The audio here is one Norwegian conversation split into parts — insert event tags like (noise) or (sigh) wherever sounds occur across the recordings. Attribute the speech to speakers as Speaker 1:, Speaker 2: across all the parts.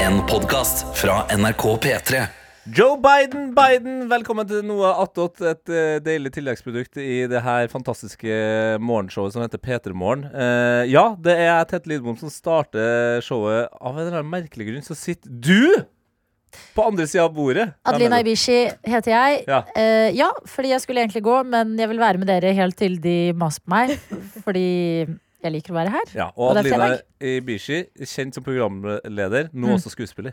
Speaker 1: En podcast fra NRK P3
Speaker 2: Joe Biden, Biden, velkommen til noe attåt. Et eh, deilig tilleggsprodukt i det her fantastiske morgenshowet som heter P3morgen. Eh, ja, det er jeg, Tete Lidbom, som starter showet. Av en eller annen merkelig grunn så sitter du på andre sida av bordet.
Speaker 3: Adelina
Speaker 2: Der mellom.
Speaker 3: Ibishi heter jeg.
Speaker 2: Ja.
Speaker 3: Eh, ja, fordi jeg skulle egentlig gå, men jeg vil være med dere helt til de maser på meg. Fordi jeg liker å være her.
Speaker 2: Ja, og
Speaker 3: Og det er Mm.
Speaker 2: Adelina Ibishi, kjent som programleder, nå også skuespiller.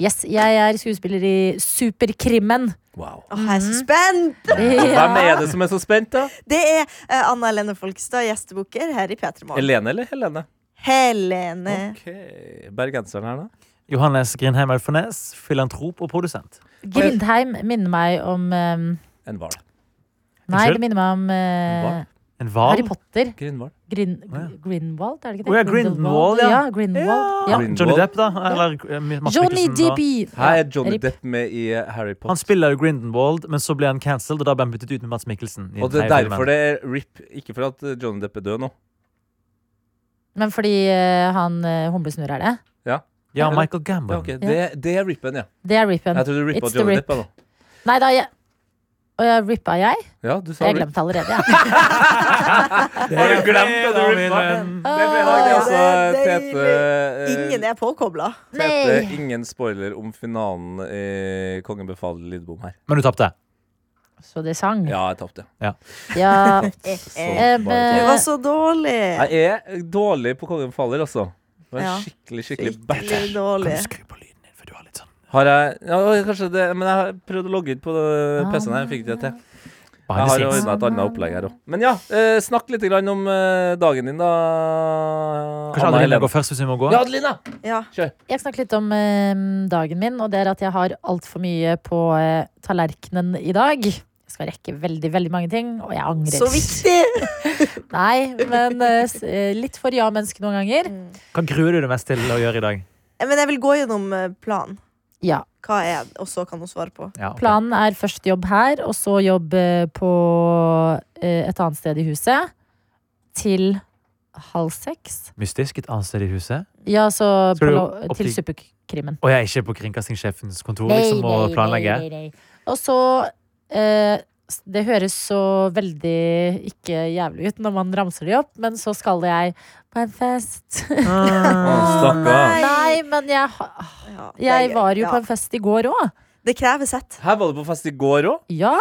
Speaker 3: Yes, Jeg er skuespiller i Superkrimmen.
Speaker 2: Wow.
Speaker 4: Åh, jeg er
Speaker 3: Mhm.
Speaker 4: så spent!
Speaker 2: Hvem er det som er så spent, da?
Speaker 4: Det er eh, Anna Helene Folkstad, gjestebukker her i P3 Morgen.
Speaker 2: Helene eller Helene?
Speaker 4: Helene.
Speaker 3: Eh.
Speaker 2: Ok, Bergenseren her, da?
Speaker 5: Johannes Grindheim Elfenes, filantrop og produsent.
Speaker 3: Grindheim minner meg om eh,
Speaker 2: En hval.
Speaker 3: Nei,
Speaker 5: Unnskyld?
Speaker 3: det minner meg om eh,
Speaker 2: Hva?
Speaker 5: En hval?
Speaker 3: Harry Potter.
Speaker 2: Grindhval.
Speaker 3: Grin
Speaker 5: Å, ja.
Speaker 3: Grinwald, er det ikke det?
Speaker 5: Å, ja, Grinwald, ja.
Speaker 3: Grinwald, ja.
Speaker 5: Ja, Johnny Depp, da? Eller eh, Mads
Speaker 3: Johnny
Speaker 5: Mikkelsen, da.
Speaker 3: DB.
Speaker 2: Her er Johnny
Speaker 3: Rip.
Speaker 2: Depp med i eh, Harry Potter.
Speaker 5: Han spiller jo Grindenwald, men så ble han cancelled, og da ble han byttet ut med Mads Mikkelsen. i
Speaker 2: Og
Speaker 5: den
Speaker 2: det er
Speaker 5: tredje
Speaker 2: derfor
Speaker 5: filmen.
Speaker 2: det er RIP, ikke for at eh, Johnny Depp er død nå.
Speaker 3: Men fordi eh, han eh, humlesnurr er det?
Speaker 5: Ja, Michael
Speaker 2: Ja,
Speaker 5: Gambon.
Speaker 2: ok, Det, det er RIP-en, ja.
Speaker 3: Det er rippen.
Speaker 2: Jeg trodde du rippa
Speaker 3: Um, It's the
Speaker 2: Johnny
Speaker 3: rip.
Speaker 2: Depp. ja, nå.
Speaker 3: Nei da, jeg Å ja, rippa jeg?
Speaker 2: Ja, du sa
Speaker 3: Jeg
Speaker 2: RIP.
Speaker 3: glemte allerede, ja.
Speaker 2: Har du glemt at du rippa? Det er fredag, det er altså
Speaker 4: Det er
Speaker 2: Tete eh,
Speaker 4: Ingen er påkobla.
Speaker 2: Tete,
Speaker 3: Nei.
Speaker 2: ingen spoiler om finalen i Kongen befaler Lidbom her.
Speaker 5: Men du tapte.
Speaker 3: Så det sang. Ja.
Speaker 2: Ja, jeg tapte.
Speaker 3: (laughs)
Speaker 2: Så bare
Speaker 3: Eh, men-
Speaker 4: Du
Speaker 2: tapte.
Speaker 4: var så dårlig.
Speaker 2: Jeg er dårlig på Kongen befaler, altså. Det var
Speaker 4: Ja.
Speaker 2: en skikkelig, skikkelig bæsj.
Speaker 4: Skikkelig dårlig.
Speaker 5: skru på lyden din, for du har litt sånn
Speaker 2: Har jeg ja, kanskje det, Men jeg har prøvd å logge inn på
Speaker 3: Ah.
Speaker 2: eh, PC-en her, jeg fikk ikke det til. Jeg har
Speaker 5: scenes.
Speaker 2: ordna et annet opplegg her òg. Men ja, eh, snakk litt grann om eh, dagen din, da.
Speaker 5: Kanskje Adeline går først, hvis vi må gå?
Speaker 2: Ja, Adelina!
Speaker 4: Ja.
Speaker 3: Jeg snakker litt om eh, dagen min, og det er at jeg har altfor mye på eh, tallerkenen i dag. Jeg skal rekke veldig, veldig mange ting, og jeg angrer.
Speaker 4: Så viktig!
Speaker 3: Nei, men eh, s- eh, litt for ja-menneske noen ganger.
Speaker 5: Hva gruer du deg mest til å gjøre i dag?
Speaker 4: Eh, Mm. Men jeg vil gå gjennom eh, planen.
Speaker 3: Ja.
Speaker 4: Hva er den, og så kan hun svare på.
Speaker 5: Ja, ok.
Speaker 3: Planen er først jobb her, og så jobb eh, på eh, et annet sted i huset. Til halv seks.
Speaker 5: Mystisk, et annet sted i huset.
Speaker 3: Ja, så
Speaker 5: Skal
Speaker 3: på
Speaker 5: du
Speaker 3: lo-
Speaker 5: opp
Speaker 3: til
Speaker 5: i-
Speaker 3: superkrimmen.
Speaker 5: Og jeg er ikke på kringkastingssjefens kontor liksom, og planlegger.
Speaker 3: nei, nei. Og så eh, s- Det høres så veldig ikke jævlig ut når man ramser det opp, men så skal jeg på en fest.
Speaker 2: Stakkar.
Speaker 3: Nei, men jeg, ha-
Speaker 4: Ja, det er
Speaker 3: jeg
Speaker 4: gøy.
Speaker 3: var jo
Speaker 4: Ja.
Speaker 3: på en fest i går òg.
Speaker 4: Det krever sett.
Speaker 2: Her var du på fest i går òg.
Speaker 3: Ja.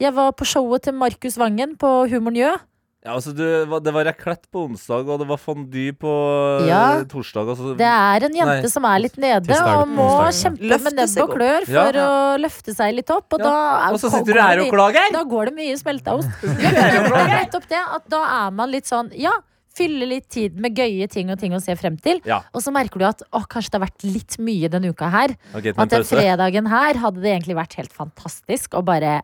Speaker 3: Jeg var på showet til Markus Vangen på Humor Njø.
Speaker 2: Ja, altså, du var- det var raclette på onsdag, og det var fondy på eh,
Speaker 3: Ja.
Speaker 2: torsdag. Og så,
Speaker 3: Det er en jente
Speaker 2: Nei.
Speaker 3: som er litt nede
Speaker 5: Tirsdag,
Speaker 3: og må
Speaker 5: onsdag.
Speaker 3: kjempe
Speaker 4: Løfte
Speaker 3: med nebb
Speaker 4: seg
Speaker 3: og
Speaker 4: opp.
Speaker 3: klør
Speaker 2: Ja.
Speaker 3: for å løfte seg litt opp, og
Speaker 2: Ja.
Speaker 3: da er-
Speaker 2: og så sitter du her og klager!
Speaker 3: Da går det mye
Speaker 2: (laughs)
Speaker 3: smelteost. Ja, men det er nettopp det, at da er man litt sånn, ja, fylle litt tid med gøye ting og ting å se frem til.
Speaker 2: Ja.
Speaker 3: Og så merker du at å, kanskje det har vært litt mye denne uka her.
Speaker 2: Ok, ta en
Speaker 3: At den
Speaker 2: pause.
Speaker 3: fredagen her hadde det egentlig vært helt fantastisk å bare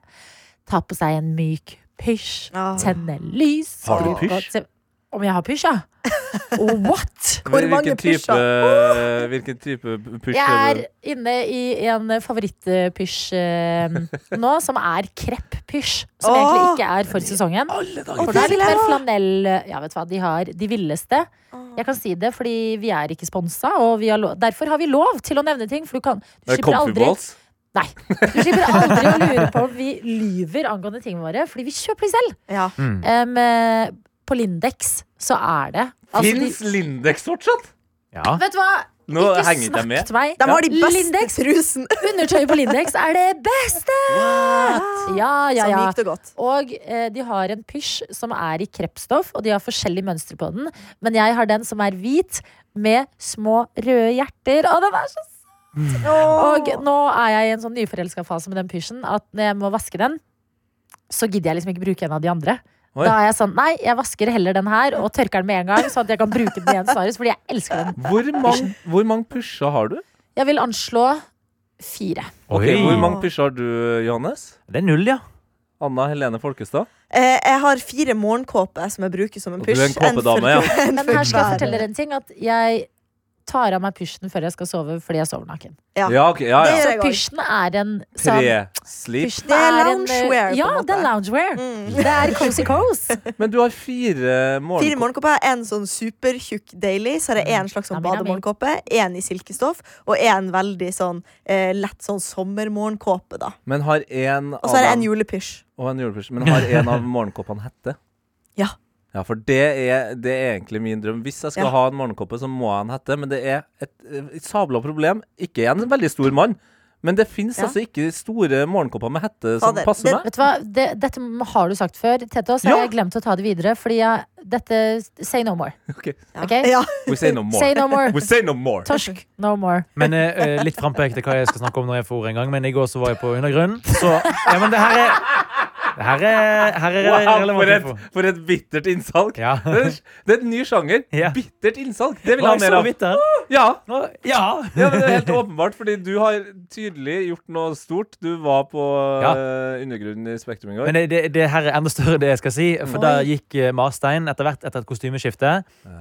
Speaker 3: ta på seg en myk pysj,
Speaker 4: Ah.
Speaker 3: tenne lys.
Speaker 2: Har du
Speaker 3: skru på
Speaker 2: pysj?
Speaker 3: te- Om jeg har pysj, ja? Oh, what?
Speaker 4: Hvor mange
Speaker 2: Hvilken type, eh, hvilken type push
Speaker 3: Jeg
Speaker 2: er
Speaker 3: er
Speaker 2: det?
Speaker 3: inne i en favorittpysj eh, nå, som er krepp-pysj. Som
Speaker 4: Åh!
Speaker 3: egentlig ikke er for sesongen. For
Speaker 4: det
Speaker 3: det er litt
Speaker 4: vil jeg
Speaker 3: mer
Speaker 4: ha!
Speaker 3: flanell eh, Ja, vet du hva, de har de villeste. Jeg kan si det, fordi vi er ikke sponsa, og vi har lov, derfor har vi lov til å nevne ting. For du kan du
Speaker 2: Er det
Speaker 3: slipper
Speaker 2: Comfy
Speaker 3: aldri
Speaker 2: balls?
Speaker 3: Nei. (laughs) Du slipper aldri å lure på om vi lyver angående tingene våre, fordi vi kjøper de selv.
Speaker 4: Ja.
Speaker 5: Mm.
Speaker 3: Em, eh, på Lindex så er det altså, de,
Speaker 2: Fins Lindex fortsatt?
Speaker 5: Ja.
Speaker 3: Vet du hva?
Speaker 2: Nå
Speaker 3: ikke
Speaker 2: henger ikke
Speaker 3: snakk
Speaker 2: jeg med.
Speaker 3: til meg.
Speaker 4: De har de beste
Speaker 3: Lindex
Speaker 4: trusen.
Speaker 3: Undertøyet på Lindex er det beste! Ja, ja,
Speaker 4: Så
Speaker 3: ja.
Speaker 4: mykt og godt.
Speaker 3: Og eh, de har en pysj som er i kreppstoff, og de har forskjellige mønstre på den. Men jeg har den som er hvit, med små røde hjerter. Og, den er så... og nå er jeg i en sånn nyforelska fase med den pysjen at når jeg må vaske den, så gidder jeg liksom ikke bruke en av de andre.
Speaker 2: Oi.
Speaker 3: Da er jeg sånn, nei, jeg vasker heller den her og tørker den med en gang. Sånn at jeg kan bruke den igjen snarest, fordi jeg elsker den.
Speaker 2: Hvor mange, hvor mange pusher har du?
Speaker 3: Jeg vil anslå fire.
Speaker 2: Ok,
Speaker 5: Oi.
Speaker 2: hvor mange pusher har du, Johannes?
Speaker 5: Det er null, ja.
Speaker 2: Anna Helene Folkestad?
Speaker 4: Eh, jeg har fire morgenkåper som jeg bruker som en
Speaker 2: Og du
Speaker 4: pysj. (laughs)
Speaker 2: er en kåpedame, ja.
Speaker 3: Men her skal jeg fortelle dere en ting. At jeg tar av meg pysjen før jeg skal sove fordi jeg sover naken.
Speaker 4: Ja.
Speaker 2: Ja, ok, ja, ja.
Speaker 4: Det gjør
Speaker 3: Så
Speaker 4: jeg også.
Speaker 3: pysjen er en sånn
Speaker 2: Pre-sleep.
Speaker 3: pysjen
Speaker 4: Det er
Speaker 3: en, eh,
Speaker 4: loungewear, på en
Speaker 3: Ja,
Speaker 4: måte.
Speaker 3: det er loungewear.
Speaker 4: Mm.
Speaker 3: Det er cozy cose.
Speaker 2: Men du har fire
Speaker 4: Fire
Speaker 2: morgenkåper.
Speaker 4: morgenkåper. En sånn supertjukk daily, så er det én slags sånn
Speaker 3: Nami, nami.
Speaker 4: bademorgenkåpe. Én i silkestoff, og én veldig sånn eh, lett sånn sommermorgenkåpe, da.
Speaker 2: Men har en
Speaker 4: Og så er det
Speaker 2: av
Speaker 4: en
Speaker 2: dem
Speaker 4: julepysj.
Speaker 2: Og en julepysj. Men har
Speaker 4: (laughs)
Speaker 2: en av morgenkåpene hette?
Speaker 4: Ja.
Speaker 2: Ja, for det er, det er egentlig min drøm. Hvis jeg skal
Speaker 4: Ja.
Speaker 2: ha en morgenkåpe, så må jeg ha en hette. Men det er et, et sabla problem. Ikke en veldig stor mann, men det fins
Speaker 3: Ja.
Speaker 2: altså ikke store morgenkåper med hette som
Speaker 4: Fader,
Speaker 2: passer
Speaker 4: det-
Speaker 2: meg.
Speaker 3: (laughs) Vet du hva, det, Dette har du sagt før, Tete, og så har
Speaker 2: Ja.
Speaker 3: jeg glemt å ta det videre. Fordi jeg, dette Say no more.
Speaker 2: Ok.
Speaker 4: Ja.
Speaker 3: Ok.
Speaker 4: Ja.
Speaker 2: We say no more.
Speaker 3: Say no
Speaker 2: (laughs)
Speaker 3: more.
Speaker 2: We say no more.
Speaker 3: Torsk, no more.
Speaker 5: Men eh, eh, litt frampekte hva jeg skal snakke om når jeg får ordet en gang. Men i går så var jeg på undergrunnen. Så ja, men det her er Det her er, her er
Speaker 2: Wow,
Speaker 5: relevant
Speaker 2: for et,
Speaker 5: info.
Speaker 2: for et bittert innsalg.
Speaker 5: Ja.
Speaker 2: Det er, det er en ny sjanger.
Speaker 5: Ja.
Speaker 2: Bittert innsalg. Det vil
Speaker 5: Var
Speaker 2: jeg ha
Speaker 5: jeg
Speaker 2: mer
Speaker 5: så
Speaker 2: av.
Speaker 5: vidt der?
Speaker 2: Ja,
Speaker 5: Nå- Ja.
Speaker 2: ja, men det er helt åpenbart, fordi du har tydelig gjort noe stort. Du var på
Speaker 5: Ja.
Speaker 2: eh, undergrunnen i Spektrum i går.
Speaker 5: Men det, det, det her er enda større, det jeg skal si. For
Speaker 4: Oi.
Speaker 5: der gikk eh, Marstein etter hvert etter et kostymeskifte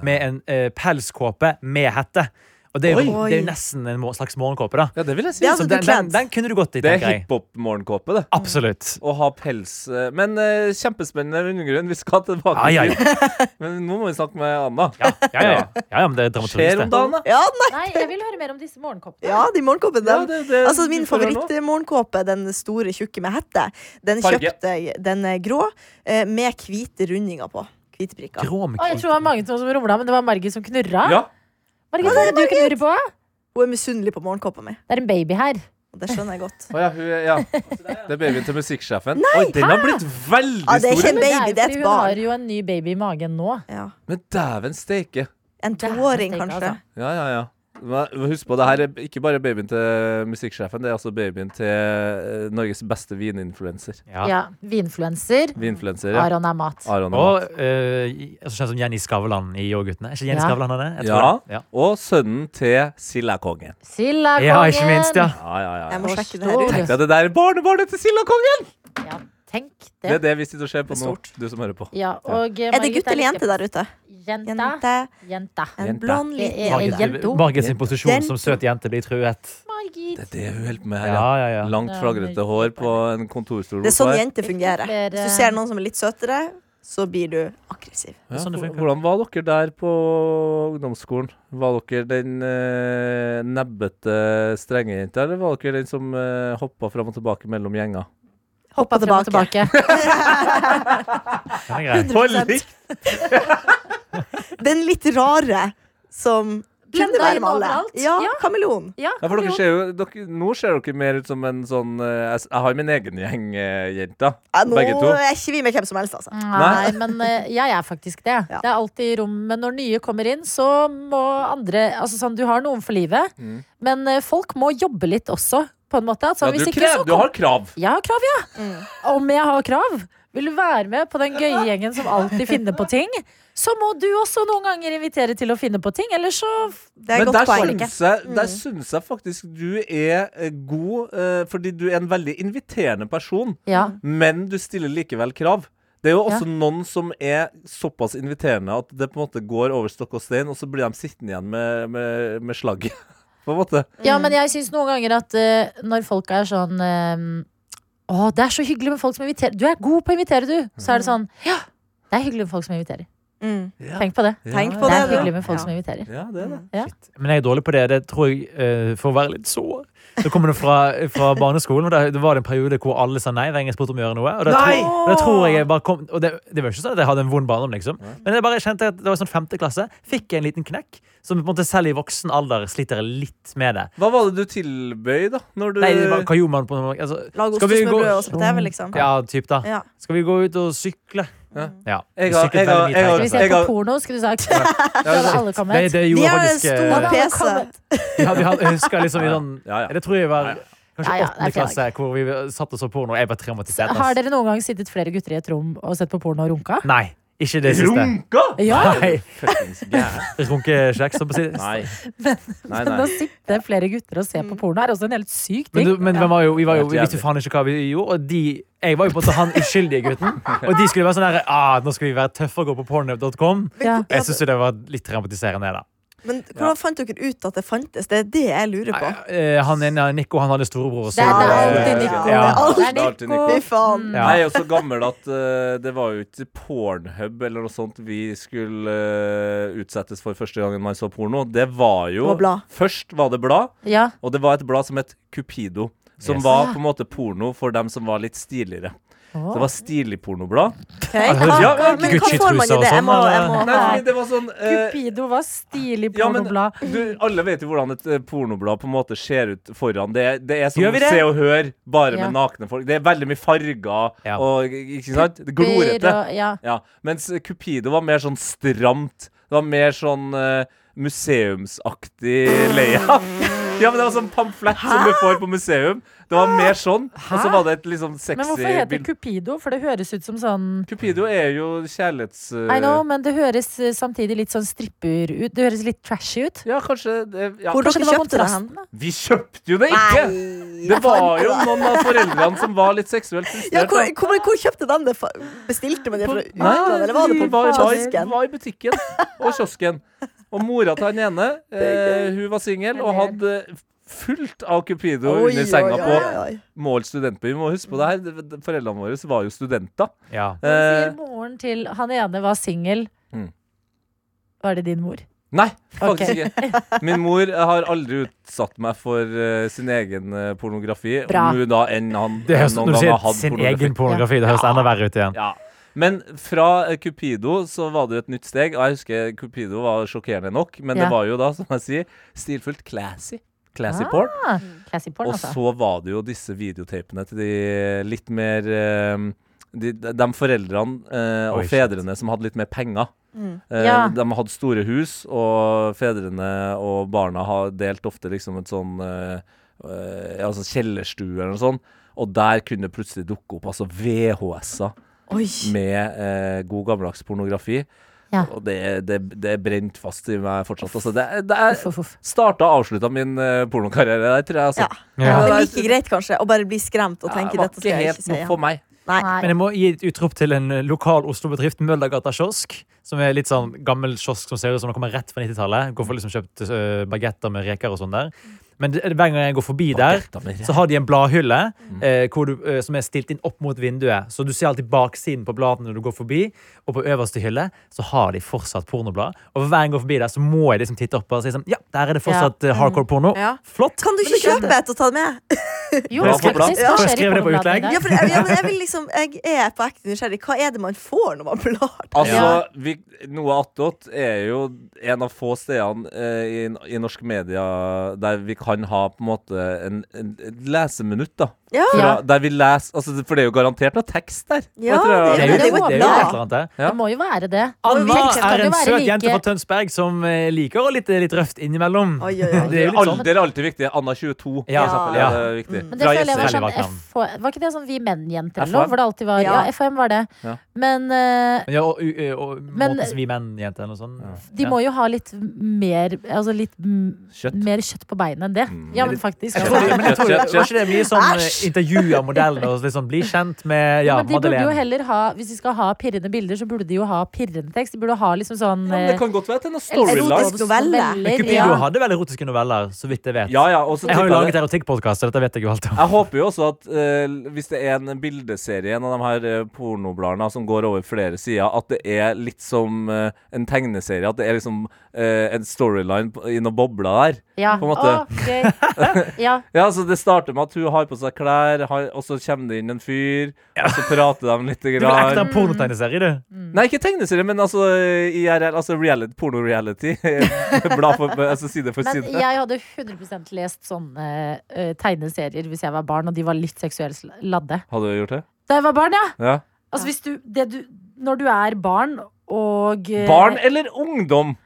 Speaker 5: med en eh, pelskåpe med hette. Og det er, jo,
Speaker 4: Oi.
Speaker 5: det er jo nesten en mor- slags morgenkåpe, da.
Speaker 2: ja, det vil jeg si.
Speaker 4: Det er
Speaker 5: Så
Speaker 4: altså
Speaker 5: den, den,
Speaker 4: bekledd.
Speaker 5: den kunne du gått i,
Speaker 2: Det er
Speaker 5: tenker jeg.
Speaker 2: hiphop-morgenkåpe, det.
Speaker 5: Absolutt.
Speaker 2: Å ha pels. eh, Men eh, kjempespennende undergrunn. Vi skal tilbake.
Speaker 5: Ja, ja,
Speaker 2: til- (laughs)
Speaker 5: ja.
Speaker 2: Men nå må vi snakke med Anna.
Speaker 5: Ja, ja, ja. ja, ja men det
Speaker 2: Skjer
Speaker 5: er dramaturgisk,
Speaker 2: om
Speaker 5: det.
Speaker 2: dagen, da?
Speaker 4: Ja,
Speaker 3: (laughs)
Speaker 4: nei.
Speaker 3: Nei, jeg vil høre mer om disse morgenkoppene.
Speaker 4: ja, de morgenkåpene.
Speaker 2: Ja,
Speaker 4: dem.
Speaker 2: det- det-
Speaker 4: Altså Min
Speaker 2: du får høre nå.
Speaker 4: favorittmorgenkåpe, den store, tjukke med hette, den
Speaker 2: Farge.
Speaker 4: kjøpte jeg. Den er grå eh, med hvite rundinger på. Hvite prikker.
Speaker 5: Grom-
Speaker 3: Å, jeg tror det var mange som rumla, men det var Margit som knurra.
Speaker 2: Ja.
Speaker 3: Margit, hva er det du knurrer på?
Speaker 4: Hun er misunnelig på morgenkåpa mi.
Speaker 3: Det er en baby her.
Speaker 4: og Det skjønner jeg godt.
Speaker 2: Å ja, hun,
Speaker 4: (laughs)
Speaker 2: er- ja. Det er babyen til musikksjefen. Oi, den har blitt veldig
Speaker 4: Ja, det er
Speaker 2: stor.
Speaker 4: kjempe- En baby, det er et
Speaker 3: fordi hun
Speaker 4: barn.
Speaker 3: har jo en ny baby i magen nå.
Speaker 4: Ja.
Speaker 2: Men dæven steike.
Speaker 4: En toåring,
Speaker 3: Det er
Speaker 4: kanskje.
Speaker 3: altså.
Speaker 2: Ja, ja, ja. Men Husk på, det her er ikke bare babyen til musikksjefen, det er også babyen til eh, Norges beste vininfluenser.
Speaker 5: Ja.
Speaker 3: Ja, Vinfluenser.
Speaker 2: Vininfluenser, ja.
Speaker 3: Aron er mat.
Speaker 2: Aron og
Speaker 5: Og eh, i- altså, kjent som Jenny Skavlan i Yoghurtene. Er ikke Jenny
Speaker 3: Ja.
Speaker 5: Skavlan han er? Jeg tror
Speaker 2: Ja.
Speaker 5: det. Ja.
Speaker 2: Og sønnen til Sildakongen.
Speaker 3: Silla
Speaker 5: ja, ikke minst, ja.
Speaker 2: Ja, ja, ja.
Speaker 4: Jeg må sjekke det
Speaker 3: Forstår
Speaker 4: her ut.
Speaker 2: Tenk deg det der barnebarnet til Sildakongen!
Speaker 3: Ja, tenk
Speaker 2: Det
Speaker 3: det.
Speaker 2: er det vi sitter og ser på
Speaker 4: Det er
Speaker 2: nå,
Speaker 4: stort.
Speaker 2: du som hører på.
Speaker 3: Ja, og, eh,
Speaker 4: Er det
Speaker 3: Margit
Speaker 4: gutt eller
Speaker 3: litt
Speaker 4: jente der ute?
Speaker 3: skeptisk. Jenta.
Speaker 4: Jente.
Speaker 3: Jenta.
Speaker 4: En
Speaker 2: Jente.
Speaker 4: blond
Speaker 3: Det
Speaker 4: liten
Speaker 3: er
Speaker 4: jente.
Speaker 5: Margit,
Speaker 3: jento.
Speaker 5: Margit sin posisjon
Speaker 4: Jento.
Speaker 5: som søt jente blir truet.
Speaker 2: Det
Speaker 3: Margit.
Speaker 2: er det hun holder på med her, ja.
Speaker 5: Ja, ja, ja.
Speaker 2: Langt flagrete hår på en kontorstol.
Speaker 4: Det er sånn
Speaker 2: bortpå her.
Speaker 4: jenter fungerer.
Speaker 3: Litt mer, eh,
Speaker 4: Hvis du ser noen som er litt søtere, så blir du aggressiv.
Speaker 2: Ja,
Speaker 5: Sånn det
Speaker 2: hvor-
Speaker 5: funker.
Speaker 2: hvordan var dere der på ungdomsskolen? Var dere den eh, nebbete, strenge jenta, eller var dere den som eh, hoppa fram og tilbake mellom gjenger?
Speaker 4: Hoppa
Speaker 3: Frem og
Speaker 4: tilbake.
Speaker 3: tilbake.
Speaker 5: Den er grei.
Speaker 4: 100%. Den litt rare som
Speaker 3: Blenda
Speaker 4: kunne være
Speaker 3: inn
Speaker 4: med alle.
Speaker 3: overalt.
Speaker 4: (laughs) Ja,
Speaker 3: Ja.
Speaker 4: kameleon.
Speaker 3: Ja,
Speaker 2: Ja, for dere
Speaker 3: jo.
Speaker 2: ser jo, dere, nå ser dere mer ut som en sånn eh, Jeg, s- jeg har min egen gjeng, eh, jenter.
Speaker 4: Ja, nå
Speaker 2: Begge to.
Speaker 4: er ikke vi med hvem som helst, altså.
Speaker 3: Nei, (laughs) men eh, jeg er faktisk det.
Speaker 4: Ja.
Speaker 3: Det er alltid rom, men når nye kommer inn, så må andre Altså sånn, du har noen for livet,
Speaker 2: Mm.
Speaker 3: men eh, folk må jobbe litt også, på en måte. Altså,
Speaker 2: Ja,
Speaker 3: hvis
Speaker 2: du,
Speaker 3: ikke,
Speaker 2: krev,
Speaker 3: så
Speaker 2: du har krav.
Speaker 3: Jeg har krav, ja.
Speaker 4: Mm.
Speaker 3: Om jeg har krav. Vil du være med på den gøye gjengen som alltid finner på ting, så må du også noen ganger invitere til å finne på ting, eller så
Speaker 4: Det er
Speaker 2: Men
Speaker 4: et
Speaker 2: der
Speaker 4: godt poeng.
Speaker 2: syns, jeg, der syns jeg faktisk du er eh, god, eh, fordi du er en veldig inviterende person.
Speaker 3: Ja.
Speaker 2: Men du stiller likevel krav. Det er jo
Speaker 3: Ja.
Speaker 2: også noen som er såpass inviterende at det på en måte går over stokk og stein, og så blir de sittende igjen med, med, med slagget. (laughs) På en måte.
Speaker 3: Ja, men jeg syns noen ganger at eh, når folk er sånn eh, Å, det er så hyggelig med folk som inviterer. Du er god på å invitere, du. Så er det sånn Ja, det er hyggelig med folk som inviterer.
Speaker 4: Mm.
Speaker 2: Ja.
Speaker 3: Tenk på det.
Speaker 4: Tenk på
Speaker 3: Det
Speaker 4: det,
Speaker 3: er
Speaker 4: du.
Speaker 3: hyggelig Mm. med folk
Speaker 4: Ja.
Speaker 3: som inviterer.
Speaker 2: Ja, det er det.
Speaker 5: Men jeg er dårlig på det. Det tror jeg eh, for å være litt sår. Så kommer det fra, fra barneskolen, og da det var det en periode hvor alle sa nei hver gang jeg spurte om å gjøre noe. Og da,
Speaker 2: Nei!
Speaker 5: Tror, da tror jeg jeg bare kom Og det, det var ikke sånn at jeg hadde en vond barndom, liksom. Men jeg bare kjente at det var sånn femte klasse. Fikk jeg en liten knekk. Som på en måte selv i voksen alder sliter jeg litt med det.
Speaker 2: Hva var det du tilbøy, da? Når du
Speaker 5: Nei, det var, hva gjorde man på altså,
Speaker 4: Lag
Speaker 5: Skal vi gå-
Speaker 4: ostesmørbrød og se på TV, liksom.
Speaker 5: Ja, typ da.
Speaker 4: Ja.
Speaker 5: Skal vi gå ut og sykle?
Speaker 2: Ja.
Speaker 5: Ja.
Speaker 2: Jeg har-
Speaker 5: Vi syklet
Speaker 2: jeg har-
Speaker 5: veldig mye
Speaker 2: jeg har-
Speaker 3: Skal vi
Speaker 5: tenker
Speaker 3: se
Speaker 5: jeg.
Speaker 2: jeg
Speaker 3: på
Speaker 2: har-
Speaker 3: porno, skulle du sagt. (laughs) Da hadde alle
Speaker 5: Det,
Speaker 3: kommet.
Speaker 5: det
Speaker 4: De
Speaker 5: gjorde
Speaker 4: har en
Speaker 5: faktisk
Speaker 3: Da
Speaker 4: stor
Speaker 5: eh,
Speaker 3: hadde alle
Speaker 4: PC.
Speaker 3: kommet.
Speaker 5: ja, vi hadde, Jeg husker liksom i sånn
Speaker 2: Ja, ja.
Speaker 5: Det tror jeg var kanskje
Speaker 3: Ja, ja, det er
Speaker 5: åttende
Speaker 3: fredag.
Speaker 5: klasse, hvor vi satt og så porno. og Jeg var traumatisert. ass.
Speaker 3: Har dere noen gang sittet flere gutter i et rom og sett på porno og runka?
Speaker 5: Nei, ikke det siste.
Speaker 2: Runka?!
Speaker 3: Ja,
Speaker 5: Nei,
Speaker 2: Fuckings gæren.
Speaker 5: Runkekjeks, som på siden.
Speaker 2: (laughs) Nei. Nei,
Speaker 3: men
Speaker 2: nei.
Speaker 3: å sitte flere gutter og se på porno er også en helt syk
Speaker 5: Men,
Speaker 3: ting.
Speaker 5: du, men hvem var jo, vi var jo,
Speaker 2: Helt
Speaker 5: vi visste jo
Speaker 2: jævlig.
Speaker 5: faen ikke hva vi gjorde. Og de, jeg var jo på en måte han uskyldige gutten. Og de skulle være sånn her ah, Nå skal vi være tøffe og gå på pornhub.com.
Speaker 3: Ja.
Speaker 5: Jeg syns det var litt traumatiserende. da
Speaker 4: Men hvordan fant dere ut at det fantes? Det er det jeg lurer på.
Speaker 5: Eh, Han ene, Nico, han hadde storebror. og så-
Speaker 3: Det er, det er
Speaker 2: Ja, ja,
Speaker 3: alltid Nico.
Speaker 5: ja.
Speaker 2: Det er
Speaker 3: Det er
Speaker 2: alltid
Speaker 3: Nico.
Speaker 4: Fy faen.
Speaker 3: Mm.
Speaker 5: Ja.
Speaker 2: Jeg er jo så gammel at eh, det var jo ikke Pornhub eller noe sånt vi skulle eh, utsettes for første gangen man så porno. Det var jo
Speaker 4: Det var blad.
Speaker 2: Først var det blad,
Speaker 3: Ja.
Speaker 2: og det var et blad som het Cupido. Som
Speaker 5: Yes.
Speaker 2: var på en måte porno for dem som var litt stiligere. Så det var stilig pornoblad.
Speaker 4: Ok.
Speaker 5: Ja,
Speaker 2: Ja,
Speaker 4: Hva- Men hva får man i
Speaker 5: Gucci-truser og
Speaker 4: det? Jeg må,
Speaker 5: sånn,
Speaker 4: jeg må
Speaker 2: Nei,
Speaker 4: ha
Speaker 2: fordi det var sånn eh,
Speaker 3: Cupido var stilig
Speaker 2: Ja, men-
Speaker 3: pornoblad.
Speaker 2: du, alle vet jo hvordan et eh, pornoblad på en måte ser ut foran. Det, er- det er som
Speaker 5: Gjør vi det?
Speaker 2: Se og Hør, bare
Speaker 3: Ja.
Speaker 2: med nakne folk. Det er veldig mye farger
Speaker 5: Ja.
Speaker 2: og ikke sant? Glorete.
Speaker 3: Og- Ja.
Speaker 2: Ja. Mens eh, Cupido var mer sånn stramt. Det var mer sånn eh, museumsaktig
Speaker 3: (laughs)
Speaker 2: layout. (laughs) Ja, men Det var sånn pamflett som du får på museum. Det var mer sånn. Og så var det et litt sånn
Speaker 3: Men
Speaker 2: sexy
Speaker 3: hvorfor heter det
Speaker 2: bilde.
Speaker 3: Cupido? For det høres ut som sånn
Speaker 2: Cupido er jo kjærlighets... eh,
Speaker 3: I know, men det høres eh, samtidig litt sånn stripper ut. Det høres litt trashy ut.
Speaker 2: Ja, kanskje eh, ja.
Speaker 4: Hvor
Speaker 3: Kanskje
Speaker 4: dere
Speaker 3: det var
Speaker 4: kjøpte det hen?
Speaker 3: kontrasten, da?
Speaker 2: Vi kjøpte jo det ikke! Det var jo noen av foreldrene som var litt seksuelt
Speaker 4: Ja,
Speaker 2: frustrert.
Speaker 4: hvor,
Speaker 2: da.
Speaker 4: hvor, hvor kjøpte den det? fra? Bestilte man det fra
Speaker 2: Nei,
Speaker 4: utlandet, eller var det
Speaker 2: vi
Speaker 4: på
Speaker 2: var, var, i-
Speaker 4: kiosken?
Speaker 2: var i butikken og kiosken. Og mora til han ene, eh, hun var singel og hadde fullt av Cupido
Speaker 4: Oi,
Speaker 2: under
Speaker 4: oi,
Speaker 2: senga
Speaker 4: oi,
Speaker 2: på
Speaker 4: oi.
Speaker 2: Mål studentby. Vi må huske på det her. det- det- Foreldrene våre var jo studenter.
Speaker 5: Ja.
Speaker 2: Eh,
Speaker 3: Sier moren til han ene var singel.
Speaker 2: Mm.
Speaker 3: Var det din mor?
Speaker 2: nei, faktisk
Speaker 3: Ok.
Speaker 2: ikke. Min mor har aldri utsatt meg for eh, sin egen eh, pornografi.
Speaker 3: Bra.
Speaker 2: Om hun da enn han
Speaker 5: Det høres,
Speaker 2: noen
Speaker 5: når du
Speaker 2: gang har
Speaker 5: sier
Speaker 2: hatt
Speaker 5: sin
Speaker 2: pornografi.
Speaker 5: egen pornografi, det høres enda verre ut igjen.
Speaker 2: Ja. Men fra eh, Cupido så var det jo et nytt steg. Og jeg husker Cupido var sjokkerende nok, men
Speaker 3: Ja.
Speaker 2: det var jo da, som jeg sier, stilfullt classy. Classy
Speaker 3: Ah,
Speaker 2: porn.
Speaker 3: Classy porn,
Speaker 2: Og
Speaker 3: altså.
Speaker 2: så var det jo disse videotapene til de litt mer eh, de, de, de foreldrene eh, og
Speaker 5: Oi, shit.
Speaker 2: fedrene som hadde litt mer penger.
Speaker 4: Mm.
Speaker 2: Eh,
Speaker 3: Ja.
Speaker 2: De hadde store hus, og fedrene og barna har delt ofte liksom et sånn eh, eh, altså kjellerstue eller noe sånt. Og der kunne det plutselig dukke opp altså VHS-er
Speaker 4: Oi.
Speaker 2: med eh, god gammeldags pornografi.
Speaker 3: Ja.
Speaker 2: Og det, det, det er brent fast i meg fortsatt. Altså, det, er- det er
Speaker 3: Uff, uff, uff.
Speaker 2: starta og avslutta min eh, pornokarriere der, tror jeg. Altså.
Speaker 4: Ja. Det er like greit, kanskje, å bare bli skremt og
Speaker 2: Ja,
Speaker 4: tenke
Speaker 2: det var
Speaker 4: dette skal jeg
Speaker 2: helt
Speaker 4: ikke si
Speaker 2: noe
Speaker 4: igjen.
Speaker 2: for meg.
Speaker 4: Nei.
Speaker 5: Men
Speaker 3: Nei.
Speaker 5: jeg må gi et utrop til en eh, lokal Oslo-bedrift, Møllergata kiosk. Som er litt sånn gammel kiosk som ser ut som den kommer rett fra 90-tallet. Går for liksom kjøpt øh, bagetter med reker og sånn der. Men det, hver gang jeg går forbi der,
Speaker 2: Dette med
Speaker 5: så har de en bladhylle eh, hvor du, eh, som er stilt inn opp mot vinduet. Så du ser alltid baksiden på bladene når du går forbi. Og på øverste hylle så har de fortsatt pornoblad. Og hver gang jeg går forbi der, så må jeg liksom titte opp og si sånn Ja, der er det fortsatt eh, hardcore porno.
Speaker 4: Ja.
Speaker 5: Flott!
Speaker 4: Kan du ikke kjøpe et og ta det med?
Speaker 3: Jo,
Speaker 2: Bra for
Speaker 3: skepsis.
Speaker 2: blad.
Speaker 3: Hva
Speaker 5: Får jeg
Speaker 3: skjer i
Speaker 5: skrive det på
Speaker 3: pornobladene i
Speaker 5: utlegg?
Speaker 3: dag?
Speaker 4: Ja, for jeg, ja, men jeg, vil liksom, jeg er på ekte nysgjerrig. Hva er det man får når man blar?
Speaker 2: Altså,
Speaker 3: Ja.
Speaker 2: vi, Noe attåt er jo en av få stedene eh, i, i norsk media der vi kan ha på en måte en, en, et leseminutt, da.
Speaker 4: Ja,
Speaker 2: Fra,
Speaker 3: Ja.
Speaker 2: Der vi leser altså, For det er jo garantert noe tekst der.
Speaker 4: Ja,
Speaker 2: Jeg tror jeg-
Speaker 5: Det er jo, det er jo
Speaker 3: Det
Speaker 5: et
Speaker 3: er
Speaker 5: eller
Speaker 3: jo
Speaker 5: annet der.
Speaker 2: Ja.
Speaker 3: Det må jo være det.
Speaker 5: Anna
Speaker 3: Tekst kan
Speaker 5: er
Speaker 3: jo
Speaker 5: en
Speaker 3: være
Speaker 5: søt
Speaker 3: like-
Speaker 5: jente fra Tønsberg som eh, liker å litt, litt røft innimellom.
Speaker 4: Oi, oi, oi.
Speaker 5: Det er jo litt sånn.
Speaker 2: Alder er alltid viktig. Anna 22,
Speaker 5: Ja.
Speaker 2: for eksempel,
Speaker 5: Ja.
Speaker 2: er det viktig.
Speaker 4: Mm.
Speaker 3: Men det
Speaker 2: Fra
Speaker 3: føler jeg var
Speaker 5: Jessheim.
Speaker 3: sånn
Speaker 5: Veldig vakkert
Speaker 3: F Var ikke det sånn Vi menn-jenter
Speaker 2: FM?
Speaker 3: eller noe? Hvor det alltid var Ja,
Speaker 4: Ja.
Speaker 3: FM var det.
Speaker 2: Ja.
Speaker 3: Men eh,
Speaker 5: Ja, og, u- ø- og
Speaker 3: Men-
Speaker 5: måten som vi menn jenter eller noe sånt.
Speaker 3: de må jo ha litt mer Altså litt m-
Speaker 2: Kjøtt. Mm.
Speaker 3: mer kjøtt på beinet enn det. Ja, men faktisk.
Speaker 5: Jeg tror,
Speaker 3: Ja,
Speaker 5: men jeg tror,
Speaker 2: Kjøtt, kjøtt,
Speaker 5: var ikke det mye sånn eh,
Speaker 4: Æsj!
Speaker 5: intervju av modellen og liksom bli kjent med ja,
Speaker 3: men de burde jo
Speaker 5: Madeleine?
Speaker 3: heller ha Hvis de skal ha pirrende bilder, så burde de jo ha pirrende tekst. De burde ha liksom sånn
Speaker 2: Ja, men det
Speaker 3: eh,
Speaker 2: kan godt være at det er noe
Speaker 4: Erotisk
Speaker 2: storyline.
Speaker 4: novelle.
Speaker 5: Men
Speaker 3: noveller.
Speaker 5: Cupido
Speaker 3: Ja.
Speaker 5: hadde vel erotiske noveller, så vidt jeg vet.
Speaker 2: Ja, ja, og så
Speaker 5: Jeg har jo
Speaker 2: tipper
Speaker 5: laget
Speaker 2: det.
Speaker 5: erotikkpodkast, så dette vet jeg jo alt om.
Speaker 2: Jeg håper jo også at eh, hvis det er en bildeserie, en av de her eh, pornobladene som går over flere sider, at det er litt som eh, en tegneserie. At det er liksom eh, en storyline på- i noen bobler der.
Speaker 3: Ja.
Speaker 2: på en måte.
Speaker 3: Ok. ja.
Speaker 2: (laughs) Ja, så Det starter med at hun har på seg klær, har, og så kommer det inn en fyr, og så prater de litt.
Speaker 5: Du vil ekte
Speaker 2: Grann.
Speaker 5: en pornotegneserie, du.
Speaker 2: Nei, ikke tegneserie, men altså eh, IRL, altså reality, porno-reality. (laughs) Blad for altså side for
Speaker 3: Men
Speaker 2: side.
Speaker 3: jeg hadde 100 lest sånne eh, tegneserier hvis jeg var barn, og de var litt seksuelt ladde.
Speaker 2: Hadde du gjort det?
Speaker 3: Da jeg var barn, ja!
Speaker 2: Ja.
Speaker 3: Altså, hvis du, det du Når du er barn og eh,
Speaker 2: Barn eller ungdom?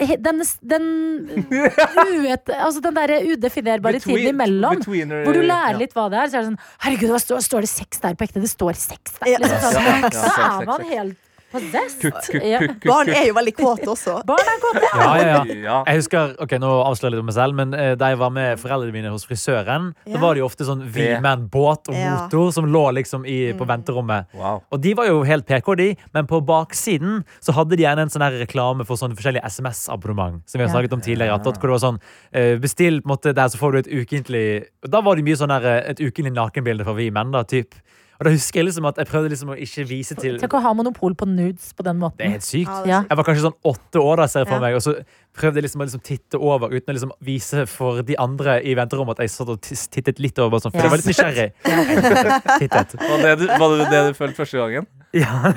Speaker 3: he- Den, den, uet, altså den derre udefinerbare tiden
Speaker 2: Between-
Speaker 3: imellom.
Speaker 2: betweener-
Speaker 3: Hvor du lærer
Speaker 2: ja.
Speaker 3: litt hva det er. Så er det sånn Herregud, hva står, står det sex der på ekte? Det står sex der!
Speaker 4: Ja.
Speaker 3: Liksom, sånn.
Speaker 2: Ja, ja, ja,
Speaker 3: Så
Speaker 2: sex,
Speaker 3: er
Speaker 2: sex,
Speaker 3: man
Speaker 2: sex.
Speaker 3: helt Possessed?
Speaker 2: Kukk, kukk,
Speaker 3: Ja.
Speaker 2: kukk, kukk,
Speaker 4: Barn
Speaker 2: kukk.
Speaker 4: er jo veldig kåte også.
Speaker 3: Barn er kåte!
Speaker 5: Ja, ja, ja.
Speaker 2: (laughs) Ja.
Speaker 5: Jeg husker, ok, nå avslører jeg litt om meg selv Men eh, da jeg var med foreldrene mine hos frisøren Da
Speaker 4: Ja.
Speaker 5: var det jo ofte sånn
Speaker 2: Det-
Speaker 5: V-man-båt og
Speaker 4: Ja.
Speaker 5: motor Som lå liksom i, på venterommet
Speaker 2: Wow.
Speaker 5: Og de var jo helt PK, de, men på baksiden så hadde de gjerne en sånn her reklame for sånne forskjellige SMS-abonnement. Som vi har
Speaker 3: Ja.
Speaker 5: snakket om tidligere. at Hvor det var sånn eh, Bestill på en måte der, så får du et ukentlig og Da var det mye sånn her, eh, et ukentlig nakenbilde fra vi menn, da. Typ. Og da husker jeg liksom at jeg prøvde liksom å ikke vise til
Speaker 3: Tenk å ha monopol på nudes på den
Speaker 5: Det er
Speaker 3: måten.
Speaker 5: helt sykt.
Speaker 4: det er
Speaker 3: Ja.
Speaker 4: sykt.
Speaker 5: Jeg var kanskje sånn åtte år, da, ser jeg for
Speaker 4: Ja.
Speaker 5: meg, og så prøvde jeg liksom å liksom titte over uten å liksom vise for de andre i venterommet at jeg satt og tis- tittet litt over. Sånn, for
Speaker 3: Ja.
Speaker 5: jeg var litt nysgjerrig. (laughs) tittet.
Speaker 2: Var det du- var det det du følte første gangen?
Speaker 5: Ja.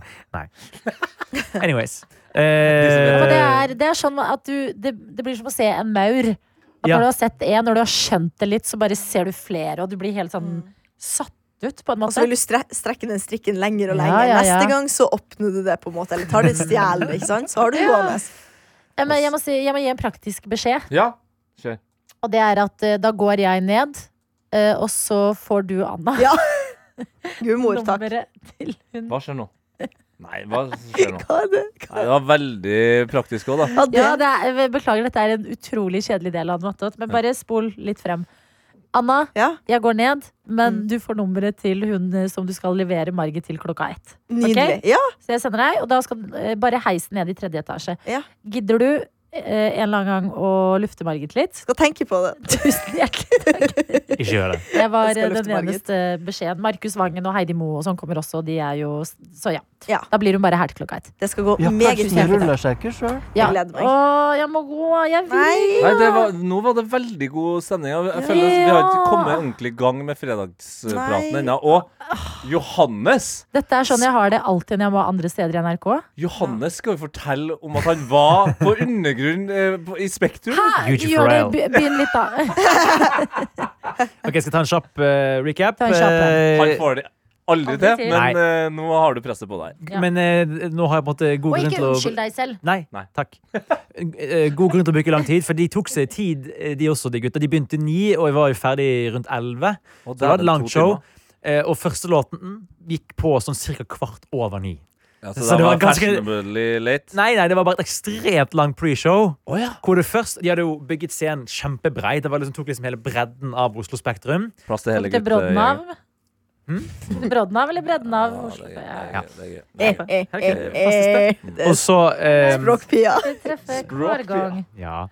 Speaker 5: (laughs) Nei. Anyways.
Speaker 3: Ja, men det,
Speaker 5: Eh,
Speaker 3: er, det er sånn at du det, det blir som å se en maur. At
Speaker 5: Ja.
Speaker 3: Når du har sett en, når du har skjønt det litt, så bare ser du flere, og du blir helt sånn satt ut, på en
Speaker 4: Og så
Speaker 3: måte.
Speaker 4: vil du stre strekke den strikken lenger og
Speaker 3: Ja,
Speaker 4: lenger.
Speaker 3: ja, ja.
Speaker 4: Neste gang så åpner du det, på en måte. Eller tar det stjelen, ikke sant. Så har du gående.
Speaker 3: Eh, men Jeg må, si, jeg må gi en praktisk beskjed.
Speaker 2: Ja. Kjør.
Speaker 3: Og det er at eh, da går jeg ned, eh, og så får du Anna.
Speaker 4: Ja. Gud, mor, takk.
Speaker 3: Nummeret til hun.
Speaker 2: Hva skjer nå? Nei, hva skjer nå?
Speaker 4: Hva er det?
Speaker 2: (laughs) Nei, det var veldig praktisk òg, da.
Speaker 4: Hva er det?
Speaker 3: Ja, det er, beklager, dette er en utrolig kjedelig del av Anna, men bare spol litt frem. Anna,
Speaker 4: Ja.
Speaker 3: jeg går ned, men
Speaker 4: Mm.
Speaker 3: du får nummeret til hun eh, som du skal levere marget til klokka ett.
Speaker 4: Nydelig.
Speaker 3: Ok?
Speaker 4: Ja,
Speaker 3: Så jeg sender deg, og da skal eh, bare heisen ned i tredje etasje.
Speaker 4: Ja.
Speaker 3: Gidder du eh, en eller annen gang å lufte marget litt? (laughs)
Speaker 4: skal tenke på det.
Speaker 3: Tusen hjertelig takk.
Speaker 5: ikke gjør det.
Speaker 3: Det var
Speaker 4: Jeg skal
Speaker 3: eh, den
Speaker 4: lufte Margit.
Speaker 3: eneste beskjeden. Markus Vangen og Heidi Moe og sånn kommer også, og de er jo Så ja.
Speaker 4: Ja.
Speaker 3: Da blir hun bare her til klokka ett.
Speaker 4: Det skal gå
Speaker 6: Ja,
Speaker 4: meget
Speaker 6: kanskje de
Speaker 4: fint.
Speaker 6: ruller seg ikke sjøl.
Speaker 3: Ja.
Speaker 4: Jeg gleder meg.
Speaker 3: Å, jeg må gå. Jeg vil.
Speaker 4: Nei.
Speaker 2: Nei, det var, nå var det veldig god stemning. og Jeg føler at Vi har ikke kommet ordentlig i gang med fredagspraten
Speaker 4: Nei.
Speaker 2: ennå. Og Johannes!
Speaker 3: Dette er sånn jeg har det alltid når jeg må andre steder i NRK.
Speaker 2: Johannes skal jo fortelle om at han var på undergrunn eh, på- i Spektrum.
Speaker 5: Huge
Speaker 3: Gjør det,
Speaker 5: Pharrell.
Speaker 3: be- begynn litt,
Speaker 5: (laughs)
Speaker 3: da.
Speaker 5: Ok, jeg skal ta en kjapp eh, recap.
Speaker 3: Ta en kjapp, ja.
Speaker 2: Han
Speaker 5: Eh,
Speaker 2: får det aldri
Speaker 3: Aldri
Speaker 2: til,
Speaker 3: til.
Speaker 5: Nei.
Speaker 2: men eh, nå har du presset på deg.
Speaker 3: Ja.
Speaker 5: Men eh, nå har jeg på en måte god
Speaker 3: Og
Speaker 5: grunn
Speaker 3: ikke
Speaker 5: til å
Speaker 3: unnskyld deg selv.
Speaker 5: Nei,
Speaker 2: Nei.
Speaker 5: takk. Eh, God grunn til å bruke lang tid, for de tok seg tid, eh, de også, de gutta. De begynte ni, og jeg var jo ferdig rundt elleve.
Speaker 2: Og
Speaker 5: Det var
Speaker 2: dæven,
Speaker 5: et langt
Speaker 2: to
Speaker 5: show.
Speaker 2: timer.
Speaker 5: Eh, Og første låten gikk på sånn cirka kvart over ni.
Speaker 2: Ja,
Speaker 5: Så
Speaker 2: så, det
Speaker 5: det
Speaker 2: var,
Speaker 5: var ganske-
Speaker 2: fashionably late.
Speaker 5: Nei, nei, det var bare et ekstremt langt pre-show. Hvor det først, De hadde jo bygget scenen kjempebrei. Det var liksom, tok liksom hele bredden av Oslo Spektrum.
Speaker 2: Plass til hele
Speaker 3: Til brodden av. Hm?
Speaker 2: guttegjengen.
Speaker 3: Brodden av eller bredden av?
Speaker 2: Ja,
Speaker 3: Oslo?
Speaker 2: det er
Speaker 3: Ja.
Speaker 2: gøy, det er gøy, det er gøy.
Speaker 4: Eh,
Speaker 2: Nei.
Speaker 4: eh, eh, eh. Det
Speaker 5: Og
Speaker 4: er
Speaker 5: så eh,
Speaker 4: Språkpia.
Speaker 3: Vi treffer
Speaker 2: Språk,
Speaker 3: hver gang.
Speaker 5: Ja.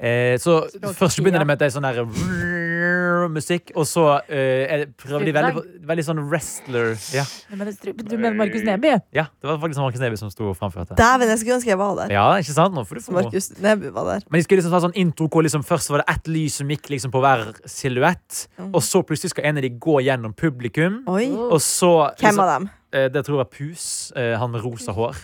Speaker 5: Eh, så
Speaker 3: Språket,
Speaker 5: først så begynner
Speaker 3: ja.
Speaker 5: det med at det er sånn der musikk, og så eh, er- prøver de veldig, veldig sånn wrestler ja.
Speaker 3: Du mener, Stru- du mener Markus Neby?
Speaker 5: ja, det var faktisk Markus Neby som sto og framførte.
Speaker 4: Dæven, jeg skulle ønske jeg var der.
Speaker 5: Ja, ikke sant? Nå får du
Speaker 4: Så
Speaker 5: promo.
Speaker 4: Markus Neby var der.
Speaker 5: Men de skulle liksom ta sånn intro hvor liksom først var det ett lys som gikk liksom på hver silhuett,
Speaker 4: Mm.
Speaker 5: og så plutselig skal en av de gå gjennom publikum,
Speaker 4: Oi.
Speaker 5: og så
Speaker 4: Hvem av dem?
Speaker 5: Eh, Det tror jeg var Pus, eh, han med rosa hår.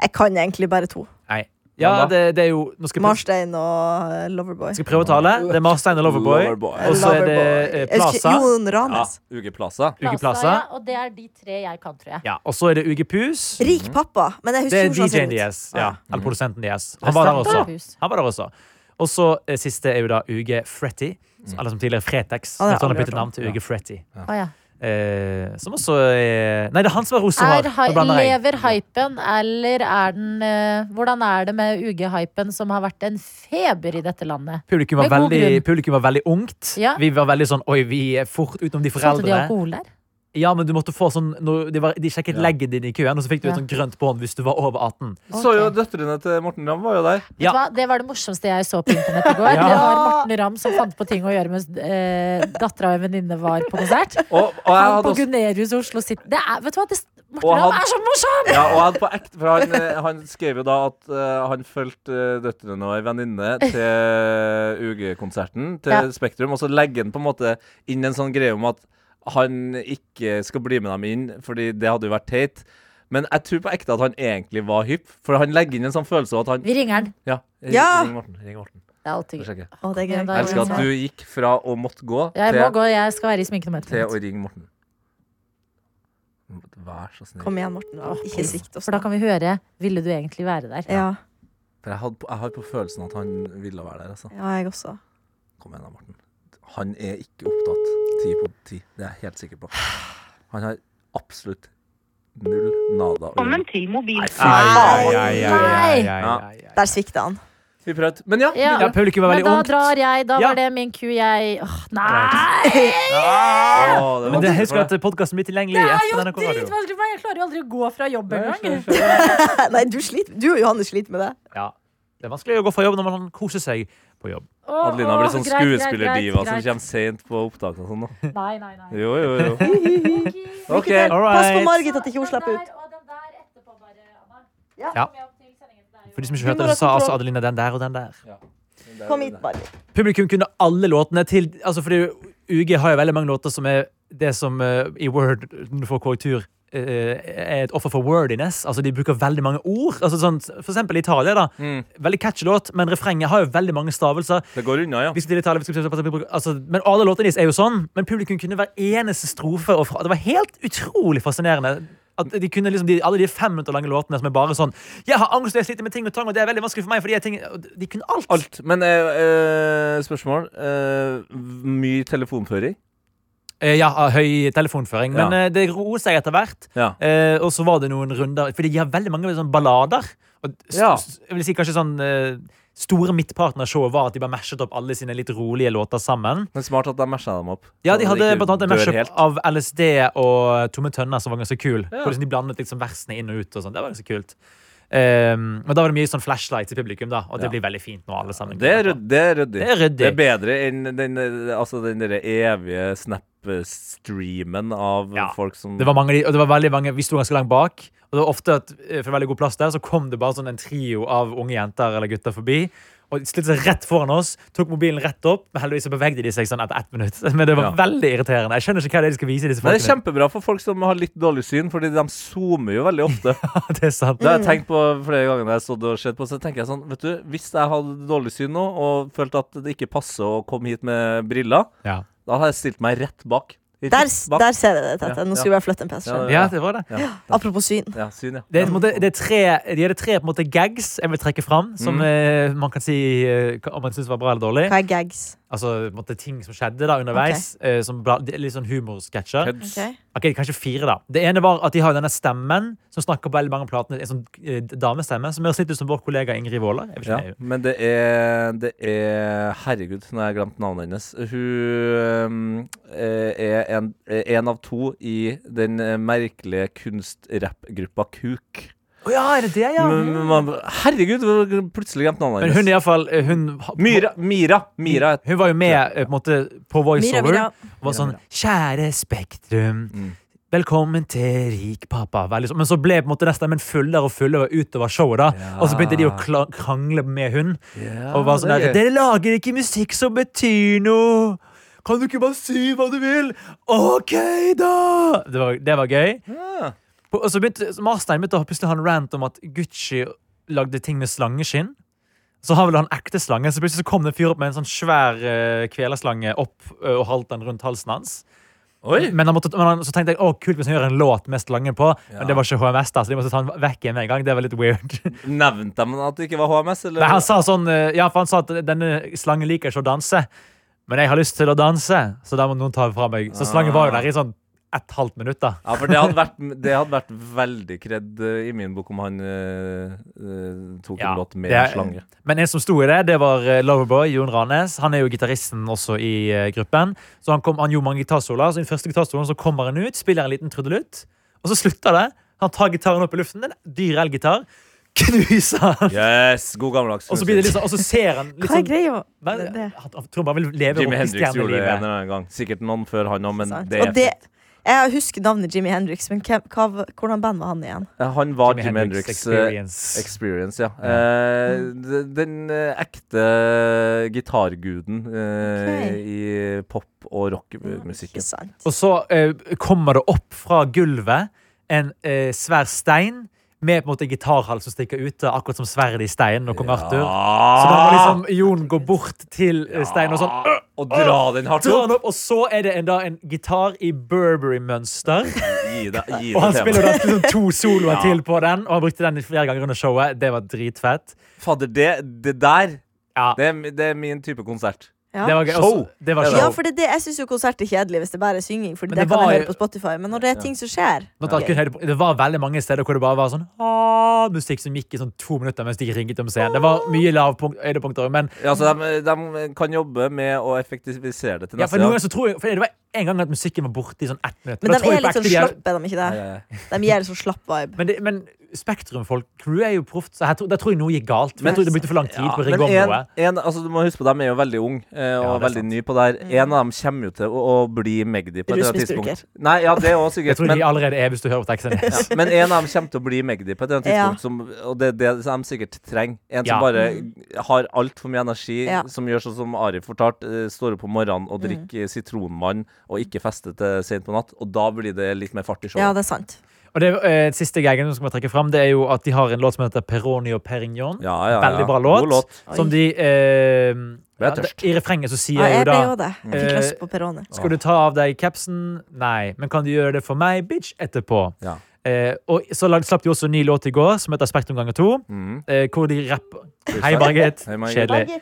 Speaker 4: Jeg kan egentlig bare to.
Speaker 5: Nei.
Speaker 2: Hva da?
Speaker 5: Ja, det, det er jo Nå skal jeg prøve,
Speaker 4: Marstein og eh, Loverboy.
Speaker 5: skal jeg prøve å tale. Det er Marstein og Loverboy.
Speaker 2: Loverboy.
Speaker 5: Og så er det eh,
Speaker 4: Loverboy. Jeg husker-
Speaker 5: Plaza.
Speaker 4: Jon
Speaker 2: Ja,
Speaker 4: Ranes.
Speaker 2: Ukeplaza.
Speaker 3: Plaza,
Speaker 5: Uke Plaza.
Speaker 3: ja, Og det er de tre jeg kan, tror jeg.
Speaker 5: Ja, og så er det UG Pus.
Speaker 4: Rik pappa. Men jeg
Speaker 5: Mhm.
Speaker 4: husker
Speaker 5: Det er
Speaker 4: ikke hvordan
Speaker 5: DJ-en
Speaker 4: han ser ut.
Speaker 5: deres. Ja. Eller produsenten deres. Han
Speaker 2: Det
Speaker 5: var der
Speaker 2: stemmer.
Speaker 5: også.
Speaker 3: Pus.
Speaker 5: Han var der også. Og så eh, siste er jo da UG
Speaker 2: Mm.
Speaker 5: Fretty. så- Eller som tidligere Fretex.
Speaker 4: Han har
Speaker 5: Jeg tror han har
Speaker 4: aldri
Speaker 5: byttet
Speaker 4: hørt om.
Speaker 5: navn til UG Fretty.
Speaker 3: Å, ja.
Speaker 5: Eh, som også er Nei, det er han som har rosa hår.
Speaker 3: Er, hy-
Speaker 5: Nå blander jeg.
Speaker 3: lever hypen, eller er den eh, Hvordan er det med UG-hypen, som har vært en feber i dette landet?
Speaker 5: Publikum var,
Speaker 3: Med god grunn.
Speaker 5: veldig, publikum var veldig ungt.
Speaker 3: Ja.
Speaker 5: Vi var veldig sånn Oi, vi er fort utenom de
Speaker 3: Solgte de
Speaker 5: foreldre.
Speaker 3: alkohol der?
Speaker 5: Ja, men du måtte få sånn når de, var, de sjekket
Speaker 2: Ja.
Speaker 5: leggen din i køen, og så fikk du et
Speaker 3: Ja.
Speaker 5: sånn grønt bånd hvis du var over 18.
Speaker 2: Så jo
Speaker 3: Ok.
Speaker 2: døtrene til Morten Ramm var jo der.
Speaker 5: Ja.
Speaker 3: Vet du hva? Det var det morsomste jeg så på internett i går.
Speaker 5: Ja.
Speaker 3: Det var Morten Ramm som fant på ting å gjøre mens eh, dattera og en venninne var på konsert.
Speaker 2: Og, og jeg
Speaker 3: Han
Speaker 2: hadde
Speaker 3: på
Speaker 2: også
Speaker 3: Gunerius Oslo City. Det er, vet du hva? Det, Morten
Speaker 2: Og han-
Speaker 3: Ramm er så morsom!
Speaker 2: Ja, og han, på ekte, for han, eh, han skrev jo da at eh, han fulgte eh, døtrene og ei venninne til UG-konserten, til
Speaker 3: Ja.
Speaker 2: Spektrum, og så legger han på en måte inn en sånn greie om at han ikke skal bli med dem inn, fordi det hadde jo vært teit. Men jeg tror på ekte at han egentlig var hypp, for han legger inn en sånn følelse av at han
Speaker 3: Vi ringer han.
Speaker 2: Ja, ring,
Speaker 4: Ja.
Speaker 2: ring Morten. Ring Morten.
Speaker 3: Det er alltid
Speaker 2: Jeg
Speaker 3: gøy.
Speaker 2: sjekker.
Speaker 4: Å, det er gøy.
Speaker 3: Ja,
Speaker 2: Jeg elsker
Speaker 3: ja.
Speaker 2: at du gikk fra å måtte gå
Speaker 3: Jeg må
Speaker 2: til,
Speaker 3: gå, jeg skal være i sminken om et
Speaker 2: til
Speaker 3: minutt.
Speaker 2: å ringe Morten. Vær så snill.
Speaker 4: Kom igjen, Morten. Ikke sikt oss.
Speaker 3: For da kan vi høre 'Ville du egentlig være der'?
Speaker 4: Ja,
Speaker 2: For jeg, hadde, på- jeg har på følelsen at han ville være der, altså.
Speaker 4: ja, jeg også.
Speaker 2: Kom igjen da, Morten. Han er ikke opptatt. Ti på ti. Det er jeg helt sikker på. Han har absolutt Null nada.
Speaker 6: Velkommen til mobiltelefonen.
Speaker 5: Ai, ai, ai, ai, ai, ai, ai.
Speaker 4: Der svikta han. (laughs)
Speaker 2: Vi prøvde. Men ja.
Speaker 3: Ja.
Speaker 5: Ja, publikum var
Speaker 3: Men
Speaker 5: veldig
Speaker 3: da
Speaker 5: ungt.
Speaker 3: drar jeg. Da
Speaker 5: Ja.
Speaker 3: var det min ku, jeg Åh, Nei!
Speaker 2: Å, det var
Speaker 5: Men det, husk
Speaker 2: for
Speaker 5: at
Speaker 2: det.
Speaker 5: podkasten blir tilgjengelig
Speaker 3: Det er
Speaker 5: etter
Speaker 3: jo
Speaker 5: NRK Radio.
Speaker 3: dritvanskelig for meg! Jeg klarer jo aldri å gå fra jobb engang.
Speaker 4: Nei, du, sliter, du og Johannes sliter med det.
Speaker 5: Ja. Det er vanskelig å gå fra jobb når man koser seg på jobb.
Speaker 3: Åh,
Speaker 2: Adelina
Speaker 3: åh,
Speaker 2: blir sånn
Speaker 3: greit, greit,
Speaker 2: skuespillerdiva
Speaker 3: greit,
Speaker 2: som
Speaker 3: greit.
Speaker 2: kommer sent på opptak og sånn. da.
Speaker 3: Nei, nei, nei.
Speaker 2: Jo, jo,
Speaker 3: (laughs)
Speaker 2: jo. OK.
Speaker 4: Lykke til.
Speaker 5: all
Speaker 4: Pass på
Speaker 5: right.
Speaker 4: Margit at ikke hun slipper ut.
Speaker 5: Ja. For de som ikke hørte det, så sa altså Adelina den der og den der.
Speaker 4: Kom hit, Margit.
Speaker 5: Publikum kunne alle låtene til altså fordi UG har jo veldig mange låter som er det som eh, i Word for korrektur eh, er et offer for wordiness. Altså De bruker veldig mange ord. Altså sånn, for eksempel Italia. da Veldig catchy låt, men refrenget har jo veldig mange stavelser.
Speaker 2: Det går unna, ja.
Speaker 5: Vi skal til Italia, vi skal til altså, Men alle låtene deres er jo sånn. Men publikum kunne hver eneste strofe. Og fra, det var helt utrolig fascinerende. At de kunne liksom, de, Alle de fem minutter lange låtene som er bare sånn Jeg har angst, og jeg sliter med ting og tang, og det er veldig vanskelig for meg. Fordi jeg ting, og de kunne alt.
Speaker 2: Alt. Men eh, eh, spørsmål. Eh, mye telefonføring?
Speaker 5: Eh, ja, ah, høy telefonføring. Men
Speaker 2: Ja.
Speaker 5: eh, det roer seg etter hvert.
Speaker 2: Ja.
Speaker 5: Eh, og så var det noen runder Fordi de har veldig mange sånn ballader. Og s-
Speaker 2: Ja.
Speaker 5: s- jeg vil si kanskje sånn eh, Store midtpartnershow var at de bare mashet opp alle sine litt rolige låter sammen.
Speaker 2: Men smart at de matcha dem opp.
Speaker 5: Ja,
Speaker 2: Så
Speaker 5: De
Speaker 2: det
Speaker 5: hadde
Speaker 2: ikke
Speaker 5: blant annet en
Speaker 2: dør
Speaker 5: mashup
Speaker 2: helt.
Speaker 5: av LSD og Tomme tønner, som var ganske kul.
Speaker 2: Ja.
Speaker 5: Hvor liksom de blandet liksom versene inn og ut. og sånn, Det var ganske kult. Um, men da var det mye sånn flashlights i publikum, da og det
Speaker 2: Ja.
Speaker 5: blir veldig fint. nå alle sammen
Speaker 2: Det er ryd- det er ryddig.
Speaker 5: Det er ryddig.
Speaker 2: Det er bedre enn den, eh, altså den derre evige snap-streamen av
Speaker 5: Ja.
Speaker 2: folk som
Speaker 5: Det var mange, av de- og det var veldig mange, Vi sto ganske langt bak. Og det var ofte at eh, for veldig god plass der, så kom det bare sånn en trio av unge jenter eller gutter forbi. Og de stilte seg rett foran oss, tok mobilen rett opp. Men heldigvis så bevegde de seg sånn etter ett minutt. (laughs) Men det var
Speaker 2: Ja.
Speaker 5: veldig irriterende. Jeg skjønner ikke hva det er de skal vise disse
Speaker 2: Men det er
Speaker 5: folkene.
Speaker 2: kjempebra for folk som har litt dårlig syn, Fordi de zoomer jo veldig ofte.
Speaker 5: (laughs) Det er, sant.
Speaker 2: Det har jeg tenkt på flere ganger når jeg stod og sett på. Så tenker jeg sånn, vet du, Hvis jeg hadde dårlig syn nå, og følte at det ikke passer å komme hit med briller,
Speaker 5: Ja.
Speaker 2: da hadde jeg stilt meg rett bak. Rett
Speaker 4: Der,
Speaker 2: bak.
Speaker 4: der ser jeg det, Tete.
Speaker 2: Ja,
Speaker 4: Nå
Speaker 2: ja.
Speaker 4: skal vi bare flytte en PC.
Speaker 2: Ja,
Speaker 4: skjønner du.
Speaker 5: ja, det var det.
Speaker 2: ja,
Speaker 4: Apropos syn.
Speaker 2: ja, syn, ja.
Speaker 5: Det er, på en måte, det er tre, de hadde tre på en måte, gags jeg vil trekke fram,
Speaker 2: Mm.
Speaker 5: som eh, man kan si eh, om man syns var bra eller dårlig.
Speaker 4: Hva er gags?
Speaker 5: Altså på en måte, ting som skjedde da underveis. eh, som bla, de- litt sånn humorsketsjer.
Speaker 2: Heads.
Speaker 4: Ok.
Speaker 5: Ok, kanskje fire da Det ene var at de har denne stemmen Som snakker på veldig mange av platene En sånn eh, damestemme Som høres litt ut som vår kollega Ingrid Våler Jeg vet
Speaker 2: Ja,
Speaker 5: ikke om det er hun.
Speaker 2: men det er, det er Herregud, nå har jeg glemt navnet hennes. Hun øhm, eh, er en, er en av to i den eh, merkelige kunstrappgruppa Kuk.
Speaker 5: Å ja, er det det, ja?
Speaker 2: Men- men man- Herregud, hvor- plutselig glemt navnet
Speaker 5: Men hun er
Speaker 2: hennes.
Speaker 5: i hvert fall eh, hun,
Speaker 2: Myra, Mira. Mira er
Speaker 5: Hun var jo med eh, på, en måte, på
Speaker 4: Mira,
Speaker 5: voiceover
Speaker 4: Mira.
Speaker 5: Og var sånn Kjære Spektrum
Speaker 2: Mm.
Speaker 5: Velkommen til rik pappa Veldig sånn. Men så ble på en måte den stemmen fullere og fullere Utover showet da Og så begynte de å kla- krangle med hun
Speaker 2: Ja,
Speaker 5: Og var sånn der,
Speaker 2: det er-
Speaker 5: Dere lager ikke musikk som betyr noe! Kan du ikke bare si hva du vil? OK, da! Det var, det var gøy.
Speaker 2: Ja.
Speaker 5: På- Og så begynte så Marstein begynte å plutselig ha en rant om at Gucci lagde ting med slangeskinn. Så har vel han ekte slange, så plutselig så kom det en fyr opp med en sånn svær eh, kvelerslange opp eh, og holdt den rundt halsen hans.
Speaker 2: Oi!
Speaker 5: Men, han måtte, men han, så tenkte jeg å kult hvis han gjør en låt med slange på,
Speaker 2: Ja.
Speaker 5: men det var ikke HMS, da, så de måtte ta den vekk igjen med en gang. Det var litt weird.
Speaker 2: Nevnte de at det ikke var HMS, eller?
Speaker 5: Nei, han sa sånn eh, Ja, for han sa at denne slangen liker ikke å danse. Men jeg har lyst til å danse, så da må noen ta det fra meg. Så slangen var jo der i sånn et halvt minutt, da.
Speaker 2: Ja, for det hadde vært, det hadde vært veldig kredd eh, i min bok om han eh, eh, tok
Speaker 5: Ja,
Speaker 2: en låt med
Speaker 5: det er-
Speaker 2: slange.
Speaker 5: Men en som sto i det, det var eh, Loverboy, Jon Ranes. Han er jo gitaristen også i eh, gruppen. Så han, kom, han gjorde mange gitarsoloer. Så i den første gitarsolen så kommer han ut, spiller en liten trudelutt, og så slutter det. Han tar gitaren opp i luften, en dyr elgitar, knuser den.
Speaker 2: Yes! God gammeldags.
Speaker 5: Og så, blir det litt sånn, og så ser han litt
Speaker 4: Hva er
Speaker 5: sånn
Speaker 4: greia
Speaker 5: Nei,
Speaker 4: med det?
Speaker 5: han- han tror han bare vil leve
Speaker 2: Jimmy Hendrix gjorde det en
Speaker 5: rockestjernelivet.
Speaker 2: eller annen gang. Sikkert noen før han òg, men
Speaker 4: Sant.
Speaker 2: det er
Speaker 4: Og det, jeg husker navnet Jimmy Hendrix, men hvem, hva, var- hvordan band var han igjen?
Speaker 2: fett. Han var
Speaker 5: Jimi
Speaker 2: Jimmy
Speaker 5: Hendrix
Speaker 2: Hendrix. eh,
Speaker 5: Experience.
Speaker 2: Experience, ja. Eh, d- den eh, ekte eh, gitarguden eh,
Speaker 4: Ok.
Speaker 2: i pop- og
Speaker 4: Ikke
Speaker 2: rockmusikken.
Speaker 4: sant.
Speaker 5: Og så eh, kommer det opp fra gulvet en eh, svær stein med på en måte gitarhals som stikker ute, akkurat som sverdet i steinen. Og kong Arthur. Så da må liksom Jon gå bort til eh, steinen og sånn øh,
Speaker 2: Og dra den hardt
Speaker 5: dra
Speaker 2: opp!
Speaker 5: den opp, og så er det en, da en gitar i Burberry-mønster.
Speaker 2: Gi deg, gi
Speaker 5: Og han
Speaker 2: deg
Speaker 5: spiller
Speaker 2: temaet.
Speaker 5: da liksom to soloer til på den, og han brukte den flere ganger under showet. Det var dritfett.
Speaker 2: Fader, det, det der
Speaker 5: Ja.
Speaker 2: det er, det er min type konsert.
Speaker 4: Ja.
Speaker 5: Det var gøy.
Speaker 2: Show.
Speaker 5: Også, det var show.
Speaker 4: Ja, for det, er det, jeg syns jo konsert er kjedelig hvis det bare er synging. Fordi
Speaker 5: Men
Speaker 4: det,
Speaker 5: det
Speaker 4: kan
Speaker 5: var
Speaker 4: jeg
Speaker 5: jo-
Speaker 4: høre på Spotify Men når det er ting som skjer
Speaker 5: Nå tar jeg kun
Speaker 4: ok.
Speaker 5: høyde på- Det var veldig mange steder hvor det bare var sånn «Ah», musikk som gikk i sånn to minutter mens de ringet om scenen. Det var mye lavpunkt, høydepunkter. Men
Speaker 2: Ja, altså, de, de kan jobbe med å effektivisere det til
Speaker 5: ja,
Speaker 2: neste
Speaker 5: for noen ganger så tror jeg For det var en gang at musikken var borte i sånn ett minutt.
Speaker 4: Men
Speaker 5: da
Speaker 4: de
Speaker 5: tror
Speaker 4: er
Speaker 5: jeg på
Speaker 4: litt sånn
Speaker 5: ekte de er-
Speaker 4: slappe, er de ikke
Speaker 2: Ja,
Speaker 4: det?
Speaker 2: ja, ja.
Speaker 4: De gir en sånn slapp vibe.
Speaker 5: Men, det, men Spektrum-folk, crew er jo proft, så her tror, der tror jeg noe gikk galt. For
Speaker 2: Men-
Speaker 5: jeg tror det brukte for lang tid
Speaker 2: Ja,
Speaker 5: på å
Speaker 2: men
Speaker 5: rigge om
Speaker 2: en,
Speaker 5: noe.
Speaker 2: en, altså, du må huske på, De er jo veldig unge eh, og
Speaker 5: Ja, det er
Speaker 2: veldig
Speaker 5: sant.
Speaker 2: nye på det her.
Speaker 4: Mm.
Speaker 2: En av dem kommer jo til å, å bli Magdi på et eller annet
Speaker 4: Rusmisbruker.
Speaker 2: tidspunkt. Nei, ja, det er også
Speaker 5: Jeg
Speaker 2: sikkert
Speaker 5: tror
Speaker 2: men,
Speaker 5: de allerede er, hvis du hører på teksten.
Speaker 2: ja, men en av dem kommer til å bli Magdi på et eller annet
Speaker 4: Ja.
Speaker 2: tidspunkt, som, og det er det som de sikkert trenger. En som
Speaker 5: Ja.
Speaker 2: bare har altfor mye energi,
Speaker 4: Mm. Ja. Mm.
Speaker 2: som gjør sånn som Ari fortalte, eh, står opp om morgenen og drikker sitronvann og ikke fester til sent på natt, og da blir det litt mer fart i
Speaker 4: Ja,
Speaker 2: showet.
Speaker 4: det er sant.
Speaker 5: Og det eh, siste gaggen som jeg trekke fram, det er jo at de har en låt som heter Peroni og Perignon.
Speaker 2: Ja, ja, ja.
Speaker 5: Veldig bra
Speaker 2: God
Speaker 5: låt. Som
Speaker 4: Oi.
Speaker 5: de eh,
Speaker 2: Ble jeg
Speaker 5: ja,
Speaker 2: tørst.
Speaker 5: I refrenget så sier
Speaker 4: Ja,
Speaker 5: jo
Speaker 4: jeg
Speaker 5: da
Speaker 4: ble jo det. Jeg fikk
Speaker 5: Eh,
Speaker 4: lyst på Peroni.
Speaker 5: Skal du ta av deg capsen? Nei. Men kan du gjøre det for meg, bitch, etterpå?
Speaker 2: Ja.
Speaker 5: Eh, og så lag- slapp de også en ny låt i går, som heter Spektrum ganger to.
Speaker 2: Mm.
Speaker 5: Eh, hvor de rapper Hei, Margit.
Speaker 2: Hei, Margit.
Speaker 5: Kjedelig.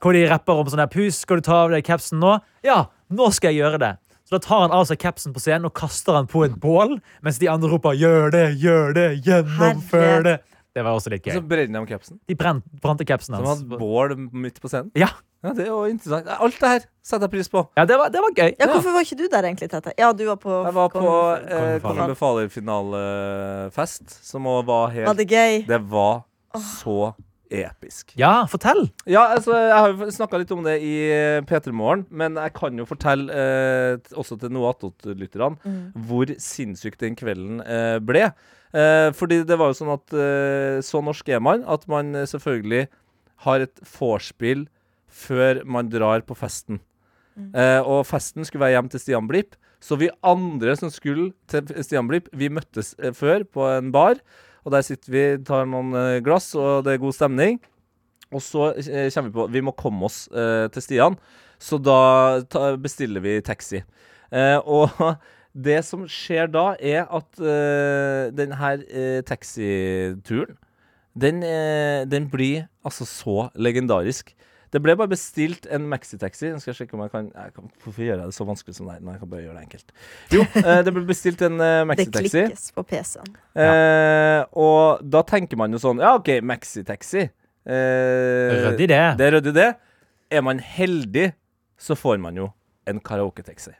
Speaker 5: Hvor de rapper om sånn her pus. Skal du ta av deg capsen nå? Ja, nå skal jeg gjøre det. Så da tar han av seg capsen på scenen og kaster han på et bål, mens de andre roper 'gjør det, gjør det, gjennomfør
Speaker 4: Herre.
Speaker 5: det'. Det var også litt
Speaker 2: Så
Speaker 5: gøy.
Speaker 2: brenner de capsen.
Speaker 5: De brent, brente capsen
Speaker 2: Altså- Som
Speaker 5: hans.
Speaker 2: hadde bål midt på scenen.
Speaker 5: Ja,
Speaker 2: Ja, det er jo interessant. Alt det her setter jeg pris på.
Speaker 5: ja det, var, det var gøy.
Speaker 4: Ja, hvorfor var ikke du der egentlig, Tete? Ja, du var på
Speaker 2: Jeg var på
Speaker 4: Kongen-
Speaker 2: eh,
Speaker 5: Kongen befaler.
Speaker 2: Kongen befaler-finalefest, som også var
Speaker 4: Var
Speaker 2: helt
Speaker 4: det gøy?
Speaker 2: Det var så episk.
Speaker 5: Ja, fortell.
Speaker 2: Ja, altså, jeg har jo snakka litt om det i eh, P3 Morgen, men jeg kan jo fortelle eh, t- også til Noe Attåt-lytterne hvor sinnssyk den kvelden eh, ble. Eh, fordi det var jo sånn at eh, så norsk er man at man eh, selvfølgelig har et vorspiel før man drar på festen. Eh, og festen skulle være hjem til Stian Blipp. Så vi andre som skulle til Stian Blipp, vi møttes eh, før på en bar. Og der sitter vi, tar noen eh, glass, og det er god stemning. Og så eh, kommer vi på Vi må komme oss eh, til Stian. Så da ta, bestiller vi taxi. Eh, (laughs) og det som skjer da, er at eh, den her eh, taxituren den, eh, den blir altså så legendarisk. Det ble bare bestilt en maxitaxi. Nå skal jeg sjekke om jeg kan, jeg kan Hvorfor gjør jeg det så vanskelig som det er? Nei, jeg kan bare gjøre det enkelt. Jo, eh, det ble bestilt en eh,
Speaker 4: Det
Speaker 2: maxitaxi.
Speaker 4: klikkes på PC-en.
Speaker 2: Eh, og da tenker man jo sånn Ja, OK, maxitaxi. Eh,
Speaker 5: Ryddig det.
Speaker 2: det er ryddig, det. Er man heldig, så får man jo en karaoketaxi.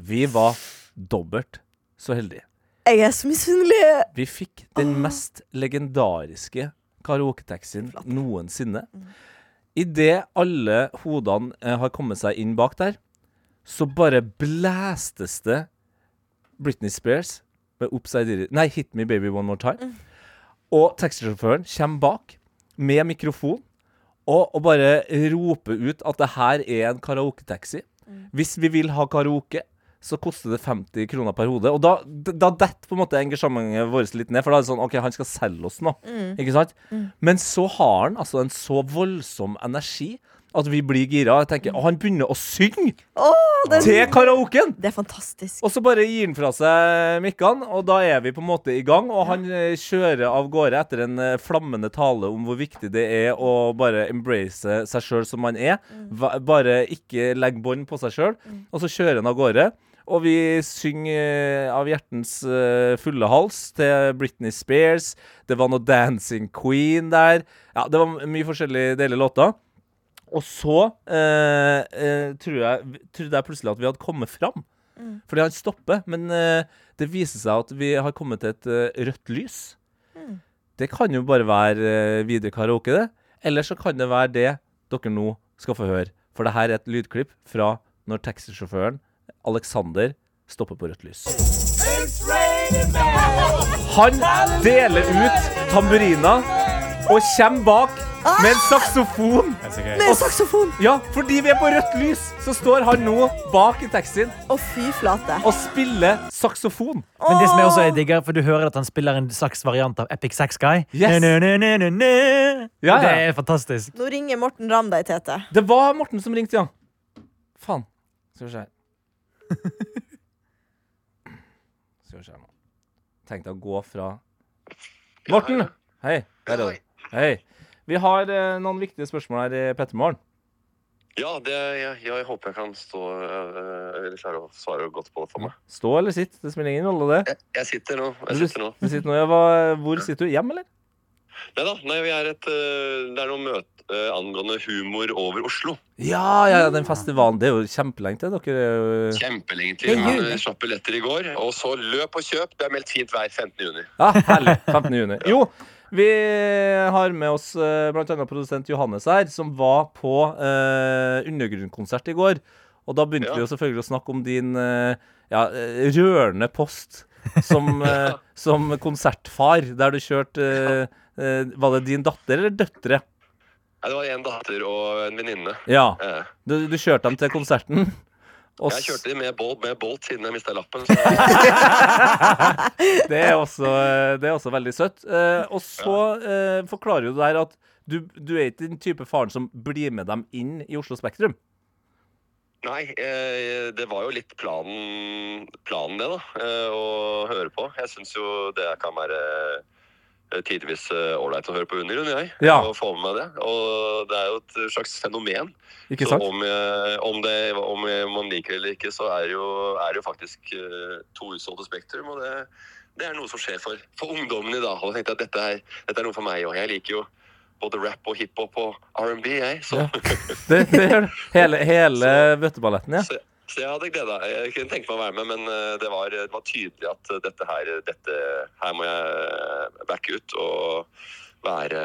Speaker 2: Vi var dobbelt så heldige.
Speaker 4: Jeg er så misunnelig!
Speaker 2: Vi fikk den mest legendariske karaoketaxien noensinne. Idet alle hodene eh, har kommet seg inn bak der, så bare blæstes det Britney Spears med Upside Down Nei, Hit Me Baby One More Time. Og taxisjåføren kommer bak med mikrofon og, og bare roper ut at det her er en karaoketaxi. Hvis vi vil ha karaoke, så koster det 50 kroner per hode. Og da, d- da detter på en måte engasjementet vårt litt ned, for da er det sånn OK, han skal selge oss nå.
Speaker 4: Mm.
Speaker 2: Ikke sant? Men så har han altså en så voldsom energi at vi blir gira. Jeg tenker, Og han begynner å synge
Speaker 4: Åh, det,
Speaker 2: til karaoken!
Speaker 4: det er fantastisk.
Speaker 2: Og så bare gir han fra seg mikkene, og da er vi på en måte i gang. Og han eh, kjører av gårde etter en eh, flammende tale om hvor viktig det er å bare embrace seg sjøl som man er. Va- Bare ikke legge bånd på seg sjøl. Og så kjører han av gårde. Og vi synger eh, av hjertens eh, fulle hals til Britney Spears. Det var noe Dancing Queen der. Ja, det var mye forskjellige deilige låter. Og så eh, eh, tror jeg, trodde jeg plutselig at vi hadde kommet fram. Fordi han stopper, men eh, det viser seg at vi har kommet til et eh, rødt lys. Det kan jo bare være eh, videre karaoke, det. Eller så kan det være det dere nå skal få høre. For det her er et lydklipp fra når taxisjåføren Alexander stopper på rødt lys. Han deler ut tamburina og kommer bak med en saksofon.
Speaker 4: Med saksofon!
Speaker 2: Ja, fordi vi er på rødt lys, så står han nå bak i taxien
Speaker 4: Å, fy flate.
Speaker 2: og spiller saksofon.
Speaker 5: Men det som jeg også er digger, for du hører at han spiller en slags variant av Epic Sex Guy.
Speaker 2: Yes.
Speaker 5: Nø, nø, nø, nø, nø.
Speaker 2: Ja,
Speaker 5: Og Det
Speaker 2: ja.
Speaker 5: er fantastisk.
Speaker 4: Nå ringer Morten Ramm deg, Tete.
Speaker 2: Det var Morten som ringte, ja. Faen. Skal (laughs) vi se her. Skal vi se her nå. Tenkte å gå fra Morten! Hei. Der er du. Hei. Vi har eh, noen viktige spørsmål her i Pettermorgen.
Speaker 6: Ja, det, jeg, jeg håper jeg kan stå eh, Eller klare å svare godt på det for meg.
Speaker 2: Stå eller sitt, det spiller ingen rolle, det.
Speaker 6: Jeg, jeg sitter nå.
Speaker 2: Men
Speaker 6: jeg
Speaker 2: du-
Speaker 6: sitter nå.
Speaker 2: Du sitter nå, ja, hva, hvor sitter du? Hjem, eller?
Speaker 6: Nei da, nei, vi er et, eh, det er noe møte eh, angående humor over Oslo.
Speaker 2: Ja, ja, ja, den festivalen. Det er jo kjempelenge til. Dere eh, er jo
Speaker 6: Kjempelenge
Speaker 3: Det
Speaker 6: til.
Speaker 3: er jul.
Speaker 6: men, eh, Kjapp billetter i går. Og så løp og kjøp. Det er meldt fint vær 15. juni.
Speaker 2: Ja, herlig. 15. juni. Jo, vi har med oss eh, blant annet produsent Johannes her, som var på eh, undergrunnkonsert i går. Og da begynte
Speaker 6: Ja.
Speaker 2: vi jo selvfølgelig å snakke om din eh, ja, eh, rørende post
Speaker 6: (laughs)
Speaker 2: som, eh, som konsertfar, der du kjørte eh, eh, Var det din datter eller døtre?
Speaker 6: Nei, det var en datter og en venninne.
Speaker 2: Ja.
Speaker 6: Eh,
Speaker 2: Du, du kjørte dem til konserten. Og
Speaker 6: Jeg
Speaker 2: s-
Speaker 6: kjørte de med Bolt, med Bolt siden jeg mista lappen. Så jeg
Speaker 2: det, er også, eh, det er også veldig søtt. Eh, og så eh, forklarer jo det her at du, du er ikke den type faren som blir med dem inn i Oslo Spektrum.
Speaker 6: Nei, eh, det var jo litt planen, planen det, da. eh, Å høre på. Jeg syns jo det kan være eh, tidvis eh, ålreit å høre på undergrunn, jeg.
Speaker 2: Ja.
Speaker 6: Og få med meg det. Og det er jo et slags fenomen.
Speaker 2: Ikke
Speaker 6: så
Speaker 2: sant?
Speaker 6: om, eh, om, det, om man liker det eller ikke, så er det jo, er det jo faktisk eh, to utsolgte Spektrum. Og det, det er noe som skjer for, for ungdommen i dag. Og jeg tenkte at dette er, dette er noe for meg òg. Jeg liker jo både rap og hiphop og R&B, jeg.
Speaker 2: Ja.
Speaker 6: Så
Speaker 2: Det, det gjør det. Hele, hele bøtteballetten, ja.
Speaker 6: så, så jeg hadde gleda Jeg kunne tenke meg å være med, men eh, det var, det var tydelig at eh, dette her, dette her må jeg eh, backe ut og være,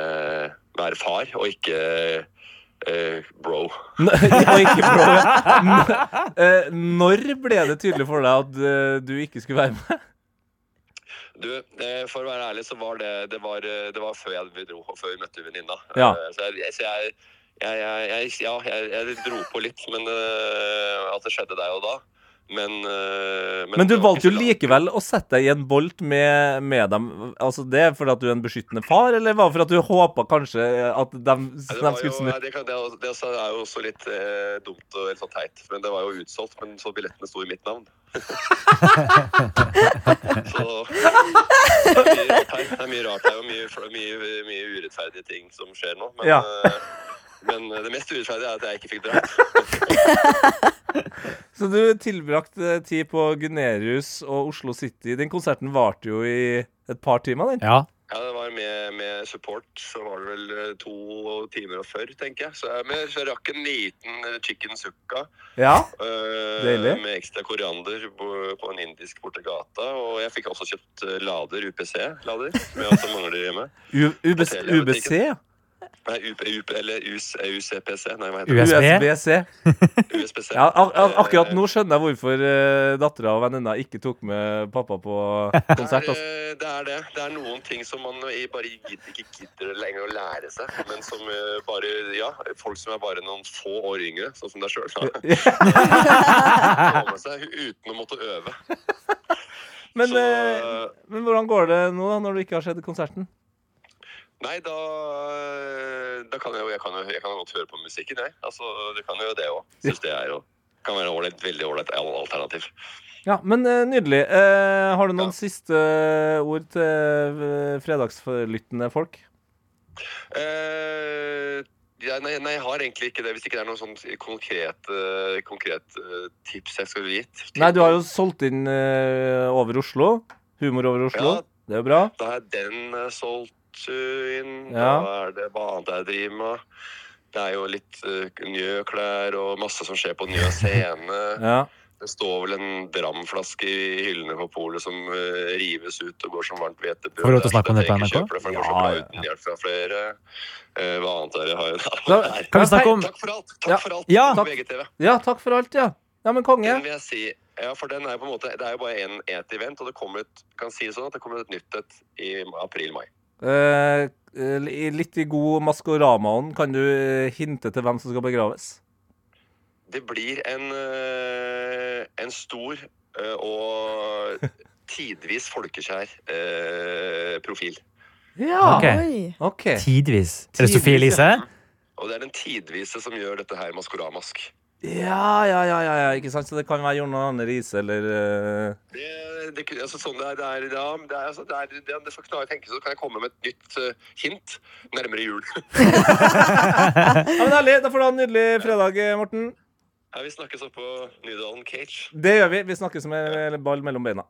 Speaker 6: være far, og ikke eh, bro.
Speaker 2: N- (laughs) Og ikke bro, ja. N- eh, Når ble det tydelig for deg at eh, du ikke skulle være med?
Speaker 6: Du, eh, for å være ærlig, så var det Det var, eh, det var før jeg vi dro, og før vi møtte venninna.
Speaker 2: Ja.
Speaker 6: Eh, Så jeg, så jeg, jeg, jeg, jeg Ja, jeg, jeg dro på litt, men eh, at det skjedde der og da. Men, eh,
Speaker 2: Men du
Speaker 6: det var
Speaker 2: valgte jo
Speaker 6: ikke så-
Speaker 2: likevel å sette deg i en bolt med, med dem. Altså Det er fordi at du er en beskyttende far, eller var det fordi at du håpa kanskje at de,
Speaker 6: Nei,
Speaker 2: de skulle snu?
Speaker 6: nei, det, kan, det, er, også- det også er jo også litt eh, dumt og litt sånn teit. Men det var jo utsolgt, men så billettene sto i mitt navn. (laughs) så det er mye rart her. Det er mye rart her og mye, mye, mye urettferdige ting som skjer nå. Men,
Speaker 2: Ja.
Speaker 6: eh, men det mest urettferdige er at jeg ikke fikk dratt.
Speaker 2: Så du tilbrakte tid på Gunerius og Oslo City. Den konserten varte jo i et par timer, den.
Speaker 5: Ja.
Speaker 6: Ja, det var med, med support, så var det vel eh, to timer og før, tenker jeg. Så jeg, men jeg rakk en liten eh, chicken sukka.
Speaker 2: Ja.
Speaker 6: Eh,
Speaker 2: Deilig.
Speaker 6: Med ekstra koriander på, på en indisk borti gata. Og jeg fikk også kjøpt eh, lader, UPC-lader, som jeg også mangler hjemme.
Speaker 2: U UBC, UBC? ja.
Speaker 6: Nei, UP, UP, eller US, UCPC. Nei, hva heter det?
Speaker 5: US. USB?
Speaker 2: USBC.
Speaker 6: USPC.
Speaker 2: Ja, ak
Speaker 6: Eh,
Speaker 2: ak akkurat nå skjønner jeg hvorfor uh, dattera og venninna ikke tok med pappa på
Speaker 6: Det
Speaker 2: konsert.
Speaker 6: er,
Speaker 2: Altså.
Speaker 6: eh, det er det. Det er noen ting som man i- bare gidder, ikke gidder lenger å lære seg. Men som eh, bare Ja, folk som er bare noen få år yngre, sånn som deg sjøl, (laughs) har med seg uten å måtte øve.
Speaker 2: Men,
Speaker 6: Så,
Speaker 2: eh, men hvordan går det nå, da, når du ikke har sett konserten?
Speaker 6: Nei, da, eh, da kan jeg, jo- jeg, kan jo, jeg kan jo godt høre på musikken, jeg. Altså, du kan jo det òg. Syns det er jo kan være ålreit, veldig ålreit al- alternativ.
Speaker 2: Ja, men eh, nydelig. Eh, har du
Speaker 6: Ja.
Speaker 2: noen siste ord til eh, fredagslyttende folk?
Speaker 6: Eh, ja, nei, nei, jeg har egentlig ikke det, hvis ikke det er noe sånn konkret, eh, konkret eh, tips jeg skulle gitt.
Speaker 2: Nei, du har jo solgt inn eh, Over Oslo. Humor over Oslo.
Speaker 6: Ja.
Speaker 2: Det er jo bra.
Speaker 6: Da er den eh, solgt eh, inn.
Speaker 2: Ja.
Speaker 6: Da er det hva annet jeg driver med. Det er jo litt eh, nye klær og masse som skjer på
Speaker 2: (laughs)
Speaker 6: nye scene.
Speaker 2: Ja.
Speaker 6: Det står vel en dramflaske i hyllene på polet som eh, rives ut og går som varmt hvetebrød.
Speaker 5: Får vi lov til å snakke om det på
Speaker 6: Derfor jeg
Speaker 5: NRK?
Speaker 6: ikke kjøper det, for det går så
Speaker 2: Ja,
Speaker 6: bra
Speaker 2: ja, ja.
Speaker 6: uten hjelp fra flere. Eh, hva annet er det jeg har (laughs)
Speaker 2: Da-
Speaker 6: Nei.
Speaker 5: Kan vi snakke om
Speaker 6: Takk for alt!
Speaker 2: Ja.
Speaker 6: Takk for alt
Speaker 5: Ja.
Speaker 6: på VGTV.
Speaker 2: ja, takk for alt, ja. Ja, men konge.
Speaker 6: Den vil jeg si, ja, for den er jo på en måte, det er jo bare en- ett event, og det kommer et, kan si det sånn at det kommer et nytt et i april-mai.
Speaker 2: Eh, eh, litt i god Maskorama-ånd, kan du eh, hinte til hvem som skal begraves?
Speaker 6: Det blir en, eh, en stor eh, og (laughs) tidvis folkeskjær eh, profil.
Speaker 2: Ja.
Speaker 5: Ok.
Speaker 4: Oi.
Speaker 2: OK.
Speaker 5: tidvis Er det Sofie Elise?
Speaker 6: Og det er den tidvise som gjør dette her maskoramask.
Speaker 2: Ja, ja, ja, ja, ja, ikke sant? Så det kan være Jon Arne Riise eller eh,
Speaker 6: Det, det, altså, sånn det er, det er, ja, det er, altså, det er det, det For klare å tenke så kan jeg komme med et nytt eh, hint nærmere jul. (laughs)
Speaker 2: Ja, men herlig! Da får du ha en nydelig fredag, eh, Morten.
Speaker 6: Ja, vi snakkes oppe på Nydalen Cage.
Speaker 2: Det gjør vi. Vi snakkes med ball mellom beina.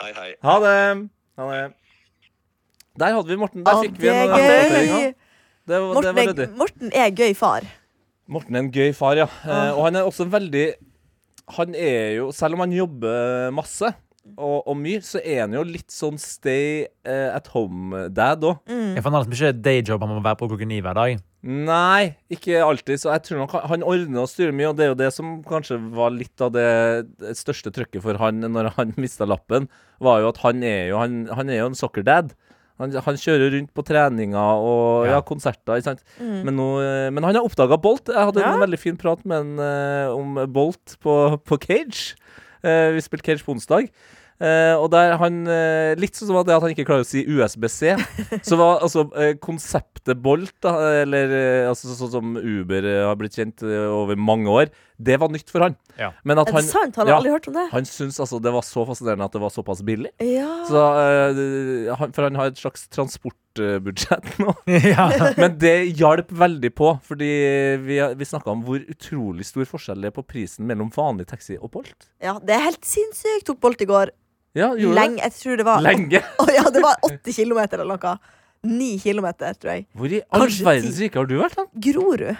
Speaker 6: Hei, hei.
Speaker 2: Ha det! Ha det. Der hadde vi Morten. Der
Speaker 4: Å,
Speaker 2: fikk vi
Speaker 4: det
Speaker 2: en
Speaker 4: er
Speaker 2: oppdatering, ja.
Speaker 4: gøy!
Speaker 2: Det, var- det var
Speaker 4: Morten er,
Speaker 2: ryddig.
Speaker 4: Morten er gøy far.
Speaker 2: Morten er en gøy far, ja. Eh, og han er også en veldig Han er jo Selv om han jobber masse og, og mye, så er han jo litt sånn stay eh, at home-dad òg.
Speaker 5: Ja, for Han har liksom ikke dayjob han må være på klokken ni hver dag.
Speaker 2: Nei, ikke alltid. Så jeg tror nok han- han ordner og styrer mye, og det er jo det som kanskje var litt av det det største trøkket for han når han (laughs) mista lappen, var jo at han er jo, han, han er jo en soccer dad. Han, han kjører rundt på treninger og ja.
Speaker 5: Ja.
Speaker 2: konserter, ikke sant. Men, nå, eh, men han har oppdaga Bolt. Jeg hadde
Speaker 4: Mm. Ja.
Speaker 2: en veldig fin prat med han eh, om Bolt på, på Cage. Eh, vi spilte Cage på onsdag. Eh, og der han eh, Litt sånn som at det at han ikke klarer å si USBC. Så var (laughs) altså eh, konseptet Bolt, da, eller eh, altså, så- sånn som Uber eh, har blitt kjent eh, over mange år, det var nytt for han.
Speaker 5: Ja.
Speaker 2: Men at
Speaker 4: Er det
Speaker 2: han,
Speaker 4: sant? Han har
Speaker 2: ja.
Speaker 4: aldri hørt om det.
Speaker 2: han syntes altså det var så fascinerende at det var såpass billig.
Speaker 4: Ja.
Speaker 2: Så, eh, han, for han har et slags transportbudsjett nå.
Speaker 5: (laughs) ja.
Speaker 2: Men det hjalp veldig på, fordi vi, vi snakka om hvor utrolig stor forskjell det er på prisen mellom vanlig taxi og Bolt.
Speaker 4: ja, det er helt sinnssykt. Tok Bolt i går.
Speaker 2: Ja, gjorde
Speaker 4: Lenge, jeg tror det var
Speaker 2: det? Lenge.
Speaker 4: Å, (laughs) ja, det var åtte kilometer eller noe. Ni kilometer, tror jeg.
Speaker 2: Hvor i all
Speaker 4: Kanskje ti.
Speaker 2: verdens rike har du vært, da?
Speaker 4: Grorud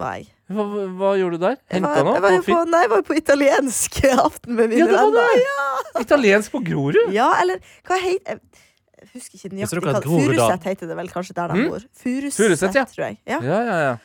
Speaker 4: var jeg.
Speaker 2: Hva, hva gjorde du der?
Speaker 4: Jeg
Speaker 2: Henta
Speaker 4: var,
Speaker 2: noe?
Speaker 4: jeg var jo
Speaker 2: på fi-
Speaker 4: på, nei, jeg var jo på italiensk (laughs) aften med mine
Speaker 2: Ja, det var
Speaker 4: venner.
Speaker 2: det. Italiensk på Grorud?
Speaker 4: Ja, eller hva heter jeg, jeg husker ikke
Speaker 5: Visste
Speaker 4: nøyaktig
Speaker 5: dere
Speaker 4: hva
Speaker 5: at Grorud da-
Speaker 4: Furuset heter det vel kanskje der de
Speaker 2: Mm?
Speaker 4: bor. Furuset,
Speaker 2: Furuset, ja.
Speaker 4: tror jeg. Ja.
Speaker 2: Ja, ja, ja.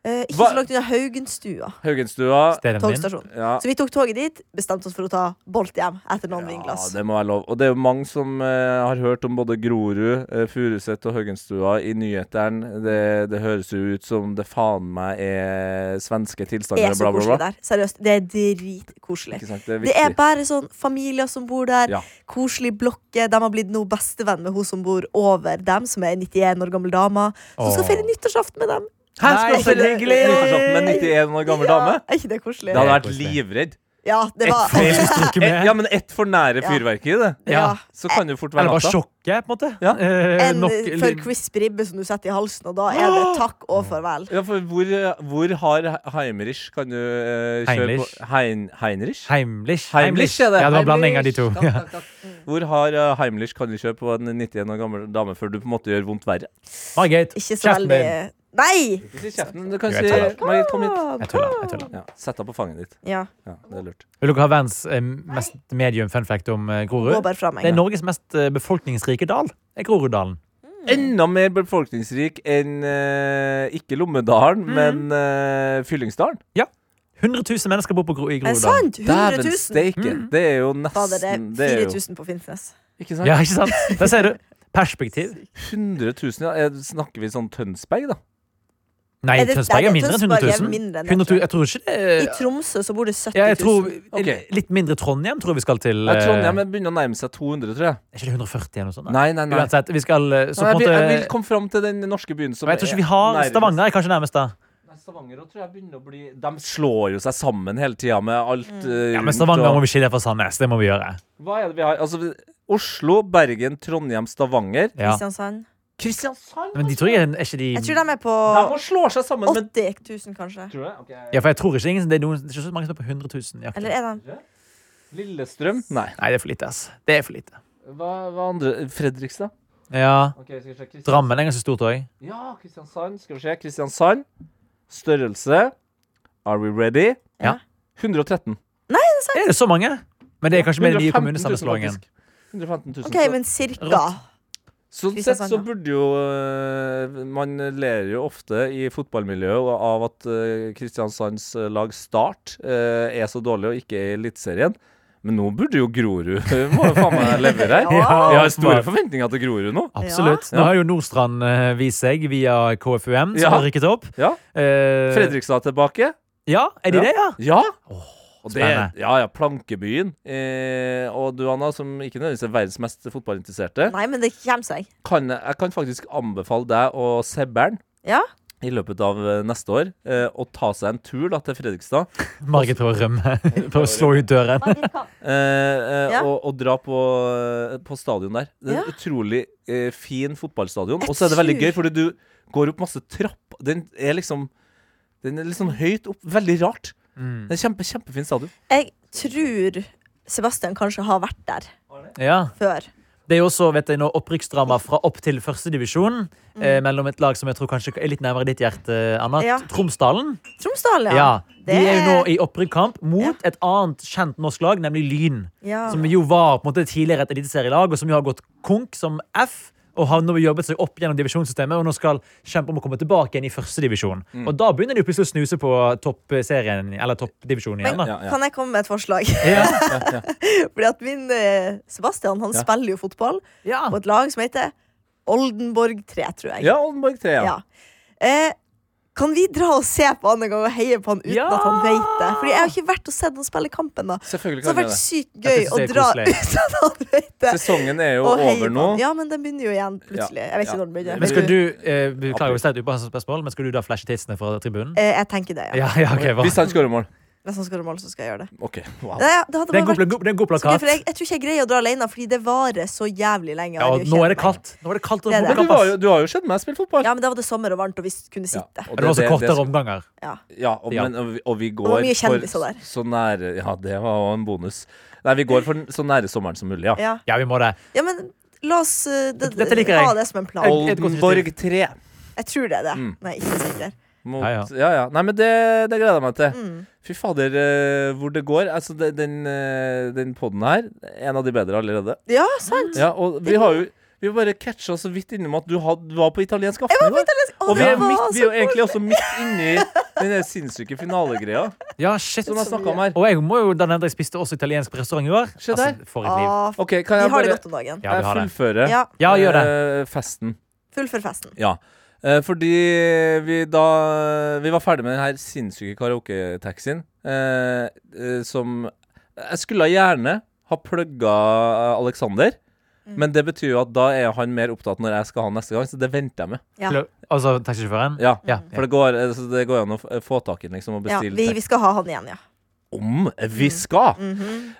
Speaker 4: Eh, ikke
Speaker 2: Hva-
Speaker 4: så langt unna Haugenstua
Speaker 2: Haugenstua.
Speaker 5: Stedet min.
Speaker 4: togstasjon.
Speaker 2: Ja.
Speaker 4: Så vi tok toget dit, bestemte oss for å ta Bolt hjem etter noen
Speaker 2: ja,
Speaker 4: vinglass.
Speaker 2: det må være lov. Og det er jo mange som eh, har hørt om både Grorud, uh, Furuset og Haugenstua i nyhetene. Det, det høres jo ut som det faen meg er svenske
Speaker 4: Det
Speaker 2: tilstander
Speaker 4: er
Speaker 2: og
Speaker 4: så
Speaker 2: bla,
Speaker 4: koselig
Speaker 2: bla, bla.
Speaker 4: der. Seriøst, det er dritkoselig.
Speaker 2: Ikke sant? Det er
Speaker 4: Det er
Speaker 2: viktig.
Speaker 4: bare sånn familier som bor der.
Speaker 2: Ja.
Speaker 4: Koselig blokke. De har blitt noe bestevenn med hun som bor over dem, som er 91 år gammel dame. Som skal
Speaker 5: Åh.
Speaker 4: feire nyttårsaften med dem.
Speaker 2: Her skal
Speaker 5: Nei,
Speaker 2: vi spille
Speaker 5: hyggelig!
Speaker 2: nyttårsaften med en
Speaker 5: (laughs)
Speaker 2: 91 år gammel
Speaker 4: ja,
Speaker 2: dame!
Speaker 4: Er ikke det koselig?
Speaker 2: Det hadde vært
Speaker 5: Koselig.
Speaker 2: livredd.
Speaker 4: Ja, det var
Speaker 5: Jeg skulle stryke
Speaker 2: Et,
Speaker 5: med.
Speaker 2: ja, men ett for nære
Speaker 4: Ja.
Speaker 2: fyrverkeri, det.
Speaker 4: (laughs) Ja.
Speaker 2: Så kan det jo fort være
Speaker 5: Eller bare
Speaker 2: natta.
Speaker 5: sjokket, på en måte.
Speaker 2: Ja.
Speaker 5: Eh,
Speaker 4: En
Speaker 5: nok- Ah!
Speaker 4: for crisp ribbe som du setter i halsen, og da er det takk og farvel.
Speaker 2: Ja, for hvor, hvor har Heimrich Kan du eh, kjøre
Speaker 5: Heinrich.
Speaker 2: på Hein, Heinrich?
Speaker 5: Heimlich.
Speaker 2: Heimlich, er det.
Speaker 5: Ja, det var en blanding av de to.
Speaker 2: Heimlich. Takk, takk, takk. Hvor har uh, Heimlich kan du kjøpe på en 91 år gammel dame før du på en måte gjør vondt verre?
Speaker 5: (laughs) Margit,
Speaker 4: Ikke så
Speaker 5: kjeften
Speaker 4: veldig
Speaker 5: din.
Speaker 4: Nei!
Speaker 2: Ikke kjeften. Du kan
Speaker 5: Jo,
Speaker 2: si
Speaker 5: jeg tar det.
Speaker 2: Marit, kom hit.
Speaker 4: Ah,
Speaker 5: Jeg tuller. jeg tuller
Speaker 2: Ja, Sett deg på fanget ditt.
Speaker 4: Ja,
Speaker 2: Ja, det er lurt.
Speaker 5: Vil dere ha verdens eh, mest medium fun fact om eh,
Speaker 4: Gå
Speaker 5: Grorud?
Speaker 4: bare fra meg.
Speaker 5: Det er Norges mest eh, befolkningsrike dal. er Groruddalen.
Speaker 2: Enda mer befolkningsrik enn eh, ikke Lommedalen, men eh, Fyllingsdalen.
Speaker 5: 100 000 mennesker bor på Gro
Speaker 4: Er
Speaker 5: i
Speaker 4: det
Speaker 5: Groruddalen.
Speaker 4: sant? 100
Speaker 2: Dæven
Speaker 4: 000?
Speaker 2: steike! Det er jo
Speaker 4: Fader, det
Speaker 2: nesten Mm. Det
Speaker 4: er
Speaker 2: er jo
Speaker 4: 4000 på Finnsnes.
Speaker 2: Ikke sant?
Speaker 5: Ja, ikke sant? Der ser du. Perspektiv.
Speaker 2: 100 000, ja. Er- Snakker vi sånn Tønsberg, da?
Speaker 5: Nei,
Speaker 4: Er det-
Speaker 5: Tønsberg er
Speaker 4: nei,
Speaker 5: mindre enn
Speaker 4: Tønsberg er
Speaker 5: 100 000.
Speaker 4: mindre enn det,
Speaker 5: 100 000. Jeg tror ikke det
Speaker 4: I
Speaker 5: er-
Speaker 4: Tromsø så bor det 70
Speaker 5: ja, jeg
Speaker 4: 000.
Speaker 5: tror,
Speaker 2: Ok.
Speaker 5: Litt mindre Trondheim tror jeg vi skal til.
Speaker 2: Ja,
Speaker 5: eh,
Speaker 2: Trondheim begynner å nærme seg 200, tror jeg.
Speaker 5: Er ikke det 140 eller noe sånt? da?
Speaker 2: Nei, nei, nei.
Speaker 5: Uansett, vi skal eh, så
Speaker 2: Nei,
Speaker 5: på en
Speaker 2: jeg, vil, jeg vil
Speaker 5: måte
Speaker 2: komme fram til den norske byen som
Speaker 5: Og Jeg
Speaker 2: er
Speaker 5: tror ikke vi har
Speaker 2: nærmest.
Speaker 5: Stavanger er kanskje nærmest da.
Speaker 2: Nei, Stavanger også tror jeg begynner å bli De slår jo seg sammen hele tida med alt
Speaker 4: Mm.
Speaker 2: eh,
Speaker 5: Ja, men
Speaker 2: rundt
Speaker 5: Stavanger
Speaker 2: og-
Speaker 5: må vi skille fra Sandnes. Det må vi gjøre.
Speaker 2: Hva er det vi har? Altså, vi- Oslo, Bergen, Trondheim, Stavanger.
Speaker 5: Ja.
Speaker 4: Kristiansand.
Speaker 2: Kristiansand!
Speaker 5: Men de tror jeg er ikke de
Speaker 4: Jeg tror de er på
Speaker 2: De må slå seg sammen med
Speaker 4: 80 000, kanskje.
Speaker 2: tror jeg. ok.
Speaker 5: Ja, for jeg tror ikke ingen, det, er noen, det er ikke så mange som er på 100 000. i akkurat.
Speaker 4: Eller er de
Speaker 2: Lillestrøm? Nei.
Speaker 5: Nei, det er for lite, ass. Det er for lite.
Speaker 2: Hva, hva andre? Fredrikstad?
Speaker 5: Ja.
Speaker 2: Ok, skal vi se. Kristian-
Speaker 5: Drammen er ganske stort òg.
Speaker 2: Ja, Kristiansand. Skal vi se. Kristiansand. Størrelse. Are we ready?
Speaker 5: Ja.
Speaker 2: 113.
Speaker 5: Er det så mange? Men det er kanskje med den
Speaker 2: 115 000
Speaker 5: nye kommunesammenslåingen.
Speaker 2: faktisk. 115 000.
Speaker 4: OK,
Speaker 2: så-
Speaker 4: men cirka.
Speaker 5: Rått.
Speaker 2: Sånn sett
Speaker 4: Kristiansand,
Speaker 2: så
Speaker 4: ja.
Speaker 2: burde jo øh, Man ler jo ofte i fotballmiljøet av at øh, Kristiansands øh, lag Start øh, er så dårlig og ikke er i Eliteserien. Men nå burde jo Grorud eh, (laughs) må jo faen meg levere her.
Speaker 5: Ja,
Speaker 2: Jeg har store
Speaker 5: åpenbart.
Speaker 2: forventninger til Grorud nå.
Speaker 5: Ah. Absolutt.
Speaker 2: Ja.
Speaker 5: Nå har jo Nordstrand eh, vist seg via KFUM, som
Speaker 2: Ja.
Speaker 5: har rykket opp.
Speaker 2: Ja.
Speaker 5: Eh,
Speaker 2: Fredrikstad tilbake.
Speaker 5: Ja, er de
Speaker 2: Ja.
Speaker 5: det, ja?
Speaker 2: Ja! Og det,
Speaker 5: spennende.
Speaker 2: ja, ja, Plankebyen. Eh, og du, Anna, som ikke nødvendigvis er verdens mest fotballinteresserte,
Speaker 4: Nei, men det kommer seg.
Speaker 2: kan, jeg kan faktisk anbefale deg og Sebbern
Speaker 4: Ja?
Speaker 2: i løpet av eh, neste år eh, å ta seg en tur da, til Fredrikstad.
Speaker 5: Margit prøver å (laughs) rømme. Prøver å slå ut døren.
Speaker 2: eh, eh,
Speaker 4: Ja.
Speaker 2: og, og dra på, eh, på stadion der. Det er en
Speaker 4: Ja.
Speaker 2: Utrolig eh, fin fotballstadion.
Speaker 4: Jeg
Speaker 2: Og så er det veldig gøy,
Speaker 4: tror-
Speaker 2: fordi du går opp masse trapp. Den er liksom Den er liksom høyt opp. Veldig rart. Det er en kjempe, kjempefin stadion.
Speaker 4: Jeg tror Sebastian kanskje har vært der
Speaker 5: Ja.
Speaker 4: før.
Speaker 5: Det er jo også vet jeg, nå, opprykksdrama fra opp til førstedivisjon eh, mellom et lag som jeg tror kanskje er litt nærmere ditt hjerte, Anna.
Speaker 4: Ja.
Speaker 5: Tromsdalen.
Speaker 4: Tromsdal,
Speaker 5: Ja.
Speaker 4: ja.
Speaker 5: De er jo nå i opprykkskamp mot
Speaker 4: Ja.
Speaker 5: et annet kjent norsk lag, nemlig Lyn.
Speaker 4: ja.
Speaker 5: Som jo var på en måte tidligere et eliteserielag, og som jo har gått konk som F. Og har nå jobbet seg opp gjennom divisjonssystemet og nå skal kjempe om å komme tilbake igjen i førstedivisjon.
Speaker 2: Mm.
Speaker 5: divisjon Og da begynner de jo plutselig å snuse på toppserien, eller toppdivisjonen igjen.
Speaker 4: Men
Speaker 5: da.
Speaker 2: Ja, ja.
Speaker 4: kan jeg komme med et forslag?
Speaker 5: Ja.
Speaker 4: (laughs) Fordi at min eh, Sebastian han
Speaker 2: Ja.
Speaker 4: spiller jo fotball
Speaker 5: Ja.
Speaker 4: på et lag som heter Oldenborg 3, tror jeg.
Speaker 2: Ja, Oldenborg 3, ja.
Speaker 4: Ja. Eh, kan vi dra og se på han en gang og heie på han uten
Speaker 5: Ja!
Speaker 4: at han vet det? Fordi jeg har ikke vært og sett han spille kampen da.
Speaker 2: Selvfølgelig
Speaker 4: Så det
Speaker 2: kan
Speaker 4: har
Speaker 2: vi
Speaker 4: vært
Speaker 2: det.
Speaker 4: sykt
Speaker 5: Jeg
Speaker 4: gøy
Speaker 5: synes
Speaker 4: å
Speaker 5: det er
Speaker 4: dra
Speaker 5: koselig.
Speaker 4: uten at han vet det.
Speaker 2: Sesongen er jo
Speaker 4: og heie
Speaker 2: over
Speaker 4: på
Speaker 2: nå.
Speaker 4: han. Ja, men den begynner jo igjen plutselig. Jeg vet
Speaker 2: Ja.
Speaker 4: ikke når den begynner.
Speaker 5: Men skal
Speaker 4: Eh,
Speaker 5: du eh, beklager hvis det er et upassende spørsmål, men skal du da flashe tidsene fra tribunen?
Speaker 4: Eh, Jeg tenker det, ja.
Speaker 5: Ja, ja, ok, hva?
Speaker 2: Hvis han skårer mål.
Speaker 4: Hvis han skårer mål, så skal jeg gjøre det.
Speaker 2: OK. Wow.
Speaker 4: Nei, ja, det hadde
Speaker 5: Det
Speaker 4: bare vært
Speaker 5: er en god, pla- det er en god
Speaker 4: så gøy,
Speaker 5: plakat.
Speaker 4: for jeg, jeg tror ikke jeg greier å dra alene, fordi det varer så jævlig lenge.
Speaker 5: Ja,
Speaker 4: Jeg
Speaker 5: og
Speaker 4: jo
Speaker 5: nå
Speaker 4: kjent
Speaker 5: er det
Speaker 4: meg.
Speaker 5: kaldt. Nå er det kaldt og
Speaker 4: Det
Speaker 2: Men
Speaker 4: er det.
Speaker 2: du,
Speaker 5: fotballkamp,
Speaker 2: var jo,
Speaker 5: ass.
Speaker 2: du har jo sett meg spille fotball.
Speaker 4: Ja, men da var det sommer og varmt, og vi kunne sitte.
Speaker 2: og
Speaker 5: Det var også kortere omganger.
Speaker 4: Ja.
Speaker 2: Ja, og,
Speaker 5: Ja.
Speaker 2: Men, og, vi, og vi går
Speaker 4: var mye
Speaker 2: for
Speaker 4: kjendiser der.
Speaker 2: så nære Ja, det var også en bonus. Nei, vi går for så nære sommeren som mulig, ja.
Speaker 4: Ja.
Speaker 5: Ja, vi må det.
Speaker 4: ja, men la oss eh, det,
Speaker 5: Dette liker jeg.
Speaker 4: ha
Speaker 5: Mm.
Speaker 4: det som en plan.
Speaker 5: Et- et godt
Speaker 2: Oldenborg 3.
Speaker 4: Jeg tror det er det. Nei, ikke sikker.
Speaker 2: Mot,
Speaker 5: Ja,
Speaker 2: ja,
Speaker 5: ja.
Speaker 2: ja. Nei, men det, det gleder jeg meg til.
Speaker 4: Mm.
Speaker 2: Fy fader, eh, hvor det går. Altså, det, den, eh, den poden her, en av de bedre allerede.
Speaker 4: Ja, sant?
Speaker 2: Ja, og vi har jo vi bare catcha så vidt innom at du, had, du var på italiensk aften i går.
Speaker 4: Å,
Speaker 2: Og vi
Speaker 4: det
Speaker 2: er,
Speaker 4: var
Speaker 2: midt, vi er
Speaker 4: så
Speaker 2: jo egentlig også midt inni den der sinnssyke finalegreia
Speaker 5: Ja, shit.
Speaker 2: som jeg snakka om her.
Speaker 5: Og jeg må jo da nevne at jeg spiste også italiensk på restaurant i går.
Speaker 2: Se der.
Speaker 5: for et liv.
Speaker 4: Ah, f-
Speaker 2: OK, kan
Speaker 4: vi
Speaker 2: jeg
Speaker 4: har det
Speaker 2: bare
Speaker 4: godt om dagen.
Speaker 5: Ja, vi har det.
Speaker 2: fullføre
Speaker 4: Ja,
Speaker 5: Ja, gjør det.
Speaker 2: eh, festen?
Speaker 4: Fullfør festen.
Speaker 2: Ja. Eh, fordi vi da Vi var ferdig med den her sinnssyke karaoketaxien eh, eh, som Jeg skulle gjerne ha plugga Alexander,
Speaker 4: Mm.
Speaker 2: men det betyr jo at da er han mer opptatt når jeg skal ha han neste gang, så det venter jeg med.
Speaker 4: Ja.
Speaker 5: Til å- Altså taxisjåføren?
Speaker 2: Ja,
Speaker 5: Ja.
Speaker 2: For det går, eh, så det går an å f- få tak i den liksom, og
Speaker 4: Ja,
Speaker 2: bestille
Speaker 4: vi, vi skal ha han igjen, ja.
Speaker 2: om vi skal.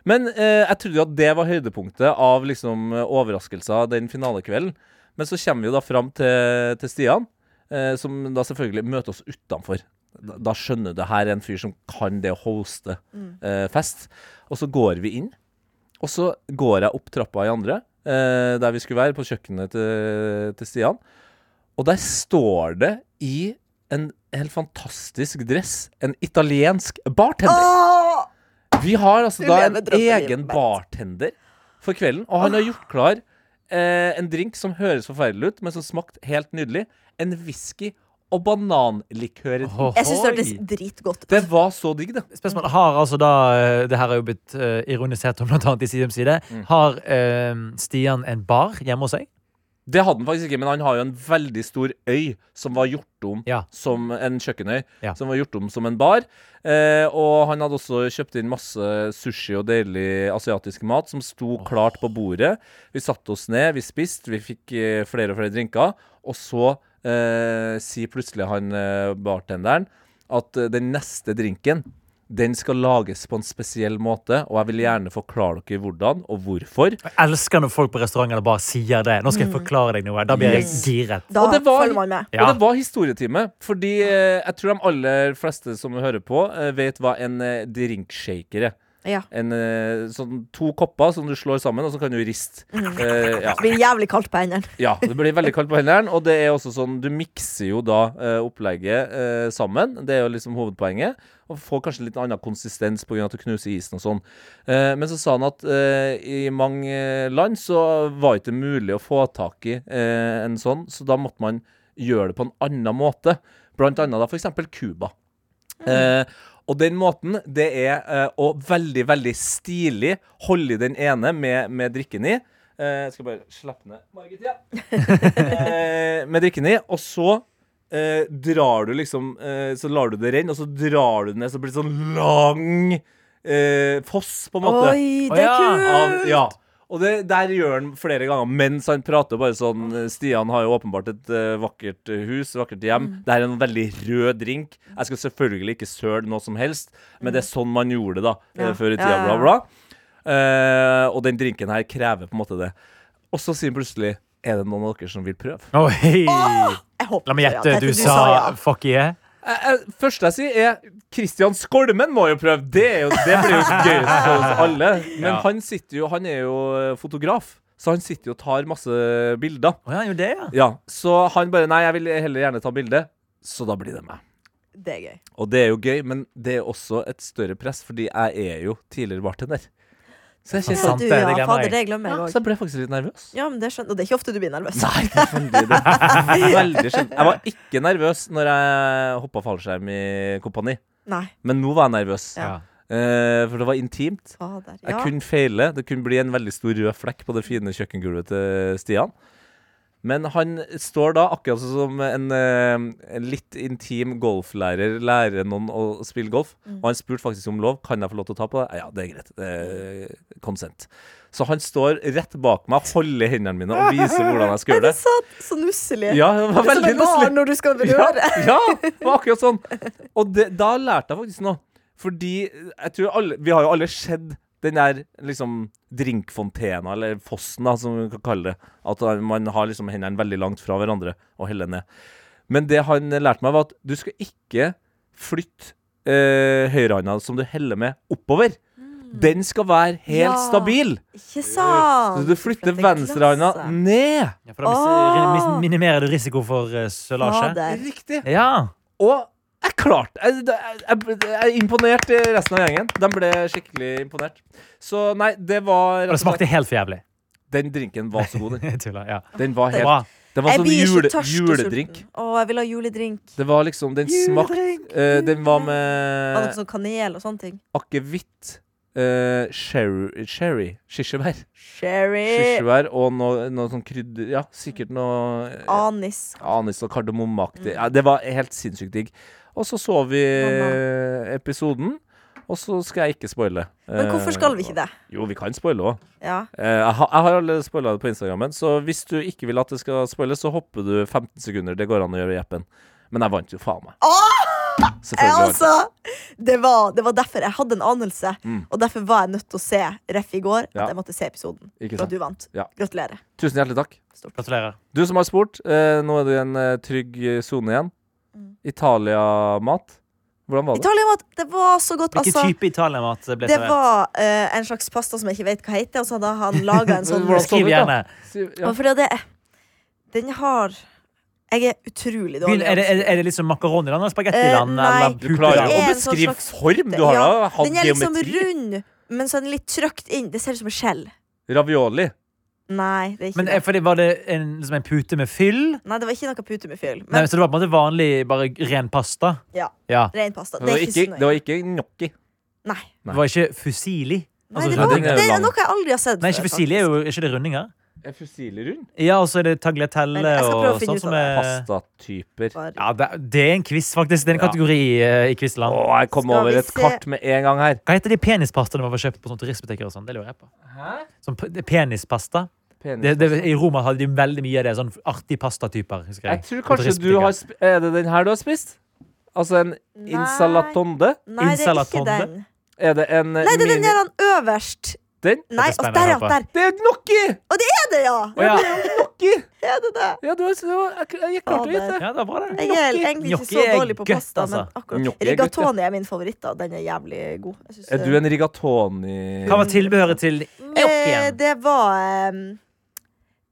Speaker 2: Men eh, jeg trodde jo at det var høydepunktet av liksom eh, overraskelser den finalekvelden. Men så kommer vi jo da fram til, til Stian, eh, som da selvfølgelig møter oss utenfor. Da, da skjønner du det her er en fyr som kan det å hoste eh, fest. Og så går vi inn, og så går jeg opp trappa i andre, eh, der vi skulle være, på kjøkkenet til, til Stian. Og der står det i en helt fantastisk dress en italiensk bartender.
Speaker 4: Åh!
Speaker 2: Vi har altså
Speaker 4: Du
Speaker 2: da
Speaker 4: lever
Speaker 2: en
Speaker 4: drømmelivet
Speaker 2: egen
Speaker 4: mitt.
Speaker 2: bartender for kvelden, og han har gjort klar eh, en drink som høres forferdelig ut, men som smakte helt nydelig. En whisky og bananlikør.
Speaker 5: Ohohoi.
Speaker 4: Jeg syns det hørtes dritgodt ut.
Speaker 2: Det var så digg, det.
Speaker 5: Spørsmål har altså da eh, Det her er jo blitt eh, ironisert om blant annet i Sidems side. Har eh, Stian en bar hjemme hos seg?
Speaker 2: Det hadde han faktisk ikke, men han har jo en veldig stor øy som var gjort om
Speaker 5: Ja.
Speaker 2: som en kjøkkenøy.
Speaker 5: Ja.
Speaker 2: Som var gjort om som en bar. Eh, og han hadde også kjøpt inn masse sushi og deilig asiatisk mat som sto klart på bordet. Vi satte oss ned, vi spiste, vi fikk eh, flere og flere drinker. Og så eh, sier plutselig han eh, bartenderen at eh, den neste drinken den skal lages på en spesiell måte, og jeg vil gjerne forklare dere hvordan og hvorfor.
Speaker 5: Jeg elsker når folk på restaurant eller bar sier det. Nå skal
Speaker 4: Mm.
Speaker 5: jeg forklare deg noe. Da blir jeg giret.
Speaker 4: Da
Speaker 2: Og det var-
Speaker 4: følger man med.
Speaker 5: Ja.
Speaker 2: Og det var historietime, fordi eh, jeg tror de aller fleste som hører på, eh, vet hva en eh, drinkshaker er.
Speaker 4: Ja.
Speaker 2: En, eh, sånn to kopper som du slår sammen, og så kan du riste.
Speaker 4: Mm.
Speaker 2: Eh, ja.
Speaker 4: Det blir jævlig kaldt på hendene.
Speaker 2: ja, det blir veldig kaldt på hendene. Og det er også sånn, du mikser jo da eh, opplegget eh, sammen. Det er jo liksom hovedpoenget. Og får kanskje litt annen konsistens pga. at du knuser isen og sånn. Eh, men så sa han at eh, i mange land så var ikke det mulig å få tak i eh, en sånn, så da måtte man gjøre det på en annen måte. Blant annet da f.eks. Cuba. Eh, og den måten, det er eh, å veldig, veldig stilig holde i den ene med, med drikken i. Eh, jeg skal bare slappe ned Margit,
Speaker 4: (laughs)
Speaker 2: ja. eh, med drikken i, og så eh, drar du liksom eh, Så lar du det renne, og så drar du det ned, så blir det sånn lang eh, foss, på en måte.
Speaker 4: Oi, det
Speaker 5: Å,
Speaker 4: er
Speaker 5: ja.
Speaker 4: kult!
Speaker 2: Av, ja. Og det, der gjør han flere ganger mens han prater. Bare sånn eh, Stian har jo åpenbart et eh, vakkert eh, hus, vakkert hjem.
Speaker 4: Mm.
Speaker 2: Det her er en veldig rød drink. Jeg skal selvfølgelig ikke søle noe som helst, men det er sånn man gjorde det da eh,
Speaker 4: Mm. Ja.
Speaker 2: før i
Speaker 4: Ja,
Speaker 2: tida.
Speaker 4: ja,
Speaker 2: Bla,
Speaker 4: ja.
Speaker 2: bla. Eh, og den drinken her krever på en måte det. Og så sier han plutselig Er det noen av dere som vil prøve?
Speaker 5: Oi.
Speaker 4: (laughs) Jeg håper
Speaker 5: La meg
Speaker 4: ja.
Speaker 5: gjette.
Speaker 4: Dette
Speaker 5: Du sa fuck yeah.
Speaker 2: Eh, eh, Første jeg sier er Kristian Skolmen må jo prøve Det, er jo, det blir jo gøyest for oss alle Men
Speaker 5: Ja.
Speaker 2: han sitter jo, han er jo eh, fotograf Så han sitter jo og tar masse bilder
Speaker 5: Å, ja, jo det, ja.
Speaker 2: Ja, så han bare Nei, jeg vil heller gjerne ta bilde Så da blir det meg
Speaker 4: ja. Det er gøy.
Speaker 2: Og det er jo gøy, men det er også et større press Fordi jeg er jo tidligere bartender Så jeg
Speaker 5: Ja,
Speaker 2: kjenner
Speaker 5: sant,
Speaker 4: Altså, du,
Speaker 5: det er det
Speaker 4: ja,
Speaker 5: glemmer
Speaker 4: fader,
Speaker 5: jeg.
Speaker 4: det glemmer
Speaker 2: ja,
Speaker 4: jeg
Speaker 2: Så
Speaker 4: òg.
Speaker 2: jeg ble faktisk litt nervøs
Speaker 4: Ja, men det skjønner Og det er ikke ofte du blir nervøs.
Speaker 2: (laughs) Nei, veldig det. Veldig sjelden. Jeg var ikke nervøs når jeg hoppet fallskjerm i kompani
Speaker 4: Nei.
Speaker 2: Men nå var jeg nervøs
Speaker 4: Ja.
Speaker 2: Eh, for det var intimt.
Speaker 4: Fader.
Speaker 2: Jeg
Speaker 4: Ja.
Speaker 2: kunne feile. Det kunne bli en veldig stor rød flekk på det fine kjøkkengulvet til Stian. Men han står da akkurat sånn som en, eh, en litt intim golflærer lærer noen å spille golf.
Speaker 4: Mm.
Speaker 2: Og han spurte faktisk om lov. Kan jeg få lov til å ta på det? Ja, det er greit. Det er Consent. Så han står rett bak meg, holder hendene mine og viser hvordan jeg
Speaker 4: (laughs)
Speaker 2: skal gjøre det.
Speaker 4: Sånn, så nusselig.
Speaker 2: Ja, det var
Speaker 4: det er som
Speaker 2: veldig
Speaker 4: et barn
Speaker 2: nusselig.
Speaker 4: når du skal
Speaker 2: Ja,
Speaker 4: røre.
Speaker 2: ja, det var akkurat sånn. Og det, da lærte jeg faktisk noe. Fordi jeg tror alle, vi har jo alle sett den der liksom drinkfontena, eller fossen, da, som vi kan kalle det. At man har liksom hendene veldig langt fra hverandre og heller ned. Men det han lærte meg, var at du skal ikke flytte eh, høyrehånda som du heller med, oppover. Den skal være helt
Speaker 4: Mm. Ja.
Speaker 2: stabil.
Speaker 4: Ikke sant?
Speaker 2: Så du flytter venstrehånda
Speaker 4: klasse.
Speaker 2: ned.
Speaker 5: ja for da mis- ri- mis- minimerer du risiko for eh, sølasje.
Speaker 4: Fader.
Speaker 2: Riktig.
Speaker 5: Ja.
Speaker 2: Og jeg klarte jeg, jeg, jeg, jeg er imponert i resten av gjengen. De ble skikkelig imponert. Så nei, det var
Speaker 5: Og det smakte helt for jævlig. (laughs)
Speaker 2: Den drinken var så god, den.
Speaker 5: Jeg Tuller. Ja.
Speaker 2: Den var helt
Speaker 5: Bra.
Speaker 2: Den var
Speaker 4: Jeg
Speaker 2: sånn
Speaker 4: blir så
Speaker 2: jule,
Speaker 4: tørst og
Speaker 2: juledrink.
Speaker 4: sulten. Å, jeg vil ha juledrink.
Speaker 2: Det var liksom Den smakte eh, Den var
Speaker 5: Eh,
Speaker 4: Var sånn. det
Speaker 2: med
Speaker 4: sånn kanel og sånne ting?
Speaker 2: akevitt, eh, sherry, sherry Kirsebær.
Speaker 4: Sherry.
Speaker 2: Kirsebær og noe, noe sånn krydder Ja, sikkert noe eh,
Speaker 4: Anis.
Speaker 2: Anis og
Speaker 4: Mm.
Speaker 2: kardemommeaktig. Ja, det var helt sinnssykt digg. Og så så vi
Speaker 4: Mamma.
Speaker 2: episoden, og så skal jeg ikke spoile. Eh,
Speaker 4: Men hvorfor skal vi ikke
Speaker 5: Eh,
Speaker 4: det?
Speaker 2: Jo, vi kan spoile òg.
Speaker 4: Ja.
Speaker 2: Jeg har jeg har allerede spoila det på Instagrammen, så hvis du ikke vil at det skal spoiles, så hopper du 15 sekunder. Det går an å gjøre i appen. Men jeg vant jo faen meg.
Speaker 4: Jeg,
Speaker 2: Selvfølgelig. vant jeg.
Speaker 4: altså, det, var, det var derfor jeg hadde en anelse, og derfor var jeg nødt til å se Ref i går. At
Speaker 2: Mm. Ja.
Speaker 4: jeg måtte se episoden.
Speaker 2: Ikke sant.
Speaker 4: For at du vant.
Speaker 2: Ja.
Speaker 4: Gratulerer.
Speaker 2: Tusen hjertelig takk.
Speaker 5: Gratulerer.
Speaker 2: Du som har spurt, eh, nå er du i en eh, trygg eh, sone igjen.
Speaker 4: Mm.
Speaker 2: Italia-mat. Hvordan var det?
Speaker 4: Italiamat, det var så godt.
Speaker 5: Hvilken
Speaker 4: altså,
Speaker 5: type italiamat ble
Speaker 4: det
Speaker 5: servert?
Speaker 4: var eh, en slags pasta som jeg ikke vet hva heter, og så hadde han laga
Speaker 2: (laughs)
Speaker 4: en sånn
Speaker 2: Hvordan så
Speaker 5: Skriv
Speaker 2: det ut, da?
Speaker 5: gjerne.
Speaker 2: Si- ja.
Speaker 4: Og fordi det Den har Jeg er utrolig
Speaker 5: Begynn-
Speaker 4: dårlig.
Speaker 5: Er det, er det- er det liksom makaroniland eller spagettiland?
Speaker 4: Eh, nei.
Speaker 5: eller
Speaker 2: Du klarer
Speaker 5: puteland?
Speaker 4: Det
Speaker 2: jo å
Speaker 4: er en sånn
Speaker 2: beskrive
Speaker 4: slags-
Speaker 2: form. Du har
Speaker 4: Ja,
Speaker 2: da hatt
Speaker 4: den er liksom
Speaker 2: geometri.
Speaker 4: rund, men så er den litt trøkt inn. Det ser ut som en skjell.
Speaker 2: Ravioli.
Speaker 4: Nei, det er ikke
Speaker 5: Men eh,
Speaker 4: det.
Speaker 5: fordi Var det en, liksom en pute med fyll?
Speaker 4: Nei, det var ikke noe pute med fyll.
Speaker 5: Nei,
Speaker 4: Men
Speaker 5: så det var på en måte vanlig, bare ren pasta?
Speaker 4: Ja.
Speaker 5: ja.
Speaker 4: ren pasta.
Speaker 2: Det var
Speaker 4: Det er
Speaker 2: ikke,
Speaker 4: ikke
Speaker 2: det
Speaker 4: snø.
Speaker 2: var ikke gnocchi.
Speaker 4: Nei.
Speaker 5: Det var ikke fusili?
Speaker 4: Nei, det,
Speaker 5: sånn-
Speaker 4: var,
Speaker 2: den Altså, er
Speaker 4: det er
Speaker 2: lang.
Speaker 4: noe jeg aldri har sett
Speaker 5: Nei, ikke
Speaker 4: før,
Speaker 5: fusili er
Speaker 4: faktisk.
Speaker 5: jo ikke det rundinger.
Speaker 2: Er fusili rund?
Speaker 5: Ja, og så er det
Speaker 4: Men
Speaker 5: tagliatelle
Speaker 4: jeg skal prøve å
Speaker 5: og
Speaker 4: finne
Speaker 5: sånn
Speaker 4: ut
Speaker 5: som
Speaker 4: av det.
Speaker 5: er
Speaker 2: Pastatyper. Å,
Speaker 4: Bare-
Speaker 5: Ja, det, det er en quiz, faktisk. Det er en
Speaker 2: Ja.
Speaker 5: kategori eh, i quizland.
Speaker 2: jeg kom
Speaker 4: Skal vi
Speaker 2: over et
Speaker 4: se-
Speaker 2: kart med en gang her.
Speaker 5: Hva heter de penispastene man får kjøpt på sånne turistbutikker? og sånn? Det lurer jeg på. Sånn pe- det er penispasta.
Speaker 2: Penis.
Speaker 5: Det, det, I Roma hadde de veldig mye av det. Sånn artige pastatyper. husker
Speaker 2: jeg
Speaker 5: jeg.
Speaker 2: tror
Speaker 5: på
Speaker 2: kanskje du
Speaker 5: turistbutikker.
Speaker 2: har sp Er det den her du har spist? Altså en
Speaker 4: Nei.
Speaker 2: insalatonde?
Speaker 4: Nei, det er ikke
Speaker 5: Insalatonde?
Speaker 4: den.
Speaker 2: Er det en
Speaker 4: Nei, det er den
Speaker 2: mini
Speaker 4: der han øverst.
Speaker 2: Den?
Speaker 4: Nei,
Speaker 5: Dette
Speaker 4: og
Speaker 5: spenner
Speaker 4: der, ja.
Speaker 5: jeg på.
Speaker 4: Der
Speaker 2: Det er gnocchi!
Speaker 4: er det, ja!
Speaker 5: Å, ja.
Speaker 2: Gnocchi!
Speaker 4: Er det det?
Speaker 2: Ja, du har s- det var- jeg, jeg klarte å gjette.
Speaker 5: ja, det var bra, det.
Speaker 4: Jeg er egentlig ikke
Speaker 5: Gnocchi
Speaker 4: så
Speaker 5: er
Speaker 4: dårlig på
Speaker 5: godt,
Speaker 4: pasta, men
Speaker 5: altså.
Speaker 4: akkurat
Speaker 2: Gnocchi er godt, ja.
Speaker 4: Rigatoni er min favoritt, da. Den er jævlig god. Jeg synes,
Speaker 2: Er du en rigatoni
Speaker 5: Hva var tilbehøret til
Speaker 4: Eh,
Speaker 5: gnocchien?
Speaker 4: Det var um,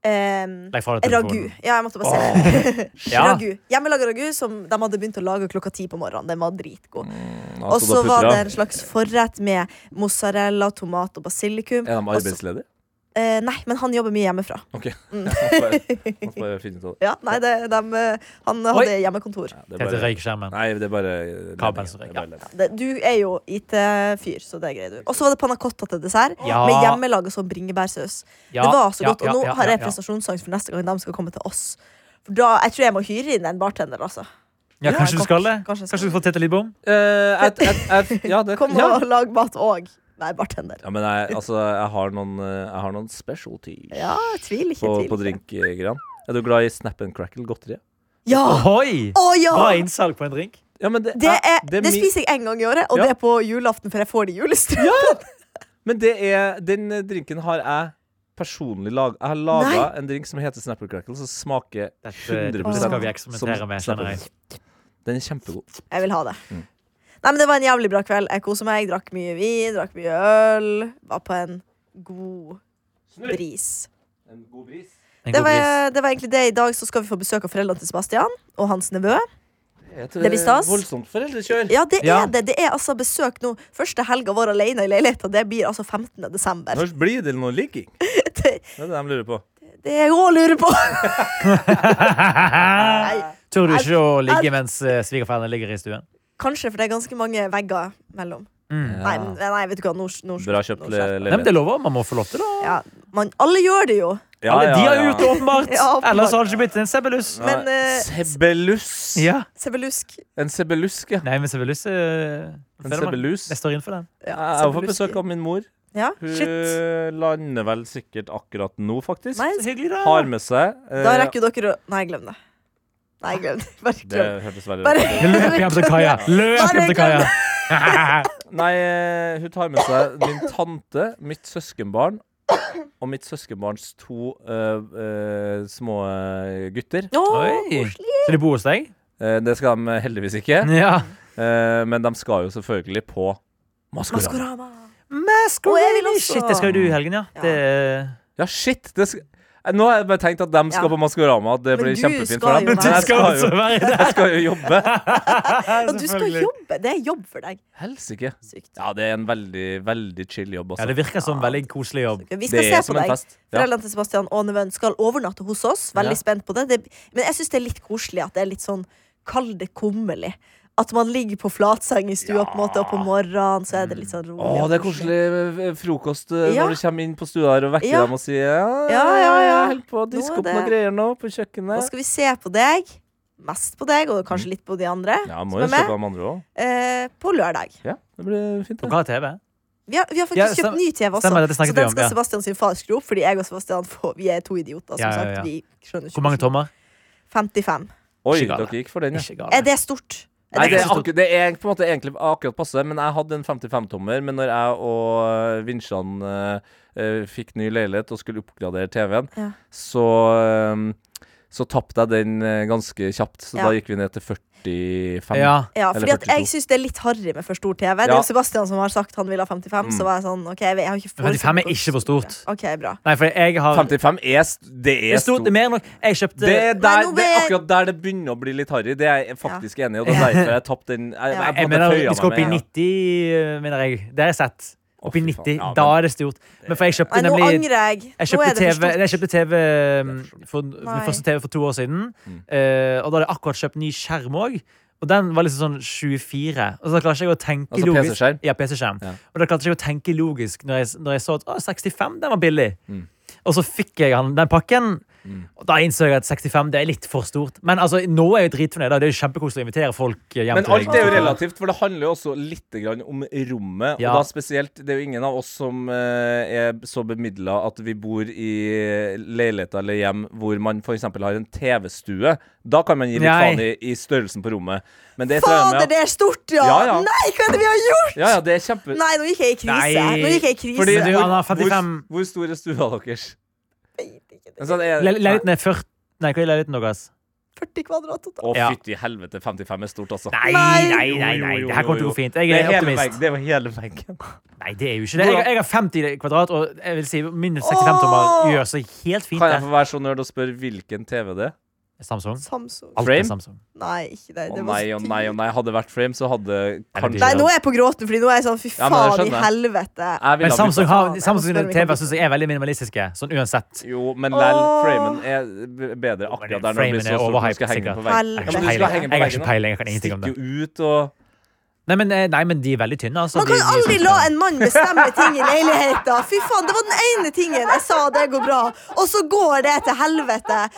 Speaker 4: um,
Speaker 5: Legg fra deg
Speaker 4: Ragu.
Speaker 5: telefonen.
Speaker 4: Ja, jeg måtte bare se.
Speaker 5: Ja.
Speaker 4: Ragu. Hjemmelaga ragu som de hadde begynt å lage klokka ti på morgenen. Den var dritgod.
Speaker 5: Mm.
Speaker 4: Og
Speaker 2: Altså, da
Speaker 4: så var
Speaker 2: putter
Speaker 4: det
Speaker 2: jeg.
Speaker 4: en slags forrett med mozzarella, tomat og basilikum.
Speaker 2: Er de
Speaker 4: Og så-
Speaker 2: arbeidsledige?
Speaker 4: eh, nei, men han jobber mye hjemmefra.
Speaker 2: OK. Må bare- må bare finne ut av det.
Speaker 4: Ja, nei, det, dem, eh, Han hadde
Speaker 5: Oi.
Speaker 4: hjemmekontor.
Speaker 2: Ja, det er
Speaker 5: Det heter
Speaker 2: bare-
Speaker 5: røykskjermen.
Speaker 2: Nei, det er bare
Speaker 5: Kabel som røyker.
Speaker 2: Ja.
Speaker 4: Det, du er jo IT-fyr, så det greier du. Og så var det panna cotta til dessert,
Speaker 5: Ja.
Speaker 4: med hjemmelaga sånn bringebærsaus.
Speaker 5: Ja,
Speaker 4: det var så
Speaker 5: ja,
Speaker 4: godt. Og
Speaker 5: ja,
Speaker 4: nå
Speaker 5: ja,
Speaker 4: har jeg
Speaker 5: ja.
Speaker 4: prestasjonsangst for neste gang de skal komme til oss. For da, Jeg tror jeg må hyre inn en bartender, altså.
Speaker 5: Ja, kanskje
Speaker 4: Ja,
Speaker 5: du skal det?
Speaker 4: kanskje jeg skal
Speaker 5: Kanskje du får Tete Lidbom?
Speaker 2: Eh, jeg- jeg- jeg- ja, det
Speaker 4: Kom
Speaker 2: ja.
Speaker 4: og lag mat òg. Vær bartender.
Speaker 2: Ja, men jeg, altså, jeg har noen, eh, jeg har noen specialties
Speaker 4: Ja, tvil ikke.
Speaker 2: på,
Speaker 4: tvil
Speaker 2: på
Speaker 4: ikke.
Speaker 2: drinkgreiene. Er du glad i Snap and Crackle godteri?
Speaker 4: Ja!
Speaker 5: Ohoi!
Speaker 4: Å ja!
Speaker 5: Bra innsalg på en drink.
Speaker 2: Ja, men det,
Speaker 4: Det, er,
Speaker 2: er
Speaker 4: det,
Speaker 2: mi-
Speaker 4: spiser jeg én gang i året, og
Speaker 2: Ja.
Speaker 4: det er på julaften, for jeg får det i julestrøm.
Speaker 2: Men det er, den eh, drinken har jeg personlig lag Jeg har laga
Speaker 4: Nei.
Speaker 2: en drink som heter Snapper Crackle, som smaker
Speaker 5: Dette
Speaker 2: 100
Speaker 5: skal vi eksperimentere med,
Speaker 2: Snapper.
Speaker 5: kjenner jeg.
Speaker 2: Den er kjempegod.
Speaker 4: Jeg vil ha det. Nei, men Det var en jævlig bra kveld. Jeg kosa meg, drakk mye vin, drakk mye øl. Var på en god bris.
Speaker 2: En god bris.
Speaker 5: En
Speaker 4: Det
Speaker 5: god bris.
Speaker 4: var, det var egentlig det. I dag så skal vi få besøk av foreldrene til Sebastian og hans nevø. Det blir stas.
Speaker 2: Voldsomt foreldrekjør.
Speaker 4: Ja, det
Speaker 5: Ja.
Speaker 4: er det. Det er altså besøk nå. Første helga vår alene i leiligheta, det blir altså 15. desember.
Speaker 2: Når blir det noe ligging? Det
Speaker 4: (laughs) Det-
Speaker 2: er det de lurer på.
Speaker 4: Det er jeg òg lurer på! Nei,
Speaker 5: Tør du ikke å ligge mens eh, svigerforeldrene ligger i stuen?
Speaker 4: kanskje, for det er ganske mange vegger mellom.
Speaker 2: Mm.
Speaker 4: Nei, men- nei, vet du hva. Nå, nå,
Speaker 2: Bra kjøpt eh,
Speaker 4: nå-
Speaker 2: le-
Speaker 5: Nei, men
Speaker 2: leilighet.
Speaker 5: det lover man må få lov til, da.
Speaker 4: Ja, man, alle gjør det jo.
Speaker 2: Ja,
Speaker 5: Alle, de
Speaker 2: ja,
Speaker 5: har jo
Speaker 2: ja.
Speaker 5: gjort det,
Speaker 4: (laughs)
Speaker 5: åpenbart.
Speaker 4: Ja, åpenbart.
Speaker 5: Ellers hadde det ikke blitt en sebelus.
Speaker 2: Nei.
Speaker 4: Men eh,
Speaker 2: Sebelus.
Speaker 5: Ja.
Speaker 4: Sebelusk
Speaker 2: En sebelusk, ja.
Speaker 5: Nei, men sebelus eh,
Speaker 2: En
Speaker 5: føler man-
Speaker 2: sebelus.
Speaker 5: Jeg står inn for den.
Speaker 4: ja,
Speaker 2: Jeg har fått
Speaker 4: sebelusk.
Speaker 2: besøk av min mor.
Speaker 4: Ja,
Speaker 2: Hun
Speaker 4: shit.
Speaker 2: lander vel sikkert akkurat nå, faktisk.
Speaker 4: Nei,
Speaker 5: Så hyggelig, da.
Speaker 2: Har med seg eh,
Speaker 4: da rekker jo dere å Nei, glem det. Nei, glem det. (laughs) Bare
Speaker 2: Det
Speaker 4: glem det.
Speaker 2: hørtes veldig (laughs)
Speaker 4: Bare,
Speaker 5: Løp hjem til
Speaker 4: (laughs)
Speaker 5: kaia! Løp hjem til kaia!
Speaker 2: Nei, eh, hun tar med seg min tante, mitt søskenbarn og mitt søskenbarns to eh, eh, små eh, gutter.
Speaker 5: (laughs)
Speaker 4: Å,
Speaker 5: Oi.
Speaker 4: koselig.
Speaker 5: Så de bor hos deg?
Speaker 2: Eh, det skal de heldigvis ikke,
Speaker 5: Ja.
Speaker 2: eh, men de skal jo selvfølgelig på Maskorama.
Speaker 4: Maskorama.
Speaker 5: Maskorama.
Speaker 4: Å, jeg vil også.
Speaker 5: Shit, det skal jo du i helgen, ja.
Speaker 4: Ja.
Speaker 5: Det er
Speaker 2: Ja, shit! Det sk Eh, nå har jeg bare tenkt at de skal
Speaker 4: Ja.
Speaker 2: på Maskorama, at det
Speaker 4: Men
Speaker 2: blir
Speaker 4: du
Speaker 2: kjempefint
Speaker 4: skal
Speaker 2: for dem.
Speaker 4: jo
Speaker 2: Men (laughs) jeg
Speaker 4: være-
Speaker 2: skal jo,
Speaker 5: være (laughs)
Speaker 2: jeg skal jo jobbe.
Speaker 4: Ja, du skal jobbe. Det er jobb for deg.
Speaker 2: Helsike.
Speaker 4: Sykt.
Speaker 2: Ja, det er en veldig, veldig chill jobb,
Speaker 5: Ja,
Speaker 2: altså.
Speaker 5: det virker som en veldig koselig jobb.
Speaker 4: Vi
Speaker 2: det
Speaker 4: skal
Speaker 2: er
Speaker 4: se
Speaker 2: som
Speaker 4: på
Speaker 2: en
Speaker 4: deg.
Speaker 2: fest. Ja.
Speaker 4: Foreldrene til Sebastian og nevøen skal overnatte hos oss. Veldig
Speaker 2: Ja.
Speaker 4: spent på det. det men jeg syns det er litt koselig at det er litt sånn kall det kummerlig. At man ligger på flatseng i stua, på en måte, og på morgenen så er det litt sånn
Speaker 5: Mm.
Speaker 4: rolig.
Speaker 2: Å,
Speaker 4: og
Speaker 2: det er koselig eh, frokost eh,
Speaker 4: Ja.
Speaker 2: når du kommer inn på stua her og vekker
Speaker 4: Ja.
Speaker 2: dem og sier ja,
Speaker 4: Ja, ja, ja.
Speaker 2: Jeg holder på å diske
Speaker 4: Nå er
Speaker 2: opp
Speaker 4: det-
Speaker 2: noen greier nå på
Speaker 4: Nå
Speaker 2: kjøkkenet.
Speaker 4: skal vi se på deg. Mest på deg, og
Speaker 5: Mm.
Speaker 4: kanskje litt på de andre.
Speaker 2: Ja,
Speaker 4: som
Speaker 2: må
Speaker 4: er
Speaker 2: jo se
Speaker 4: med.
Speaker 2: på de andre òg.
Speaker 4: Eh, på lørdag.
Speaker 2: Ja, det blir fint.
Speaker 5: Dere
Speaker 2: Det.
Speaker 5: har TV?
Speaker 4: Vi har, vi har
Speaker 5: Ja,
Speaker 4: faktisk
Speaker 5: stem-
Speaker 4: kjøpt ny TV også,
Speaker 5: stemmer det, det
Speaker 4: så
Speaker 5: snakket vi
Speaker 4: den
Speaker 5: om,
Speaker 4: skal
Speaker 5: ja.
Speaker 4: Sebastian sin far skru opp, fordi jeg og Sebastian får, vi er to idioter. Som
Speaker 5: Ja, ja, ja.
Speaker 4: sagt, vi skjønner ikke
Speaker 5: Hvor
Speaker 4: hvordan-
Speaker 5: mange tommer?
Speaker 4: 55.
Speaker 2: Oi,
Speaker 5: Ikke gale.
Speaker 2: dere gikk for den, ja.
Speaker 5: Ikke
Speaker 4: Er
Speaker 5: gale.
Speaker 4: det stort? Er
Speaker 2: Nei, det
Speaker 4: det,
Speaker 2: er, akkur det er på en måte egentlig akkurat passe, men jeg hadde en 55-tommer. Men når jeg og eh, Vinsjan eh, eh, fikk ny leilighet og skulle oppgradere TV-en,
Speaker 4: Ja.
Speaker 2: så eh, så tapte jeg den eh, ganske kjapt, så
Speaker 4: Ja.
Speaker 2: da gikk vi ned til 45.
Speaker 5: Ja.
Speaker 4: ja,
Speaker 2: Eller
Speaker 4: fordi at
Speaker 2: 42.
Speaker 4: jeg syns det er litt harry med for stor TV. Det
Speaker 2: Ja. Mm.
Speaker 4: er jo Sebastian som har sagt han vil ha 55, så var jeg sånn OK, jeg vet- jeg har ikke
Speaker 5: Men 55 er
Speaker 4: forutsetninger.
Speaker 5: ikke for stort.
Speaker 4: OK, bra.
Speaker 5: Nei, for jeg har
Speaker 2: 55 er st Det
Speaker 5: Det
Speaker 2: er
Speaker 5: er stort, det er mer enn nok. Jeg kjøpte
Speaker 2: Det er,
Speaker 4: Nei,
Speaker 2: der,
Speaker 4: nå
Speaker 2: det er
Speaker 4: ble-
Speaker 2: akkurat der det begynner å bli litt harry. Det er jeg faktisk enig i. Og det er derfor jeg tapte den. Jeg, jeg,
Speaker 5: Jeg
Speaker 2: på en måte
Speaker 5: mener,
Speaker 2: tøya
Speaker 5: vi skal
Speaker 2: meg
Speaker 5: opp i
Speaker 2: med.
Speaker 5: 90, mener jeg. Det har jeg sett. Opp i
Speaker 2: fy faen.
Speaker 5: 90.
Speaker 2: Ja, men-
Speaker 5: Da er det stort. Men for jeg
Speaker 4: Nei, nå
Speaker 5: kjøpte nemlig
Speaker 4: angrer jeg.
Speaker 5: jeg
Speaker 4: nå
Speaker 5: kjøpte,
Speaker 4: er det
Speaker 5: TV,
Speaker 4: for
Speaker 5: jeg kjøpte TV um, for,
Speaker 4: Nei.
Speaker 5: Min første TV for to år siden.
Speaker 2: Mm.
Speaker 5: eh, og da hadde jeg akkurat kjøpt ny skjerm òg. Og den var liksom sånn 24. Og så klarte jeg ikke å tenke
Speaker 2: Altså
Speaker 5: logisk
Speaker 2: PC-skjerm?
Speaker 5: Ja, PC-skjerm
Speaker 2: Ja.
Speaker 5: Og da klarte jeg ikke å tenke logisk når jeg, når jeg så at å, 65 den var billig.
Speaker 2: Mm.
Speaker 5: Og så fikk jeg han, den pakken. Og da innså jeg at 65 det er litt for stort. Men altså, nå er jeg jo dritfornøyd. da. Det er jo kjempekoselig å invitere folk eh, hjem
Speaker 2: Men
Speaker 5: til
Speaker 2: alt
Speaker 5: deg.
Speaker 2: er jo relativt, for det handler jo også litt grann om rommet.
Speaker 5: Ja.
Speaker 2: Og da spesielt Det er jo ingen av oss som eh, er så bemidla at vi bor i leiligheter eller hjem hvor man f.eks. har en TV-stue. Da kan man gi litt
Speaker 5: Nei.
Speaker 2: faen i, i størrelsen på rommet. Men det er et eller annet med
Speaker 4: Fader,
Speaker 2: at-
Speaker 4: det er stort, ja!
Speaker 2: Ja, ja.
Speaker 4: Nei, hva er det vi har gjort?!
Speaker 2: Ja, ja, det er kjempe...
Speaker 4: Nei, nå gikk jeg i
Speaker 5: Nei.
Speaker 4: krise. Nå gikk jeg i krise.
Speaker 2: Fordi,
Speaker 5: Men du,
Speaker 2: hvor,
Speaker 5: han har
Speaker 2: hvor,
Speaker 5: 55.
Speaker 2: hvor stor er stua deres? En sånn
Speaker 5: Le-
Speaker 2: er-
Speaker 5: Leiligheten er 40 Nei, hva er leiligheten deres?
Speaker 4: 40 kvadrat totalt.
Speaker 2: Å,
Speaker 5: Ja.
Speaker 2: fytti helvete. 55 er stort, altså.
Speaker 4: Nei.
Speaker 5: Nei, nei, nei, nei.
Speaker 2: Jo, jo,
Speaker 5: Det her kommer til
Speaker 2: jo,
Speaker 5: å
Speaker 2: jo.
Speaker 5: gå fint. Jeg
Speaker 2: Det
Speaker 5: er
Speaker 2: er hele
Speaker 5: optimist.
Speaker 2: veggen. Det var hele veggen.
Speaker 5: Nei, det er jo ikke det. Jeg, jeg har 50 kvadrat, og jeg vil si minus 65
Speaker 4: Åh!
Speaker 5: tommer gjør seg helt fint.
Speaker 2: Kan jeg
Speaker 5: det.
Speaker 2: få være så nerd og spørre hvilken TV det er?
Speaker 5: Samsung.
Speaker 4: Samsung.
Speaker 5: Alt
Speaker 2: Frame?
Speaker 5: er Samsung.
Speaker 4: Nei, ikke det.
Speaker 2: Å
Speaker 4: det var
Speaker 2: nei, å
Speaker 4: så
Speaker 2: nei, å
Speaker 4: tidlig.
Speaker 2: nei. Hadde det vært Frame, så hadde kanskje
Speaker 4: Nei, nå er jeg på gråten, fordi nå er jeg sånn fy
Speaker 2: Ja, men det
Speaker 4: faen i
Speaker 2: skjønner
Speaker 4: helvete.
Speaker 2: Jeg ville
Speaker 5: Men
Speaker 2: ha
Speaker 5: Samsung,
Speaker 2: byttet.
Speaker 5: har,
Speaker 4: faen, jeg
Speaker 5: Samsung
Speaker 4: forstår
Speaker 5: TV
Speaker 4: ikke.
Speaker 5: synes jeg er veldig minimalistiske, sånn uansett.
Speaker 2: Jo, men lell,
Speaker 4: Åh.
Speaker 2: framen er b- bedre akkurat der når det
Speaker 5: framen
Speaker 2: blir så stort.
Speaker 5: er
Speaker 2: Du
Speaker 5: overhyped,
Speaker 2: skal henge den på veggen.
Speaker 5: sikkert. Jeg
Speaker 4: Vel-
Speaker 2: Ja,
Speaker 5: har
Speaker 2: men du skal henge
Speaker 5: ikke peiling,
Speaker 2: den
Speaker 5: jeg
Speaker 2: på
Speaker 5: har ikke
Speaker 2: veggen.
Speaker 5: peiling, jeg kan ingenting om
Speaker 2: Stikke
Speaker 5: det.
Speaker 2: ut og
Speaker 5: Nei, men, eh, nei, men de er veldig tynne,
Speaker 4: Man
Speaker 5: altså.
Speaker 4: kan
Speaker 5: de- de-
Speaker 4: aldri la en mann bestemme ting i leiligheten. Fy faen, det var den ene tingen jeg sa det går bra, og så går det til helvete.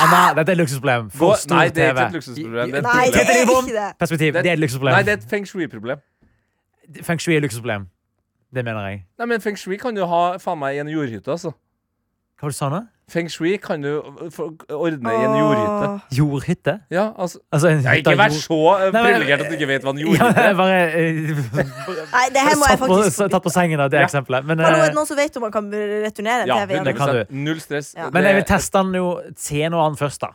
Speaker 5: Anna, dette er et luksusproblem.
Speaker 2: Gå-
Speaker 5: For stor
Speaker 2: nei, det er ikke
Speaker 5: TV.
Speaker 2: et luksusproblem, det er et
Speaker 4: Nei, det
Speaker 5: Tete
Speaker 4: er
Speaker 5: Lidbom,
Speaker 4: ikke det.
Speaker 5: Perspektiv. Det er et
Speaker 2: Nei,
Speaker 5: luksusproblem.
Speaker 2: det er et feng shui-problem.
Speaker 5: Feng shui er et luksusproblem. Det mener jeg.
Speaker 2: Nei, men feng shui kan du ha faen meg i en jordhytte, altså.
Speaker 5: Hva var det du sa nå?
Speaker 2: Feng shui kan du f- ordne i en jordhytte.
Speaker 4: Åh.
Speaker 5: Jordhytte?
Speaker 2: Ja, altså
Speaker 5: Altså, en
Speaker 2: ja,
Speaker 5: hytte
Speaker 2: Ikke
Speaker 5: av
Speaker 2: vær
Speaker 5: jord-
Speaker 2: så eh,
Speaker 5: Nei, men-
Speaker 2: privilegert at du ikke vet hva en
Speaker 5: Ja,
Speaker 2: jordhytte
Speaker 5: jeg
Speaker 2: er.
Speaker 5: bare eh,
Speaker 4: Nei, det her må jeg
Speaker 5: satt på,
Speaker 4: faktisk
Speaker 5: Tatt på sengen av det
Speaker 2: Ja.
Speaker 5: eksempelet. Men,
Speaker 4: Hallo, er
Speaker 5: eh,
Speaker 4: det noen som vet om man kan returnere en
Speaker 2: Ja,
Speaker 4: TV?
Speaker 2: 100
Speaker 4: igjen?
Speaker 5: (laughs) det kan du.
Speaker 2: Null stress. Eh,
Speaker 4: Ja.
Speaker 5: men jeg vil
Speaker 2: Det-
Speaker 5: teste den jo Se noe annet først, da.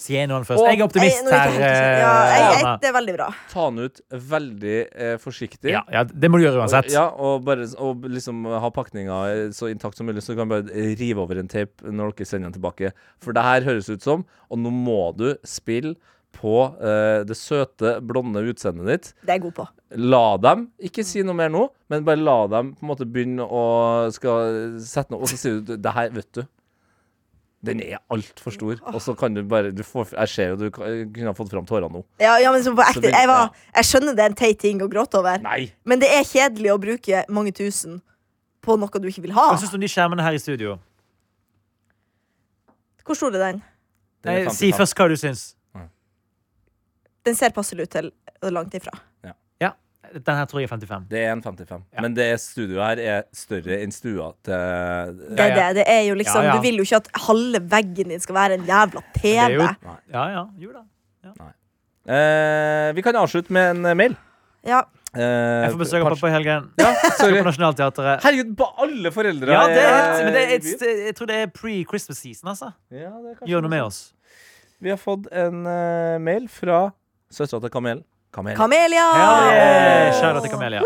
Speaker 5: Se noe annet først. Jeg er
Speaker 4: Jeg-
Speaker 5: optimist
Speaker 4: nå er jeg
Speaker 5: her.
Speaker 4: ikke helt sikker. Ja,
Speaker 5: eh,
Speaker 4: jeg-
Speaker 5: Anna.
Speaker 4: jeg- Det er veldig bra.
Speaker 2: ta den ut veldig eh, forsiktig.
Speaker 5: ja, ja, det må du gjøre uansett.
Speaker 2: Ja, og, bare, og liksom ha pakninga så intakt som mulig, så du kan bare rive over en tape når dere sender den tilbake. For det her høres ut som, og nå må du spille på eh, det søte, blonde utseendet ditt.
Speaker 4: Det er jeg god på.
Speaker 2: La dem, ikke si noe mer nå, men bare la dem på en måte begynne å skal sette noe, og så sier du det her, vet du. Den er altfor stor, og så kan du bare du får, Jeg ser jo du kan- kunne ha fått fram tårene nå.
Speaker 4: Ja, ja, men så på ekte,
Speaker 2: det- ja.
Speaker 4: jeg, var, jeg skjønner det er en teit ting å gråte over,
Speaker 2: Nei!
Speaker 4: men det er kjedelig å bruke mange tusen på noe du ikke vil ha.
Speaker 5: Hva syns du om de skjermene her i studio?
Speaker 4: Hvor stor er den?
Speaker 2: Den er
Speaker 5: Nei, si
Speaker 2: 55.
Speaker 5: først hva du syns.
Speaker 4: Den ser passelig ut til og langt ifra.
Speaker 5: Den her tror jeg er 55.
Speaker 2: Det er en 55.
Speaker 5: Ja.
Speaker 2: Men det studioet her er større enn stua til
Speaker 4: Det er,
Speaker 5: Ja, ja.
Speaker 4: det. Det er jo liksom,
Speaker 5: Ja, ja.
Speaker 4: Du vil jo ikke at halve veggen din skal være en jævla
Speaker 5: Men det er
Speaker 4: TV.
Speaker 5: jo- Ja, ja, jo da.
Speaker 2: eh, Vi kan avslutte med en eh, mail.
Speaker 4: Ja.
Speaker 2: Eh,
Speaker 5: Jeg får besøk av
Speaker 2: pars-
Speaker 5: pappa i helgen.
Speaker 2: Ja, (laughs)
Speaker 5: Skal
Speaker 2: sorry.
Speaker 5: på Nationaltheatret.
Speaker 2: Herregud, ba- alle foreldre
Speaker 5: Ja, det er helt,
Speaker 2: eh,
Speaker 5: men det er,
Speaker 2: i
Speaker 5: et-
Speaker 2: byen.
Speaker 5: jeg tror det er pre-Christmas season, altså.
Speaker 2: Ja, det er kanskje
Speaker 5: Gjør noe med oss.
Speaker 2: Vi har fått en eh, mail fra søstera til Kamelen. Kamelen.
Speaker 4: Kamelia!
Speaker 5: Ja, Kjære til Kamelia.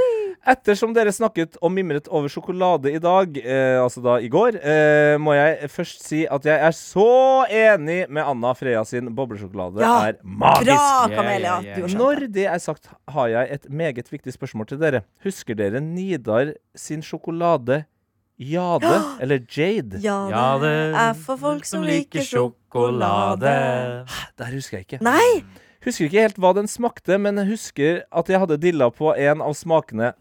Speaker 2: Ettersom dere snakket og mimret over sjokolade i dag, eh, altså da i går, eh, må jeg først si at jeg er så enig med Anna Freya sin boblesjokolade
Speaker 4: Ja.
Speaker 2: er magisk.
Speaker 4: Bra,
Speaker 5: ja,
Speaker 4: Kamelia!
Speaker 5: ja, ja.
Speaker 4: Du har skjønt det.
Speaker 2: Når det er sagt, har jeg et meget viktig spørsmål til dere. Husker dere Nidar sin sjokolade Jade, eller Jade?
Speaker 4: Ja,
Speaker 5: Ja,
Speaker 4: det
Speaker 5: det
Speaker 4: er for folk som liker sjokolade.
Speaker 5: sjokolade.
Speaker 2: Der husker jeg ikke.
Speaker 4: Nei!
Speaker 2: Husker ikke helt hva den smakte, men jeg husker at jeg hadde dilla på en av smakene.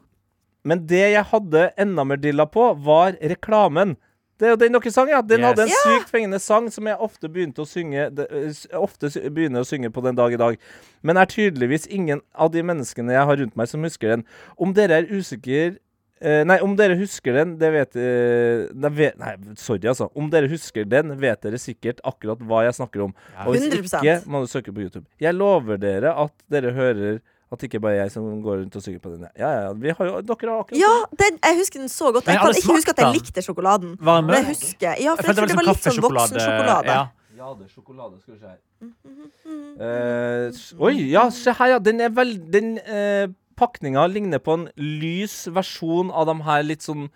Speaker 2: Men det jeg hadde enda mer dilla på, var reklamen. Det er jo den dere sang, ja. Den
Speaker 5: Yes.
Speaker 2: hadde en sykt fengende sang som jeg ofte begynte å synge det- eh, s- Ofte sy- begynner å synge på den dag i dag. Men er tydeligvis ingen av de menneskene jeg har rundt meg, som husker den. Om dere er usikre eh, Nei, om dere husker den, det vet, eh, det vet Nei, sorry, altså. Om dere husker den, vet dere sikkert akkurat hva jeg snakker om. Og hvis
Speaker 4: 100%.
Speaker 2: ikke, må du søke på YouTube. Jeg lover dere at dere hører at det ikke bare er jeg som går rundt og synger på den. Ja, ja, ja. Vi har jo, dere har akkurat
Speaker 4: Ja, den, jeg husker den så godt.
Speaker 5: Men
Speaker 4: Jeg
Speaker 5: jeg
Speaker 4: kan
Speaker 5: hadde
Speaker 4: ikke huske at jeg
Speaker 5: smakt den.
Speaker 4: likte sjokoladen.
Speaker 5: Var den
Speaker 4: Men jeg
Speaker 5: mørk?
Speaker 4: husker Ja, for
Speaker 5: følte liksom
Speaker 4: jeg tror det var litt sånn voksensjokolade.
Speaker 5: Ja.
Speaker 2: Ja, det er sjokolade, skal vi se her.
Speaker 4: Mm.
Speaker 2: Eh, s- oi, ja, se her, ja. Den er vel Den eh, pakninga ligner på en lys versjon av de her litt sånn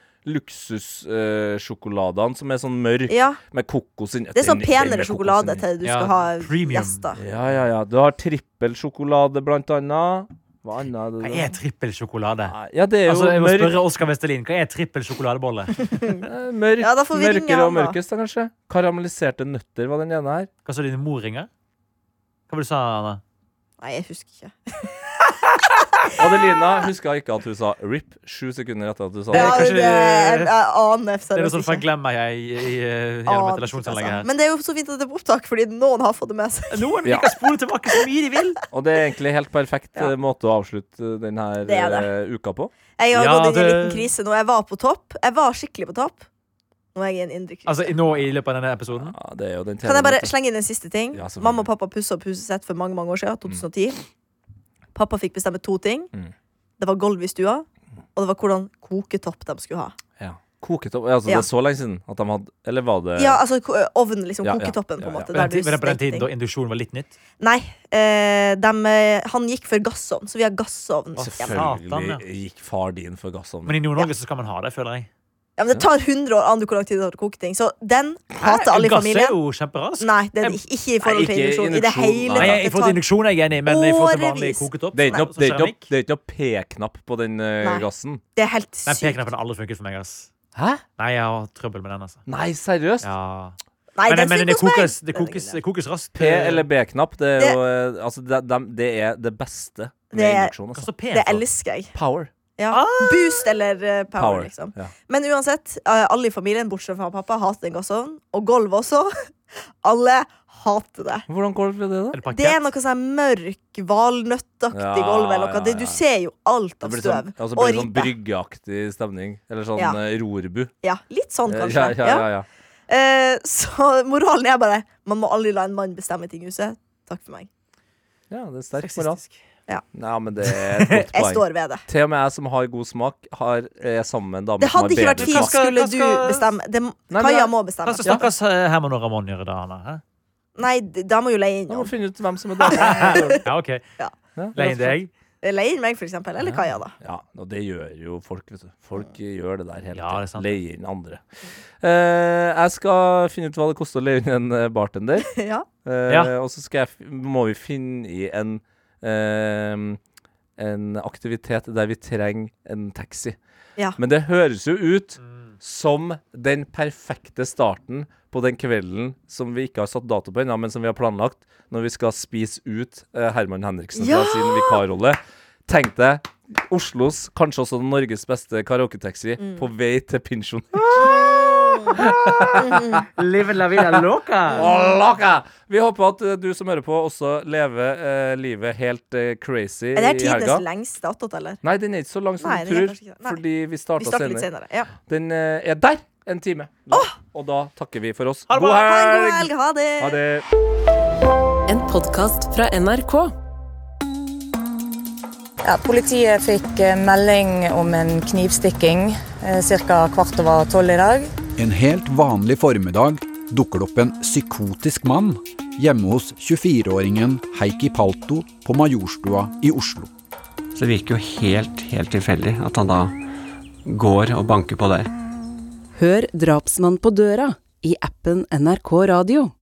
Speaker 2: luksussjokoladene som er sånn mørk
Speaker 4: Ja,
Speaker 2: med kokos inni.
Speaker 4: det er
Speaker 2: Den- den
Speaker 4: sånn
Speaker 2: med
Speaker 4: penere
Speaker 2: kokos
Speaker 4: sjokolade
Speaker 2: inni.
Speaker 4: til du
Speaker 5: Ja,
Speaker 4: skal ha
Speaker 5: premium.
Speaker 4: gjester.
Speaker 2: Ja, ja, ja. Du har trippelsjokolade, blant annet. Hva annet er det?
Speaker 5: Hva
Speaker 2: da?
Speaker 5: er trippelsjokolade?
Speaker 2: Ja, det er jo
Speaker 5: Altså, jeg må
Speaker 2: mørk,
Speaker 5: spørre Oskar Vestelin. Hva er trippelsjokolade?
Speaker 2: eh, mørk
Speaker 4: Ja, da får vi ringe
Speaker 2: mørkere og
Speaker 4: han, da.
Speaker 2: mørkest, da, kanskje. Karamelliserte nøtter var den ene her.
Speaker 5: Hva sa dine morringer? Hva var det du sa Anna?
Speaker 4: Nei, jeg husker ikke. (laughs)
Speaker 2: Adelina huska ikke at hun sa RIP sju sekunder etter at du sa
Speaker 4: Ja,
Speaker 5: kanskje-
Speaker 4: det, det, jeg, jeg aner
Speaker 5: Det er
Speaker 4: seriøst
Speaker 5: noe sånt
Speaker 4: ikke.
Speaker 5: folk glemmer jeg i, i, eh, gjennom
Speaker 4: Aner ikke,
Speaker 5: ventilasjonsanlegget
Speaker 4: altså.
Speaker 5: her.
Speaker 4: Men det er jo så fint at det er på opptak, fordi noen har fått det med seg.
Speaker 5: Noen
Speaker 2: Ja.
Speaker 5: liker å spole tilbake så mye de vil.
Speaker 2: Og det er egentlig helt perfekt
Speaker 4: Ja.
Speaker 2: eh, måte å avslutte denne
Speaker 4: Det er
Speaker 2: uka på.
Speaker 4: Jeg har
Speaker 5: Ja,
Speaker 4: gått inn i en
Speaker 5: det-
Speaker 4: liten krise nå. Jeg var på topp. Jeg var skikkelig på topp. Nå er jeg i en indre krise.
Speaker 5: Altså i- nå i løpet av denne episoden.
Speaker 2: Ja, det er jo den
Speaker 4: Kan jeg bare
Speaker 2: tredje
Speaker 4: slenge inn en siste ting?
Speaker 2: Ja, selvfølgelig.
Speaker 4: Mamma og pappa pussa opp huset sitt for mange mange år
Speaker 5: Mm.
Speaker 4: siden. 2010. Pappa fikk bestemme to ting.
Speaker 2: Mm.
Speaker 4: Det var gulv i stua, og det var hvordan koketopp de skulle ha.
Speaker 2: måten. ja. Koket opp altså,
Speaker 4: Ja.
Speaker 2: Det er så lenge siden at de hadde Eller var
Speaker 5: Eh.
Speaker 2: det
Speaker 4: Ja, altså ko- ovnen, liksom.
Speaker 2: Ja, ja,
Speaker 4: koketoppen, på en
Speaker 2: ja, ja.
Speaker 4: måte.
Speaker 5: Var
Speaker 4: der
Speaker 5: det
Speaker 4: du
Speaker 5: var det på den
Speaker 4: stekte
Speaker 5: tiden da
Speaker 4: ting.
Speaker 5: induksjon var litt nytt?
Speaker 4: Nei. Eh, dem, eh, han gikk for gassovn, så vi har gassovn. hjemme.
Speaker 2: Selvfølgelig
Speaker 5: Satan,
Speaker 2: gikk far din for gassovnen.
Speaker 5: Men i Nord-Norge så skal man ha det, føler jeg.
Speaker 4: Ja, men det tar 100 år an du hvor lang tid det tar å koke ting, så den hater alle i
Speaker 5: Gass er
Speaker 4: familien.
Speaker 5: jo kjemperask.
Speaker 4: Nei, den, ikke, ikke i forhold
Speaker 2: Nei,
Speaker 4: til
Speaker 2: ikke
Speaker 4: induksjon. I det
Speaker 2: induksjon,
Speaker 4: hele
Speaker 2: nei.
Speaker 5: Nei,
Speaker 4: tatt.
Speaker 5: jeg,
Speaker 4: Det
Speaker 5: I forhold til
Speaker 4: tar-
Speaker 5: induksjon er jeg enig, men i forhold til vanlig
Speaker 4: Årevis.
Speaker 5: koketopp
Speaker 2: Det er ikke
Speaker 5: Nei, altså,
Speaker 2: noe- det er ikke noe-
Speaker 5: keramikk.
Speaker 2: det er ikke noe P-knapp på den eh,
Speaker 4: Nei.
Speaker 2: gassen.
Speaker 4: Det er helt
Speaker 5: Den
Speaker 4: sykt.
Speaker 5: peknappen har aldri funket for meg. ass
Speaker 2: Hæ?
Speaker 5: Nei, jeg har trøbbel med den. altså
Speaker 2: Nei, seriøst?
Speaker 5: ja.
Speaker 4: Nei,
Speaker 5: Men,
Speaker 4: den
Speaker 5: men
Speaker 4: funker
Speaker 5: det,
Speaker 4: hos meg.
Speaker 5: kokes, det,
Speaker 4: Den er
Speaker 5: kokes,
Speaker 4: grei.
Speaker 5: det kokes raskt.
Speaker 2: P- eller B-knapp, det er
Speaker 4: Det-
Speaker 2: jo eh, Altså, det, dem- det er det beste med
Speaker 4: Det er-
Speaker 2: induksjon.
Speaker 5: Hva
Speaker 2: Altså.
Speaker 5: står P
Speaker 4: Det
Speaker 5: for?
Speaker 4: elsker jeg.
Speaker 2: Power.
Speaker 4: Ja. Boost eller eh, power,
Speaker 2: Power.
Speaker 4: liksom.
Speaker 2: Ja.
Speaker 4: Men uansett, eh, alle i familien, bortsett fra pappa, hater en gassovn. Og gulv også. (laughs) Alle hater det.
Speaker 2: Hvordan golv er det, da?
Speaker 5: Eller parkett.
Speaker 4: Det er noe sånn mørk, valnøttaktig
Speaker 2: Ja,
Speaker 4: golv eller
Speaker 2: ja,
Speaker 4: noe. Det,
Speaker 2: ja.
Speaker 4: du ser jo alt
Speaker 2: Det
Speaker 4: av
Speaker 2: blir
Speaker 4: støv
Speaker 2: sånn, altså
Speaker 4: og
Speaker 2: blir det sånn
Speaker 4: ribbe.
Speaker 2: bryggeaktig stemning. Eller sånn
Speaker 4: Ja.
Speaker 2: eh, rorbu.
Speaker 4: Ja, litt sånn,
Speaker 2: Eh,
Speaker 4: kanskje.
Speaker 2: Ja, ja, ja, ja.
Speaker 4: Ja. Eh, (laughs) så moralen er bare man må aldri la en mann bestemme ting i huset. Takk for meg.
Speaker 2: ja, det er sterk moral.
Speaker 5: Sexistisk.
Speaker 2: Nei, men det er et godt
Speaker 4: (laughs) Jeg
Speaker 2: poeng.
Speaker 4: står ved det.
Speaker 2: Til og med jeg som har god smak, har, er sammen med en dame
Speaker 4: Det
Speaker 2: som har
Speaker 4: hadde ikke
Speaker 2: bedre
Speaker 4: vært
Speaker 5: Hva
Speaker 4: fint
Speaker 2: smak.
Speaker 5: skal-
Speaker 4: skulle
Speaker 5: hva
Speaker 4: du
Speaker 5: skal-
Speaker 4: bestemme. Det,
Speaker 2: men
Speaker 4: Kaja
Speaker 2: jeg-
Speaker 4: må
Speaker 5: Hva
Speaker 4: bestemme.
Speaker 5: skal stakkars eh, Herman og Ramón gjøre da? Anna? hæ?
Speaker 4: Nei, d- da må jo leie inn
Speaker 2: Jeg må
Speaker 4: noen.
Speaker 2: finne ut hvem som er
Speaker 4: (laughs)
Speaker 2: dame.
Speaker 5: Ja, OK.
Speaker 4: Ja.
Speaker 2: Ja,
Speaker 5: Leie inn deg.
Speaker 4: Leie inn meg, for eksempel. Eller Kaja, da. (laughs)
Speaker 2: Ja, og det gjør jo folk. vet du Folk gjør det der hele
Speaker 5: Ja, det er
Speaker 2: tiden.
Speaker 5: sant.
Speaker 2: Leier inn andre. Eh, jeg skal finne ut hva det koster å leie inn en eh, bartender.
Speaker 4: Ja.
Speaker 2: Eh,
Speaker 5: Ja.
Speaker 2: Og så skal jeg, f- må vi finne i en ehm, En aktivitet der vi trenger en taxi.
Speaker 4: Ja.
Speaker 2: Men det høres jo ut som den perfekte starten på den kvelden som vi ikke har satt dato på ennå, men som vi har planlagt, når vi skal spise ut eh, Herman Henriksen
Speaker 4: Ja!
Speaker 2: fra sin vikarrolle. Tenk deg Oslos, kanskje også Norges beste karaoketaxi,
Speaker 4: Mm.
Speaker 2: på vei til pensjon.
Speaker 5: Live la vida loca.
Speaker 2: Ålaka! Vi håper at eh, du som hører på, også lever eh, livet helt eh, crazy
Speaker 4: Er det her
Speaker 2: i helga.
Speaker 4: tidenes lengste attåt, eller?
Speaker 2: Nei, den er ikke så lang som
Speaker 4: Nei,
Speaker 2: du
Speaker 4: den er
Speaker 2: tror,
Speaker 4: kanskje ikke det. Nei.
Speaker 2: fordi vi
Speaker 4: Vi
Speaker 2: starta
Speaker 4: starter litt
Speaker 2: senere.
Speaker 4: senere. Ja.
Speaker 2: Den eh, er der! En time. Og da takker vi for oss.
Speaker 5: Ha det bra.
Speaker 2: God
Speaker 4: Ha en god
Speaker 2: helg!
Speaker 4: helg. Ha det.
Speaker 2: Ha det.
Speaker 7: En podkast fra NRK.
Speaker 8: Ja, politiet fikk eh, melding om en knivstikking ca. kvart over tolv i dag.
Speaker 9: En helt vanlig formiddag dukker det opp en psykotisk mann hjemme hos 24-åringen Heikki Palto på Majorstua i Oslo.
Speaker 10: Så det virker jo helt, helt tilfeldig at han da går og banker på der.
Speaker 7: Hør Drapsmann på døra i appen NRK Radio.